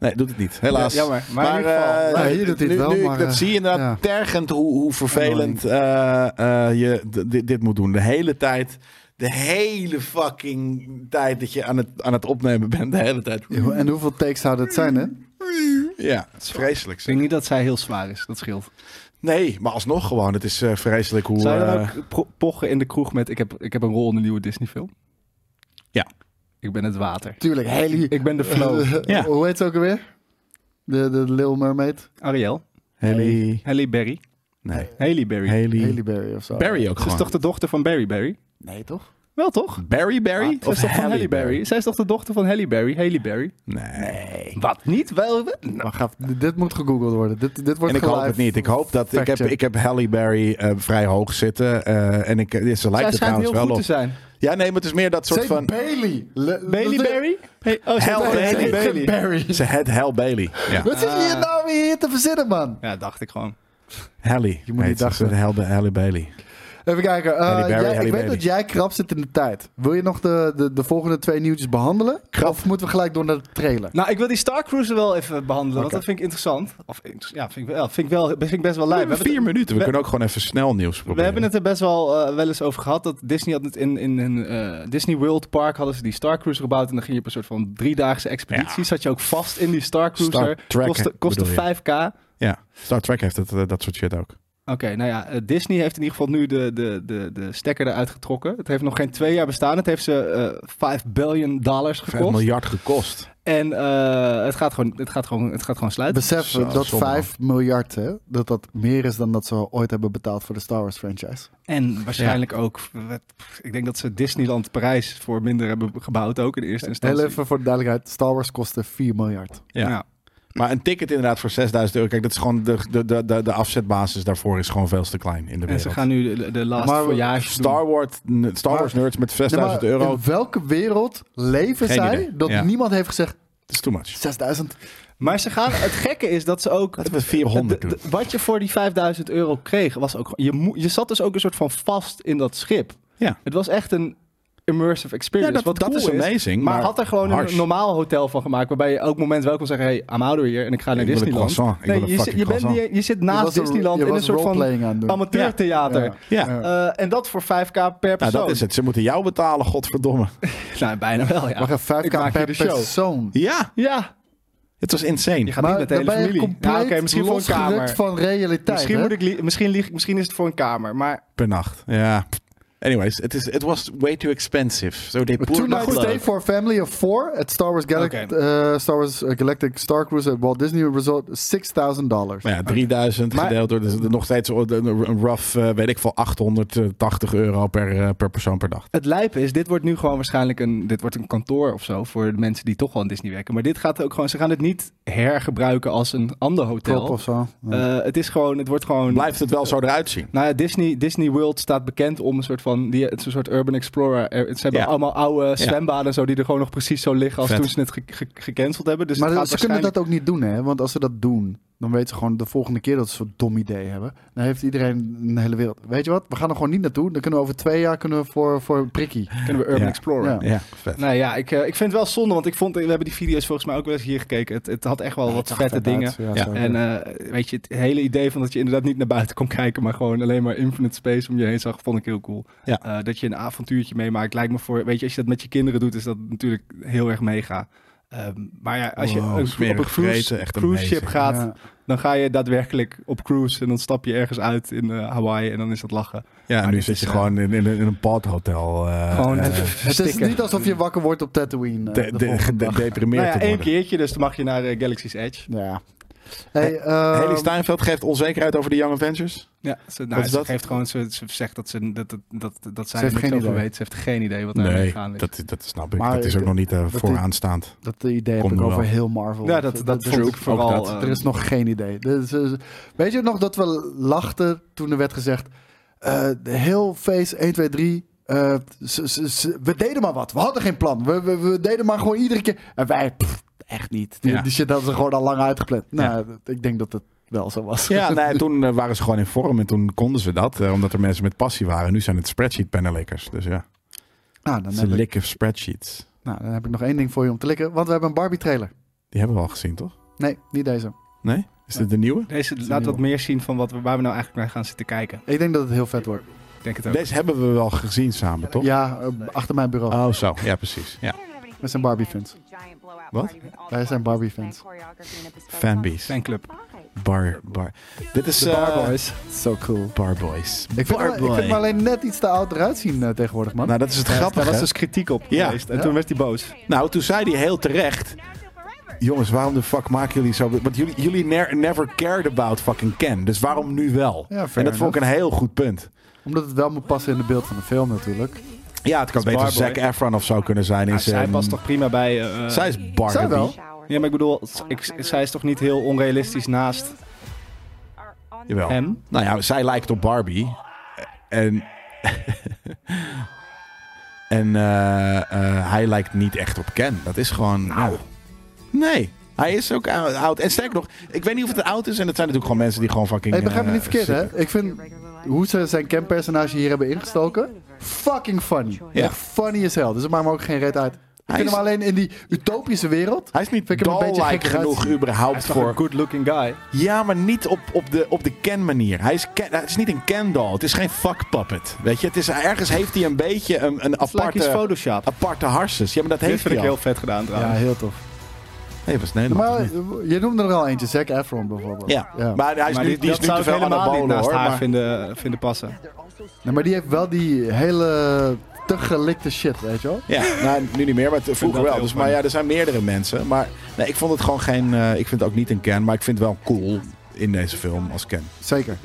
Nee, doet het niet. Helaas. Ja, jammer. Maar, Maar, in ieder geval, eh, Nou, nee, hier doet hij nu, het wel, nu ik maar, dat eh, zie je inderdaad ja. tergend hoe, hoe vervelend eh, eh, je d- dit, dit moet doen. De hele tijd, de hele fucking tijd dat je aan het, aan het opnemen bent, de hele tijd. Ja, En hoeveel takes zou dat zijn, hè? Ja, het is vreselijk. ik denk niet dat zij heel zwaar is, dat scheelt. Nee, maar alsnog gewoon, het is eh, vreselijk hoe... Zou je dan eh, ook pro- pochen in de kroeg met, ik heb, ik heb een rol in de nieuwe Disney film? Ja. Ik ben het water. Tuurlijk, Haley. Ik ben de flow. [LAUGHS] Ja. Hoe heet ze ook alweer? De, de Little Mermaid? Ariel. Haley... Halle Berry. Nee, Haley Berry. Haley... Haley Berry of zo. Barry ook Ze is gewoon. toch de dochter van Berry Berry? Nee, toch? Wel toch? Barry Barry? Zij is toch van Halle Berry? Zij is toch de dochter van Halle Berry? Haley Berry. Nee. Wat niet? Wel, Maar gaaf, d- dit moet gegoogeld worden. Dit, dit wordt En ik hoop gelive. het niet. Ik hoop dat ik heb, Fact-check. ik heb Halle Berry eh, vrij hoog zitten. eh, en ik, ze lijkt zij er schijnt trouwens heel wel goed op. te zijn. Ja, nee, maar het is meer dat soort Zeg van. Bailey. Le- Bailey Le- Berry? Hey, oh, ze Hell, heet Bailey. Halle Bailey. Berry. Berry. Ze het Hell Bailey. Ja. Wat zit Ah. je nou weer hier te verzinnen, man? Ja, dacht ik gewoon. Halle. Je moet niet dachten. Halle, Halle Bailey. Even kijken. eh, Halle Berry, jij- Halle ik weet Berry. dat jij krap zit in de tijd. Wil je nog de, de, de volgende twee nieuwtjes behandelen? Krap. Of moeten we gelijk door naar de trailer? Nou, ik wil die Star Cruiser wel even behandelen, want Oké. dat vind ik interessant. Of, inter- ja, vind ik, wel, vind ik, wel, vind ik best wel We leuk. hebben vier minuten. We, we- kunnen ook gewoon even snel nieuws proberen. We hebben het er best wel, eh, wel eens over gehad. Dat Disney had het in, in, in eh, Disney World Park hadden ze die Star Cruiser gebouwd. En dan ging je op een soort van driedaagse expeditie. Ja. Zat je ook vast in die Star Cruiser. Star Trek, kostte kostte bedoel 5k. Oké, Ja, Star Trek heeft het, eh, dat soort shit ook. nou ja, eh, Disney heeft in ieder geval nu de, de, de, de stekker eruit getrokken. Het heeft nog geen twee jaar bestaan. Het heeft ze eh 5 billion dollars Een gekost. miljard gekost. En eh, het, gaat gewoon, het, gaat gewoon, het gaat gewoon sluiten. Besef Zo, dat zonde, man. 5 miljard, hè, dat dat meer is dan dat ze ooit hebben betaald voor de Star Wars franchise. En waarschijnlijk ook, eh, wat- ik denk dat ze Disneyland Parijs voor minder hebben gebouwd ook in eerste Eh, Heel instantie. even voor de duidelijkheid, Star Wars kostte 4 miljard. Ja. Ja. Maar een ticket inderdaad voor 6000 euro. Kijk, dat is gewoon de, de, de, de, de afzetbasis daarvoor is gewoon veel te klein in de En wereld. ze gaan nu de, de last Maar we- voyage Star, Wars, Star Wars nerds met Nee, maar 6000 euro. In welke wereld leven Geen zij idee. dat Ja. niemand heeft gezegd Dat is too much. 6000? doen. Maar ze gaan, het gekke is dat ze [LAUGHS] ook... Laten we 400 de- doen. de- wat je voor die 5000 euro kreeg, was ook... Je, moe- je zat dus ook een soort van vast in dat schip. Ja. Het was echt een immersive Ja, experience. dat, wat dat cool is amazing. Maar, had er gewoon harsh. een normaal hotel van gemaakt, waarbij je elk moment wel kon zeggen, hey, I'm out of here en ik ga naar Ik wil een Disneyland. croissant. Ik wil een je, zit- fucking je, bent, croissant. je, je zit Je naast was een- Disneyland je in was een soort van roleplaying aan het doen. amateurtheater. Ja. Eh, en dat voor 5k per Nou, persoon. dat is het. Ze moeten jou betalen, godverdomme. Nou, bijna wel, ja. Wacht even, Ik 5k maak je per de show. persoon. Ja, Ja, het was insane. je gaat maar niet met de hele dan ben je familie. compleet Ja, oké, misschien voor een losgerukt kamer. van realiteit. misschien, hè? moet ik li- misschien, lieg- misschien is het voor een kamer, maar Per nacht. Ja. Anyways, it, is, it was way too expensive. So they A poured two-night blood. stay for a family of four at Star Wars, Galac- Oké. eh, Star, Wars eh, Galactic Star Cruise at Walt Disney Resort, $6,000. Nou ja, 3000 Maar- gedeeld door dus nog steeds een rough, eh, weet ik veel, 880 euro per, eh, per persoon per dag. Het lijpen is, dit wordt nu gewoon waarschijnlijk een, dit wordt een kantoor of zo voor de mensen die toch wel aan Disney werken. Maar dit gaat ook gewoon, ze gaan het niet hergebruiken als een ander hotel. Prop of zo. Ja. Eh, het is gewoon, het wordt gewoon... Blijft het wel zo eruit zien? Nou ja, Disney, Disney World staat bekend om een soort van, die, het is een soort urban explorer. Er- Ze hebben Ja. allemaal oude zwembaden en zo die er gewoon nog precies zo liggen als Vet. toen ze het ge- ge- gecanceld hebben. Dus maar het ze gaat kunnen waarschijnlijk- dat ook niet doen, hè? Want als ze dat doen, dan weten ze gewoon de volgende keer dat ze zo'n dom idee hebben. Dan heeft iedereen een hele wereld. Weet je wat? We gaan er gewoon niet naartoe. Dan kunnen we over twee jaar kunnen we voor, voor een prikkie. kunnen we urban Ja. explorer. Ja. Ja, vet. Nou ja, ik, eh, ik vind het wel zonde, want ik vond, we hebben die video's volgens mij ook wel eens hier gekeken. Het, het had echt wel wat vette dingen. Ja, Ja. zo. En eh, weet je, het hele idee van dat je inderdaad niet naar buiten kon [LAUGHS] kijken, maar gewoon alleen maar infinite space om je heen zag, vond ik heel cool. Ja. Eh, dat je een avontuurtje meemaakt, lijkt me voor, weet je, als je dat met je kinderen doet, is dat natuurlijk heel erg mega. Ehm, maar ja, als je Wow, een- op smerig een cruise, vreten, echt cruise ship amazing. gaat, Ja. dan ga je daadwerkelijk op cruise en dan stap je ergens uit in eh, Hawaii en dan is dat lachen. Ja, en Maar nu dit zit is, je eh, gewoon in, in, een- in een padhotel. eh, Gewoon eh, het- Het is stikken. niet alsof je wakker wordt op Tatooine. eh, de- de de- [LAUGHS] volgende dag. gedeprimeerd Nou ja, te één worden. keertje, dus dan mag je naar eh, Galaxy's Edge. Ja. Hey, ehm, Haley Steinfeld geeft onzekerheid over de Young Avengers. Ja, ze, Wat nou, is ze dat? geeft gewoon, ze, ze zegt dat ze dat, dat, dat, dat zij heeft er niks geen over idee. weet. Ze heeft geen idee wat daar Nee, gegaan is. dat, dat snap ik. Maar dat is ook ik- nog niet eh, die- vooraanstaand. Dat idee heb Komt ik nu over wel. heel Marvel. Ja, dat, dat, is vond ik ook- vooral. dat. eh, Er is nog geen idee. Dus, eh, weet je nog dat we lachten toen er werd gezegd... eh, de heel face 1, 2, 3... eh, ze- ze- ze- we deden maar wat. We hadden geen plan. We, we, we deden maar gewoon iedere keer... En wij, pff, echt niet. Die, Ja. die shit hadden ze gewoon al lang uitgepland. Nou, ik denk dat het wel zo was. [LAUGHS] Ja, nee, toen eh, waren ze gewoon in vorm en toen konden ze dat. eh, omdat er mensen met passie waren. Nu zijn het spreadsheet panelikkers. Dus ja, [LAUGHS] nou, dan ze heb ik, likken spreadsheets. nou, dan heb ik nog één ding voor je om te likken. Want we hebben een Barbie trailer. Die hebben we al gezien, toch? Nee, niet deze. Nee? Is dit de nieuwe? Deze is laat nieuw. wat meer zien van wat we, waar we nou eigenlijk naar gaan zitten kijken. Ik denk dat het heel vet wordt. Ik denk het ook. Deze hebben we wel gezien samen, toch? Ja, eh, achter mijn bureau. Ah. Oh, zo. Ja, precies. Ja. We zijn Barbie-fans. Wat? Wij zijn Barbie-fans. Fanbees. Fanclub. Bar, bar. Dit is... De Bar eh, Boys. So cool. Bar Boys. Ik vind, hem, ik vind hem alleen net iets te oud eruit zien eh, tegenwoordig, man. Nou, dat is het Daar grappige. was dus kritiek op Ja. geweest. En Ja. toen werd hij boos. Nou, toen zei hij heel terecht... Jongens, waarom de fuck maken jullie zo... Want jullie, jullie ne- never cared about fucking Ken. Dus waarom nu wel? Ja, fair en dat vond ik een heel goed punt. Omdat het wel moet passen in het beeld van de film natuurlijk. Ja, het kan beter Barboy. Zac Efron of zo kunnen zijn. in Nou, zij zijn- past toch prima bij. eh, eh, Dus, ehm, Zij is Barbie. Zij wel. Ja, maar ik bedoel, ik, zij is toch niet heel onrealistisch naast Jawel. hem? Nou ja, zij lijkt op Barbie. En... [LAUGHS] en eh, eh, hij lijkt niet echt op Ken. Dat is gewoon... nou, Nee. Hij is ook ou- oud. En sterker nog, ik weet niet of het oud is. En dat zijn natuurlijk gewoon mensen die gewoon fucking... Hey, begrijp me eh, niet verkeerd, zitten. hè? Ik vind hoe ze zijn Ken-personage hier hebben ingestoken... Fucking funny. Ja. Echt funny as hell. Dus het maakt me ook geen reet uit. Ik Hij vind is- hem alleen in die utopische wereld... Hij is niet Vind ik hem een beetje doll-like gek eruit genoeg zien. Hij überhaupt is toch een voor... good looking guy. Ja, maar niet op, op de, op de Ken-manier. Hij, is Ken- hij is niet een Ken-doll. Het is geen fuck-puppet. Weet je, het is, ergens heeft hij een beetje een, een Het lijkt iets aparte, Photoshop. aparte harses. Ja, maar dat Dit heeft vind ik hij heel al. vet gedaan trouwens. Ja, heel tof. Nee, was Nederland. Maar eh, je noemde er al eentje, Zac Efron bijvoorbeeld. Ja. maar hij is maar nu, dit- die is dat nu zou te ik veel helemaal niet anabolen naast hoor. haar maar- vinden, vinden passen. Nee, Nou, maar die heeft wel die hele te gelikte shit, weet je wel? Ja, nou, nu niet meer, maar het- vroeger dat wel. heel Dus, fijn. maar ja, er zijn meerdere mensen. Maar nee, ik vond het gewoon geen... eh, ik vind het ook niet een Ken, maar ik vind het wel cool in deze film als Ken. Zeker.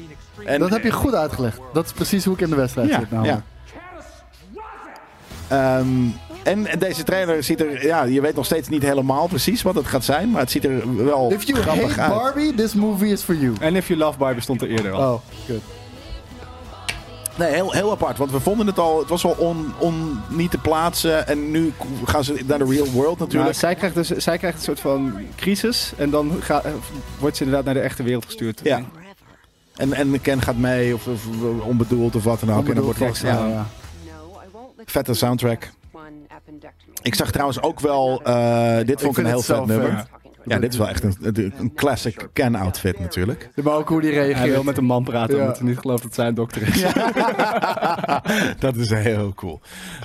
En, dat heb je goed uitgelegd. Dat is precies hoe ik in de wedstrijd Ja, zit nou. namelijk. ja. Ehm, en en deze trailer ziet er, ja, je weet nog steeds niet helemaal precies wat het gaat zijn, maar het ziet er wel If you grappig hate uit. Barbie, this movie is for you. En If You Love Barbie stond er eerder al. Nou, Oh, good. Nee, heel, heel apart, want we vonden het al, het was al on, on niet te plaatsen en nu gaan ze naar de real world Nou, natuurlijk. zij, krijgt dus, zij krijgt een soort van crisis en dan ga- eh, wordt ze inderdaad naar de echte wereld gestuurd. ja. En, en Ken gaat mee, of, of onbedoeld of wat dan ook. En dan wordt het, Onbedoeld, ja, Ja, ja. vette soundtrack. Ik zag trouwens ook wel, eh, dit vond ik, vind een heel het zo vet vet. nummer. Ja. Ja. dit is wel echt een, een- een classic Ken outfit natuurlijk. Maar ook hoe die Hij wil reageert. met een man praten Ja. omdat hij niet gelooft dat zij een dokter is. [LAUGHS] dat is heel cool.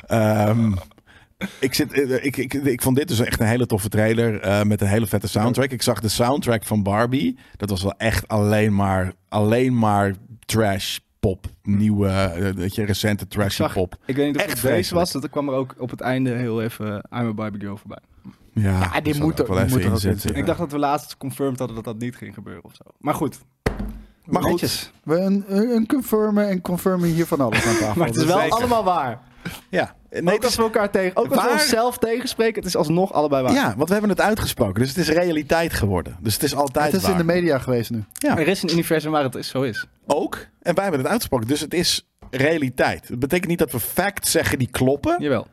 Ehm, ik, zit, eh, ik, ik, ik vond dit dus echt een hele toffe trailer eh, met een hele vette soundtrack. Ik zag de soundtrack van Barbie. Dat was wel echt alleen maar, alleen maar trash, pop. Nieuwe, eh, weet je, recente trashy zag- pop. Ik weet niet of Echt het deze vreselijk. was, dat er kwam er ook op het einde heel even I'm a Barbie Girl voorbij. Ja, die dat zou ik moet er- moet er ook in inzetten, zitten. ja. Ik dacht dat we laatst confirmed hadden dat dat niet ging gebeuren of zo. Maar goed. Maar goed. Netjes. We een, een confirmen en confirmen hier van alles aan tafel. [LAUGHS] Dus Maar het is wel Zeker. allemaal waar. Ja, Ook nee, dat als we elkaar tegen, ook als we Waar? onszelf tegenspreken, het is alsnog allebei waar. ja, want we hebben het uitgesproken. Dus het is realiteit geworden. Dus het is altijd het is in de waar. media geweest nu. Ja. Er is een universum waar het is- zo is. Ook. En wij hebben het uitgesproken. Dus het is realiteit. Het betekent niet dat we facts zeggen die kloppen. Jawel.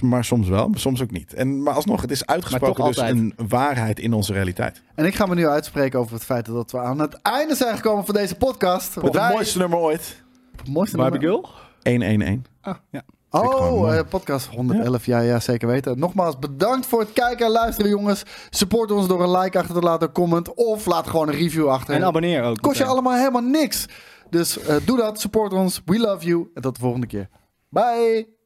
Maar soms wel, maar soms ook niet. En, maar alsnog, het is uitgesproken toch dus altijd. een waarheid in onze realiteit. En ik ga me nu uitspreken over het feit dat we aan het einde zijn gekomen van deze podcast. Het Wij- mooiste nummer ooit. mooiste Barbie nummer- Girl? 111. Ah, ja. Vind ik gewoon Oh, mooi. eh, podcast 111. Ja. ja, zeker weten. Nogmaals, bedankt voor het kijken en luisteren, jongens. Support ons door een like achter te laten, een comment of laat gewoon een review achter. En abonneer ook. Kost je meteen. allemaal helemaal niks. Dus eh, doe dat, support ons. We love you. En tot de volgende keer. Bye.